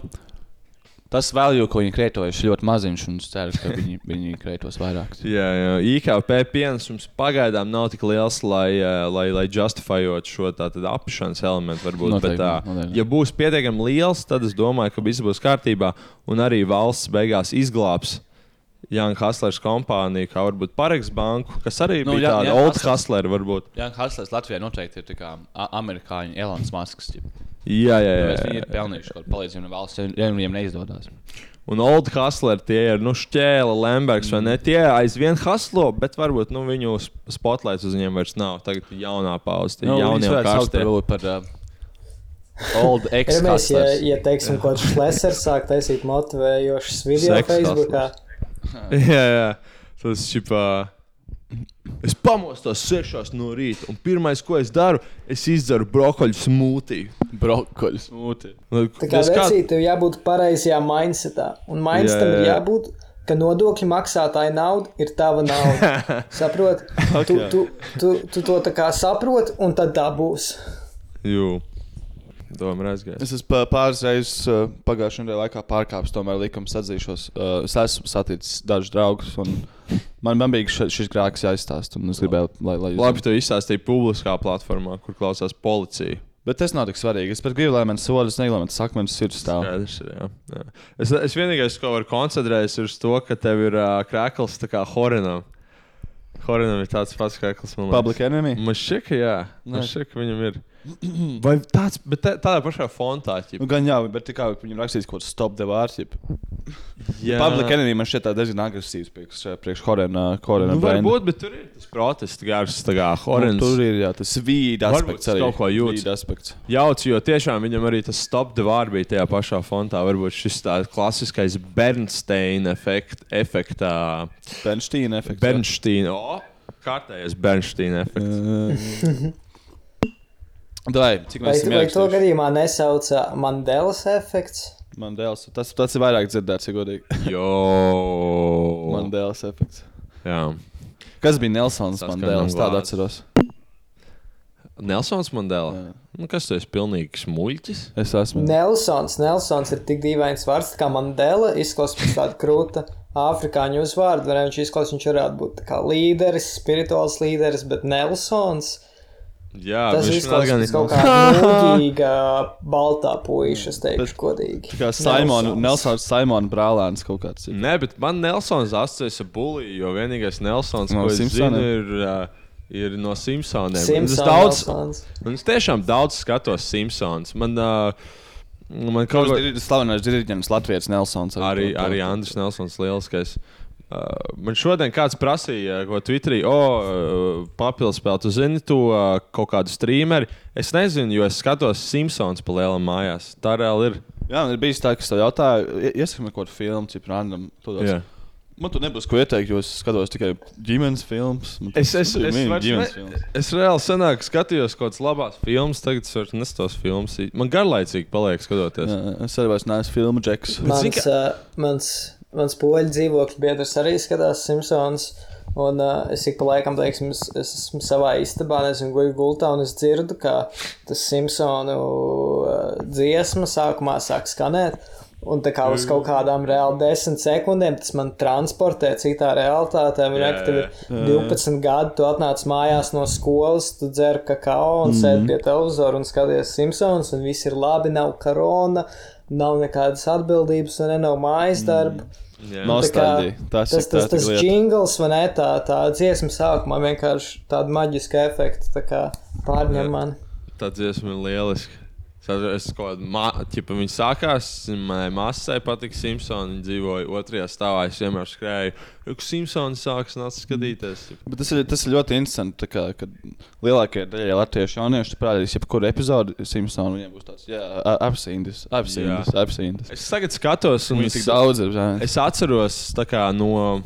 [SPEAKER 2] tas value, ko viņi kreitojuši, ļoti maziņš, un es ceru, ka viņi, [laughs] viņi kreitos vairāk.
[SPEAKER 1] Jā, jā, IKP pienesums pagaidām nav tik liels, lai, eh, lai, lai justificētu šo tādu apšanas elementu. Varbūt,
[SPEAKER 2] Noteikti,
[SPEAKER 1] bet, tā,
[SPEAKER 2] noteikti.
[SPEAKER 1] ja būs pietiekami liels, tad es domāju, ka viss būs kārtībā. Un arī valsts beigās izglābs Jānis Haslers kompāniju, kā varbūt Pareks banku, kas arī
[SPEAKER 2] Nu,
[SPEAKER 1] nu, bija
[SPEAKER 2] jā,
[SPEAKER 1] tāda
[SPEAKER 2] jā,
[SPEAKER 1] old
[SPEAKER 2] Haslers.
[SPEAKER 1] hustler. Varbūt.
[SPEAKER 2] Jā, Haslers Latvijā noteikti ir tā kā a- amerikāņu Elonas Maskas. ģip.
[SPEAKER 1] Jā, jā, jā.
[SPEAKER 2] Tāpēc Viņi
[SPEAKER 1] jā.
[SPEAKER 2] ir pelnījuši kaut kādu palīdzību no valsts, ja- ja viņiem neizdodas.
[SPEAKER 1] Un Old Hustler tie ir, nu, šķēla, Lembergs vai ne?
[SPEAKER 3] Mm.
[SPEAKER 1] Tie aizvien haslo, bet varbūt nu, viņu sp- spotlights uz viņiem vairs nav. Tagad ir jaunā pauzē, jau
[SPEAKER 2] Nu, viņus
[SPEAKER 1] jaunie
[SPEAKER 2] varētu saukt
[SPEAKER 1] karstie.
[SPEAKER 2] varbūt par uh, [laughs] Old
[SPEAKER 3] Ir mēs, ja,
[SPEAKER 2] Ex-Hustlers.
[SPEAKER 3] ja teiksim, ko Šlesers sāk taisīt motivējošas video
[SPEAKER 1] Seks
[SPEAKER 3] Facebookā,
[SPEAKER 1] [laughs] Jā, jā. Tas šipā. Es pamostos 6 no rīta, un pirmais, ko es daru, es izdzeru brokoļu smūtiju.
[SPEAKER 2] Brokoļu smūti.
[SPEAKER 3] tā kā vecīt, tev jābūt pareizajā mindsetā. Un mindsetam
[SPEAKER 1] Jā, jā,
[SPEAKER 3] ir
[SPEAKER 1] jā.
[SPEAKER 3] jābūt, ka nodokļu maksātāja nauda ir tava nauda.
[SPEAKER 1] [laughs]
[SPEAKER 3] Saprot? Tu,
[SPEAKER 1] jā.
[SPEAKER 3] tu, tu, tu to tā kā saproti, un tad dabūs.
[SPEAKER 1] Jū. Domā, ir aizgājis.
[SPEAKER 2] Es esmu pā- pāris reizes uh, pagājušajā nedēļā laikā pārkāpis, tomēr likums atzīšos. Uh, es esmu saticis dažus draugus, un man, man bija še- šis grāks jāizstāsta, un es gribēju, lai, lai jūs
[SPEAKER 1] Labi, tu izstāstīji publiskā platformā, kur klausās policija.
[SPEAKER 2] Bet tas nav tik svarīgi. Es pat gribu, lai man solis neglāmēta sakmenis sirds stāv.
[SPEAKER 1] Skaidrs, ir, jā. Jā. Es, es vienīgais, ko varu koncentrēties, ir uz to, ka tev ir uh, krāklis tā kā Horinam. Horinam ir tāds pats krāklis, man liekas.
[SPEAKER 2] Public enemy.
[SPEAKER 1] Man šķiet, ka jā. Man šķiet, ka viņam
[SPEAKER 2] [clears throat]
[SPEAKER 1] ir. Vai tāds, bet tā, tādā pašā fontā, ja
[SPEAKER 2] Nu, gan jā, bet tikai viņam rakstīts kaut kas stop the war. Jip.
[SPEAKER 1] jā.
[SPEAKER 2] Public enemy man šķiet tā diezgan agresīvs priekš, eh, priekš Horena. Horena
[SPEAKER 1] Nu,
[SPEAKER 2] brenda.
[SPEAKER 1] varbūt, bet tur ir tas protests gars, tā kā
[SPEAKER 2] Nu,
[SPEAKER 1] Horins.
[SPEAKER 2] tur ir jā, tas vīda
[SPEAKER 1] Varbūt
[SPEAKER 2] aspekts
[SPEAKER 1] tas
[SPEAKER 2] arī.
[SPEAKER 1] kaut ko jūtas.
[SPEAKER 2] Vīda aspekts.
[SPEAKER 1] Jauts, jo tiešām viņam arī tas stop the vārds bija tajā pašā fontā. Varbūt šis tāds klasiskais Bernsteina efekt, efektā.
[SPEAKER 2] Bernsteina efekts. jā. [laughs]
[SPEAKER 1] Bernsteina. O, kārtējais Bernsteina efekts.
[SPEAKER 2] Dai, cik
[SPEAKER 3] Vai,
[SPEAKER 2] mēs
[SPEAKER 3] vai
[SPEAKER 2] esam
[SPEAKER 3] to
[SPEAKER 2] ierakstījuši?
[SPEAKER 3] gadījumā nesauca Mandelas efekts?
[SPEAKER 2] Man dēls. Tas, tas ir vairāk dzirdēts, ja godīgi.
[SPEAKER 1] Jo.
[SPEAKER 2] Man dēls efekts.
[SPEAKER 1] Jā.
[SPEAKER 2] Kas bija Nelsons
[SPEAKER 1] Tas, ka
[SPEAKER 2] Mandēls?
[SPEAKER 1] viņam
[SPEAKER 2] Tādu
[SPEAKER 1] vārds.
[SPEAKER 2] atceros.
[SPEAKER 1] Nelsons Mandela. Nu, kas tas ir? Pilnīgs muļķis.
[SPEAKER 2] Es esmu.
[SPEAKER 3] Nelsons, Nelsons ir tik dīvains vārds, tā kā Mandela izklausās pēc tāda krūta afrikāņu uzvārdu. Varētu viņš izklausās, viņš varētu būt tā kā līderis, spirituāls līderis, bet Nelsons
[SPEAKER 1] Jā,
[SPEAKER 3] tas
[SPEAKER 1] viņš
[SPEAKER 3] izklausās
[SPEAKER 1] gan
[SPEAKER 3] pēc kaut kā mūžīga baltā puīša, es teikšu godīgi.
[SPEAKER 2] Kā Simons, Nelsons, Simons brālēns kaut kāds. ir.
[SPEAKER 1] Nē, bet man Nelsons asociējas ar buliju, jo vienīgais Nelsons,
[SPEAKER 2] No
[SPEAKER 1] no ko es
[SPEAKER 2] Simpsoniem?
[SPEAKER 1] zinu, ir, uh, ir no Simpsoniem. Un Es,
[SPEAKER 3] Simpsons.
[SPEAKER 1] daudz,
[SPEAKER 3] Nelsons.
[SPEAKER 1] un es tiešām daudz skatos Simpsons. Man, uh, man kaut kā
[SPEAKER 2] Tas ir slavenais diriģents Latvijas Nelsons.
[SPEAKER 1] arī, arī Andris Nelsons lieliskais. Uh, man šodien kāds prasīja, ko Twitterī, o, uh, papildus spēlēt, tu zini, to uh, kaut kādu streameri. Es nezinu, jo es skatos Simpsons pa lielam mājās. Tā reāli ir.
[SPEAKER 2] Jā, man ir bijis tā, ka es tev jautāju, ieskatām kaut kādu filmu, cik random. tu tāds,
[SPEAKER 1] Jā.
[SPEAKER 2] Man tur nebūs ko ieteikt, jo es skatos tikai ģimenes filmas. Man
[SPEAKER 1] Es,
[SPEAKER 2] tas-
[SPEAKER 1] es, es,
[SPEAKER 2] mīlu
[SPEAKER 1] vairs
[SPEAKER 2] ģimenes
[SPEAKER 1] ne,
[SPEAKER 2] filmas.
[SPEAKER 1] es reāli senāk skatījos kaut kādas labas filmas, tagad es vairs nestos filmas. Man garlaicīgi paliek skatoties. Jā.
[SPEAKER 2] Jā, Es arī vairs neesmu filmu džeks.
[SPEAKER 1] zini,
[SPEAKER 3] Mans,
[SPEAKER 1] ka-
[SPEAKER 3] uh, mans, mans poļu dzīvokļu biedrs arī skatās Simpsons. Un uh, es ik pa laikam, teiksim, es, es esmu savā istabā, nezinu, guļu gultā, un es dzirdu, ka tas Simpsonu uh, dziesma sākumā sāk skanēt. Un tā kā uz kaut kādām reāli desmit sekundēm tas man transportē citā realitātē. Man liekas, tev ir 12 gadi, tu atnāc mājās no skolas, tu dzer kakao un sēdi pie televizora un skaties Simpsons, un viss ir labi, nav korona, nav nekādas atbildības, un ne, nav mājas darba.
[SPEAKER 1] Mm.
[SPEAKER 2] Nav
[SPEAKER 3] Tā kā
[SPEAKER 2] nostalģija. Tas ir
[SPEAKER 3] Tas, tas,
[SPEAKER 2] tā-
[SPEAKER 3] tas
[SPEAKER 2] tik lieta.
[SPEAKER 3] jingls, vai ne? Tā, tā dziesma sākumā vienkārši tāda maģiska efekta tā kā pārņem mani.
[SPEAKER 1] Tā dziesma ir lieliska. Es atceros, Es kaut kādā veidā viņa sākās, manai māsai patika Simpsons. Viņa dzīvoja otrajā stāvā. Es vienmēr skrēju, kur Simpsons sāks nākt skatīties.
[SPEAKER 2] Bet tas, ir, tas ir ļoti interesanti, tā kā, kad lielākajai daļai latviešu jauniešu parādīs, jebkuru epizodi Simpsonu viņiem būs tāds, jā, apsīndis, apsīndis, apsīndis.
[SPEAKER 1] Es tagad skatos, un
[SPEAKER 2] Viņus tik daudz ir. jā.
[SPEAKER 1] Es atceros tā kā, no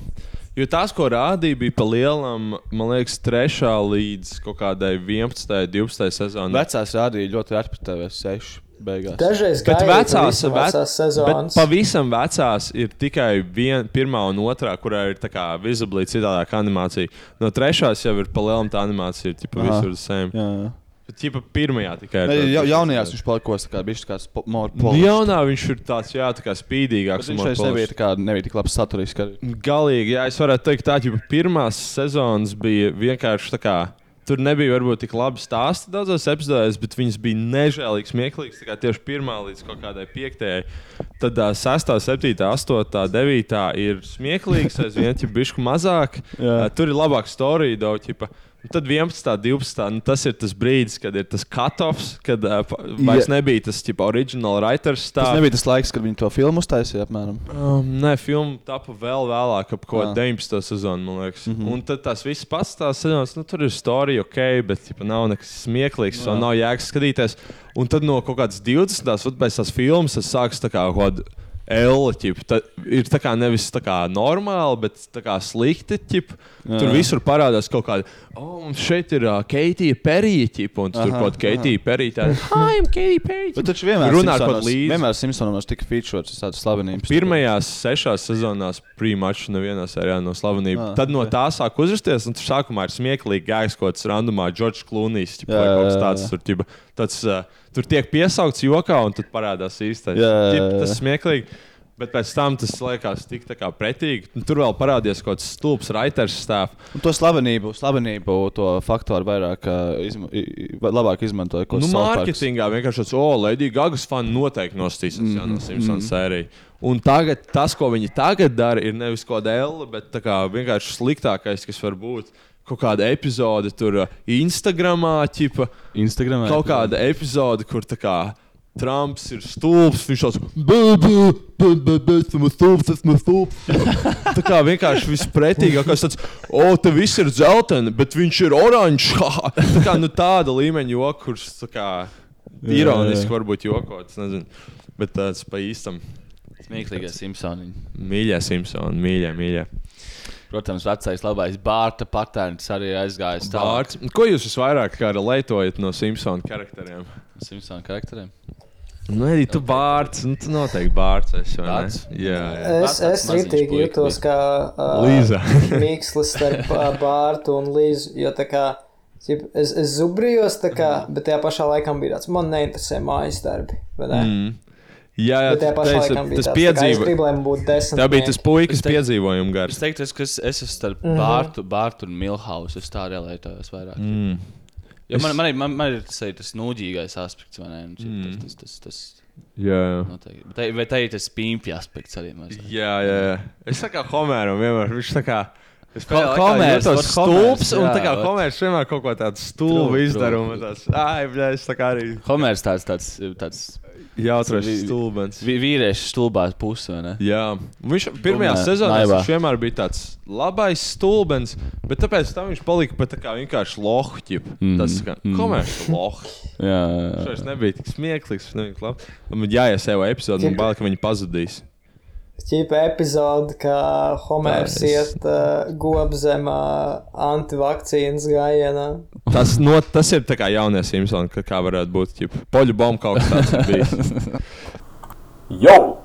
[SPEAKER 1] Jo tās, ko rādīja, bija pa lielam, man liekas, trešā līdz kaut kādai 11. 12. sezonai.
[SPEAKER 2] Vecās rādīja ļoti reti pret tevi seši beigās.
[SPEAKER 3] Dažreiz
[SPEAKER 1] Bet
[SPEAKER 3] gāja pa
[SPEAKER 1] vecās,
[SPEAKER 3] visu
[SPEAKER 1] vec,
[SPEAKER 3] vecās
[SPEAKER 1] bet
[SPEAKER 3] sezonas.
[SPEAKER 1] pavisam vecās ir tikai vien, pirmā un otrā, kurā ir tā kā vizuāli citādāka animācija. No trešās jau ir palielam tā animācija, ir tipa
[SPEAKER 2] Aha.
[SPEAKER 1] visur same.
[SPEAKER 2] Jā, jā.
[SPEAKER 1] Bet tipa pirmajā tikai. ir
[SPEAKER 2] Ne,
[SPEAKER 1] tā-
[SPEAKER 2] ja, jaunajās viņš palikos tā kā bišķi kāds po- more
[SPEAKER 1] Nu,
[SPEAKER 2] polished.
[SPEAKER 1] Jaunā viņš ir tāds, jā, tā kā
[SPEAKER 2] Bet
[SPEAKER 1] spīdīgāks.
[SPEAKER 2] Viņš
[SPEAKER 1] humor
[SPEAKER 2] vairs
[SPEAKER 1] polished.
[SPEAKER 2] nebija, tā kā- nebija tik labs saturisks. Ka...
[SPEAKER 1] Galīgi, jā, es varētu teikt, tā jau pirmās sezonas bija vienkārši tā kā. Tur nebija varbūt tik labi stāsti daudzās epizodēs, bet viņas bija nežēlīgi smieklīgas. tā kā Tieši pirmā līdz kaut kādai piektajai. Tad uh, sestā, septītā, astotā, devītā ir smieklīgs, aizvien jau bišku mazāk.
[SPEAKER 2] Jā.
[SPEAKER 1] Uh, tur ir labāka storija daudz. Tad 11, 12. Nu, tas ir tas brīdis, kad ir tas cut-offs, kad uh, pa- vairs
[SPEAKER 2] Jā.
[SPEAKER 1] nebija tas tipa, original writers.
[SPEAKER 2] Tas
[SPEAKER 1] stāsts.
[SPEAKER 2] nebija tas laiks, kad viņi to filmu uztaisīja apmēram.
[SPEAKER 1] Um, nē, filma tapu vēl vēlāk, ap ko
[SPEAKER 2] Jā. Mhm.
[SPEAKER 1] 19. sezonu, man liekas. Mm -hmm. Un tad tās visas pats tās sezonas, nu, tur ir storija, ok, bet tipa, nav nekas smieklīgs, jau nav jēgas skatīties. Un tad no kaut kādas 20. un pēc tās filmas tas sākas tā kā kaut kāda L. Ķip, ta, ir tā kā nevis tā kā normāli, bet tā kā slikti. Ķip. Tur visur parādās kaut kāda, oh, un šeit ir uh, Keitija Perija, un tu tur kaut kāda Keitija Perija.
[SPEAKER 2] [laughs]
[SPEAKER 1] Tā, "Hi, I'm Keitija Perija.
[SPEAKER 2] Bet viņš vienmēr
[SPEAKER 1] runā par
[SPEAKER 2] Simpsonos-
[SPEAKER 1] līdzi.
[SPEAKER 2] Vienmēr Simpsonos tika featūrēts tādas slavenības.
[SPEAKER 1] Pirmajās sešās sezonās premačs nevienā sērijā no slavenības.
[SPEAKER 2] Ah,
[SPEAKER 1] Tad no
[SPEAKER 2] ok.
[SPEAKER 1] tā sāk uzrasties, un tur sākumā ir smieklīgi gājis kaut kāds randomā Džordžs Klūnijas.
[SPEAKER 2] Jā, jā, jā, jā.
[SPEAKER 1] Tur, uh, tur tiek piesaukts jokā, un tad parādās īstais.
[SPEAKER 2] Jā, jā,
[SPEAKER 1] Ķip,
[SPEAKER 2] jā,
[SPEAKER 1] Tas
[SPEAKER 2] jā.
[SPEAKER 1] ir smieklīgi. Bet pēc tam tas liekas tik tā kā pretīgi. Un Tur vēl parādījās kaut kāds stulbs writers stāvs.
[SPEAKER 2] Un to slavenību, slavenību to faktoru vairāk, ā, izma, i, i, vai- labāk izmantoja. ko
[SPEAKER 1] Nu,
[SPEAKER 2] South Parks.
[SPEAKER 1] mārketingā vienkārši tāds, oh, Latvijas Gagas fani noteikti nostīsies mm, no Simpsons mm. sērijas. Un tagad tas, ko viņi tagad dara, ir nevis kaut kāda L, bet tā kā vienkārši sliktākais, kas var būt. Kaut kāda epizode tur uh, Instagramā, ķipa,
[SPEAKER 2] Instagramā.
[SPEAKER 1] kaut kāda epizode, kur tā kā Trumps ir stulbs, viņš tāds - esmu stulbs, esmu stulbs. [laughs] Tā kā vienkārši vispretīgākais tāds - o, te viss ir dzelteni, bet viņš ir oranžs. [laughs] tā kā nu, tāda līmeņa joks, kurš tā kā, ironiski varbūt jokots, nezinu. Bet tāds pa īstam.
[SPEAKER 2] smieklīga Simpsoni.
[SPEAKER 1] Mīļā Simpsona, mīļā, mīļā.
[SPEAKER 2] Protams, vecais labais Bārta patērns arī aizgājis tālāk.
[SPEAKER 1] Vārds. Ko jūs visvairāk kā lietojat no Simpsona karakteriem?
[SPEAKER 2] Simpsona karakteriem.
[SPEAKER 1] Nu, arī tu bārts, nu, tu noteikti bārts. esi, vai ne?
[SPEAKER 2] Bārts?
[SPEAKER 1] Jā, jā.
[SPEAKER 3] Es,
[SPEAKER 2] Vecāks
[SPEAKER 3] es
[SPEAKER 2] maziņš
[SPEAKER 3] rītīgi
[SPEAKER 2] puika
[SPEAKER 3] jutos kā ā,
[SPEAKER 1] Līza.
[SPEAKER 3] [laughs] mīkslis starp ā, Bārtu un Līzu. Jo tā kā cip, es, es zubrījos, tā kā,
[SPEAKER 1] Mhm.
[SPEAKER 3] bet tajā pašā laikā bija tāds, man neinteresē mājas darbi. vai ne?
[SPEAKER 1] jā, Mm. jā
[SPEAKER 3] Bet tajā
[SPEAKER 1] tu
[SPEAKER 3] pašā
[SPEAKER 1] teici, tas
[SPEAKER 3] laikā bija tāds, tā kā es
[SPEAKER 1] piedzīvo.
[SPEAKER 3] gribu, lai man būtu desmit.
[SPEAKER 1] Tā bija tas puikas
[SPEAKER 2] Es teiktu-
[SPEAKER 1] piedzīvojuma
[SPEAKER 2] Es
[SPEAKER 1] gars.
[SPEAKER 2] teiktu, es, ka es, es esmu starp
[SPEAKER 1] Mhm.
[SPEAKER 2] mm -hmm. Bārtu, Bārtu un Milhausu. Es tā relētājos vairāk. Mm. Jo man, man, ir- man, man ir tas, arī tas nūģīgais aspekts, vai ne? Mm. Tas, tas, tas, tas
[SPEAKER 1] Jā, jā.
[SPEAKER 2] noteikti. Bet tai- Bet tā ir tas pīņķa aspekts arī. mazliet.
[SPEAKER 1] Jā, jā, jā. Es tā kā Homeram vienmēr viņš tā kā. Es kā
[SPEAKER 2] laikā
[SPEAKER 1] Homers
[SPEAKER 2] jūtos
[SPEAKER 1] tas stulbs,
[SPEAKER 2] Homers,
[SPEAKER 1] un
[SPEAKER 2] jā,
[SPEAKER 1] tā kā
[SPEAKER 2] vat.
[SPEAKER 1] Homers vienmēr kaut ko tādu stulbu
[SPEAKER 2] True,
[SPEAKER 1] izdaru.
[SPEAKER 2] true.
[SPEAKER 1] un tāds, Ai, bļā, es tā kā arī
[SPEAKER 2] Homērs tāds, tāds, tāds
[SPEAKER 1] jautrais
[SPEAKER 2] Vi-
[SPEAKER 1] stulbens.
[SPEAKER 2] vi- vīriešu stulbās puses, vai ne?
[SPEAKER 1] Jā, viņš pirmajā
[SPEAKER 2] Domāju,
[SPEAKER 1] sezonā
[SPEAKER 2] naivā.
[SPEAKER 1] viņš vienmēr bija tāds labais stulbens, bet tāpēc tam viņš palika pat tā kā vienkārši lohķi. Mm. Tas kā komerci lohķi.
[SPEAKER 2] Jā,
[SPEAKER 1] Šis nebija tik smieklīgs, viņš nebija labs. Man jāies jau epizodē, man bail, ka viņi pazudīs.
[SPEAKER 3] Ķīpa epizode, kā Homērs
[SPEAKER 1] Tā, es-
[SPEAKER 3] iet uh, gobzemā antivakcīnas gājienā.
[SPEAKER 1] Tas, no, tas ir tā kā jaunais Simpsons, kā, kā varētu būt. ķip, Poļu bomba kaut kas tāds ir bijis.
[SPEAKER 8] Yo!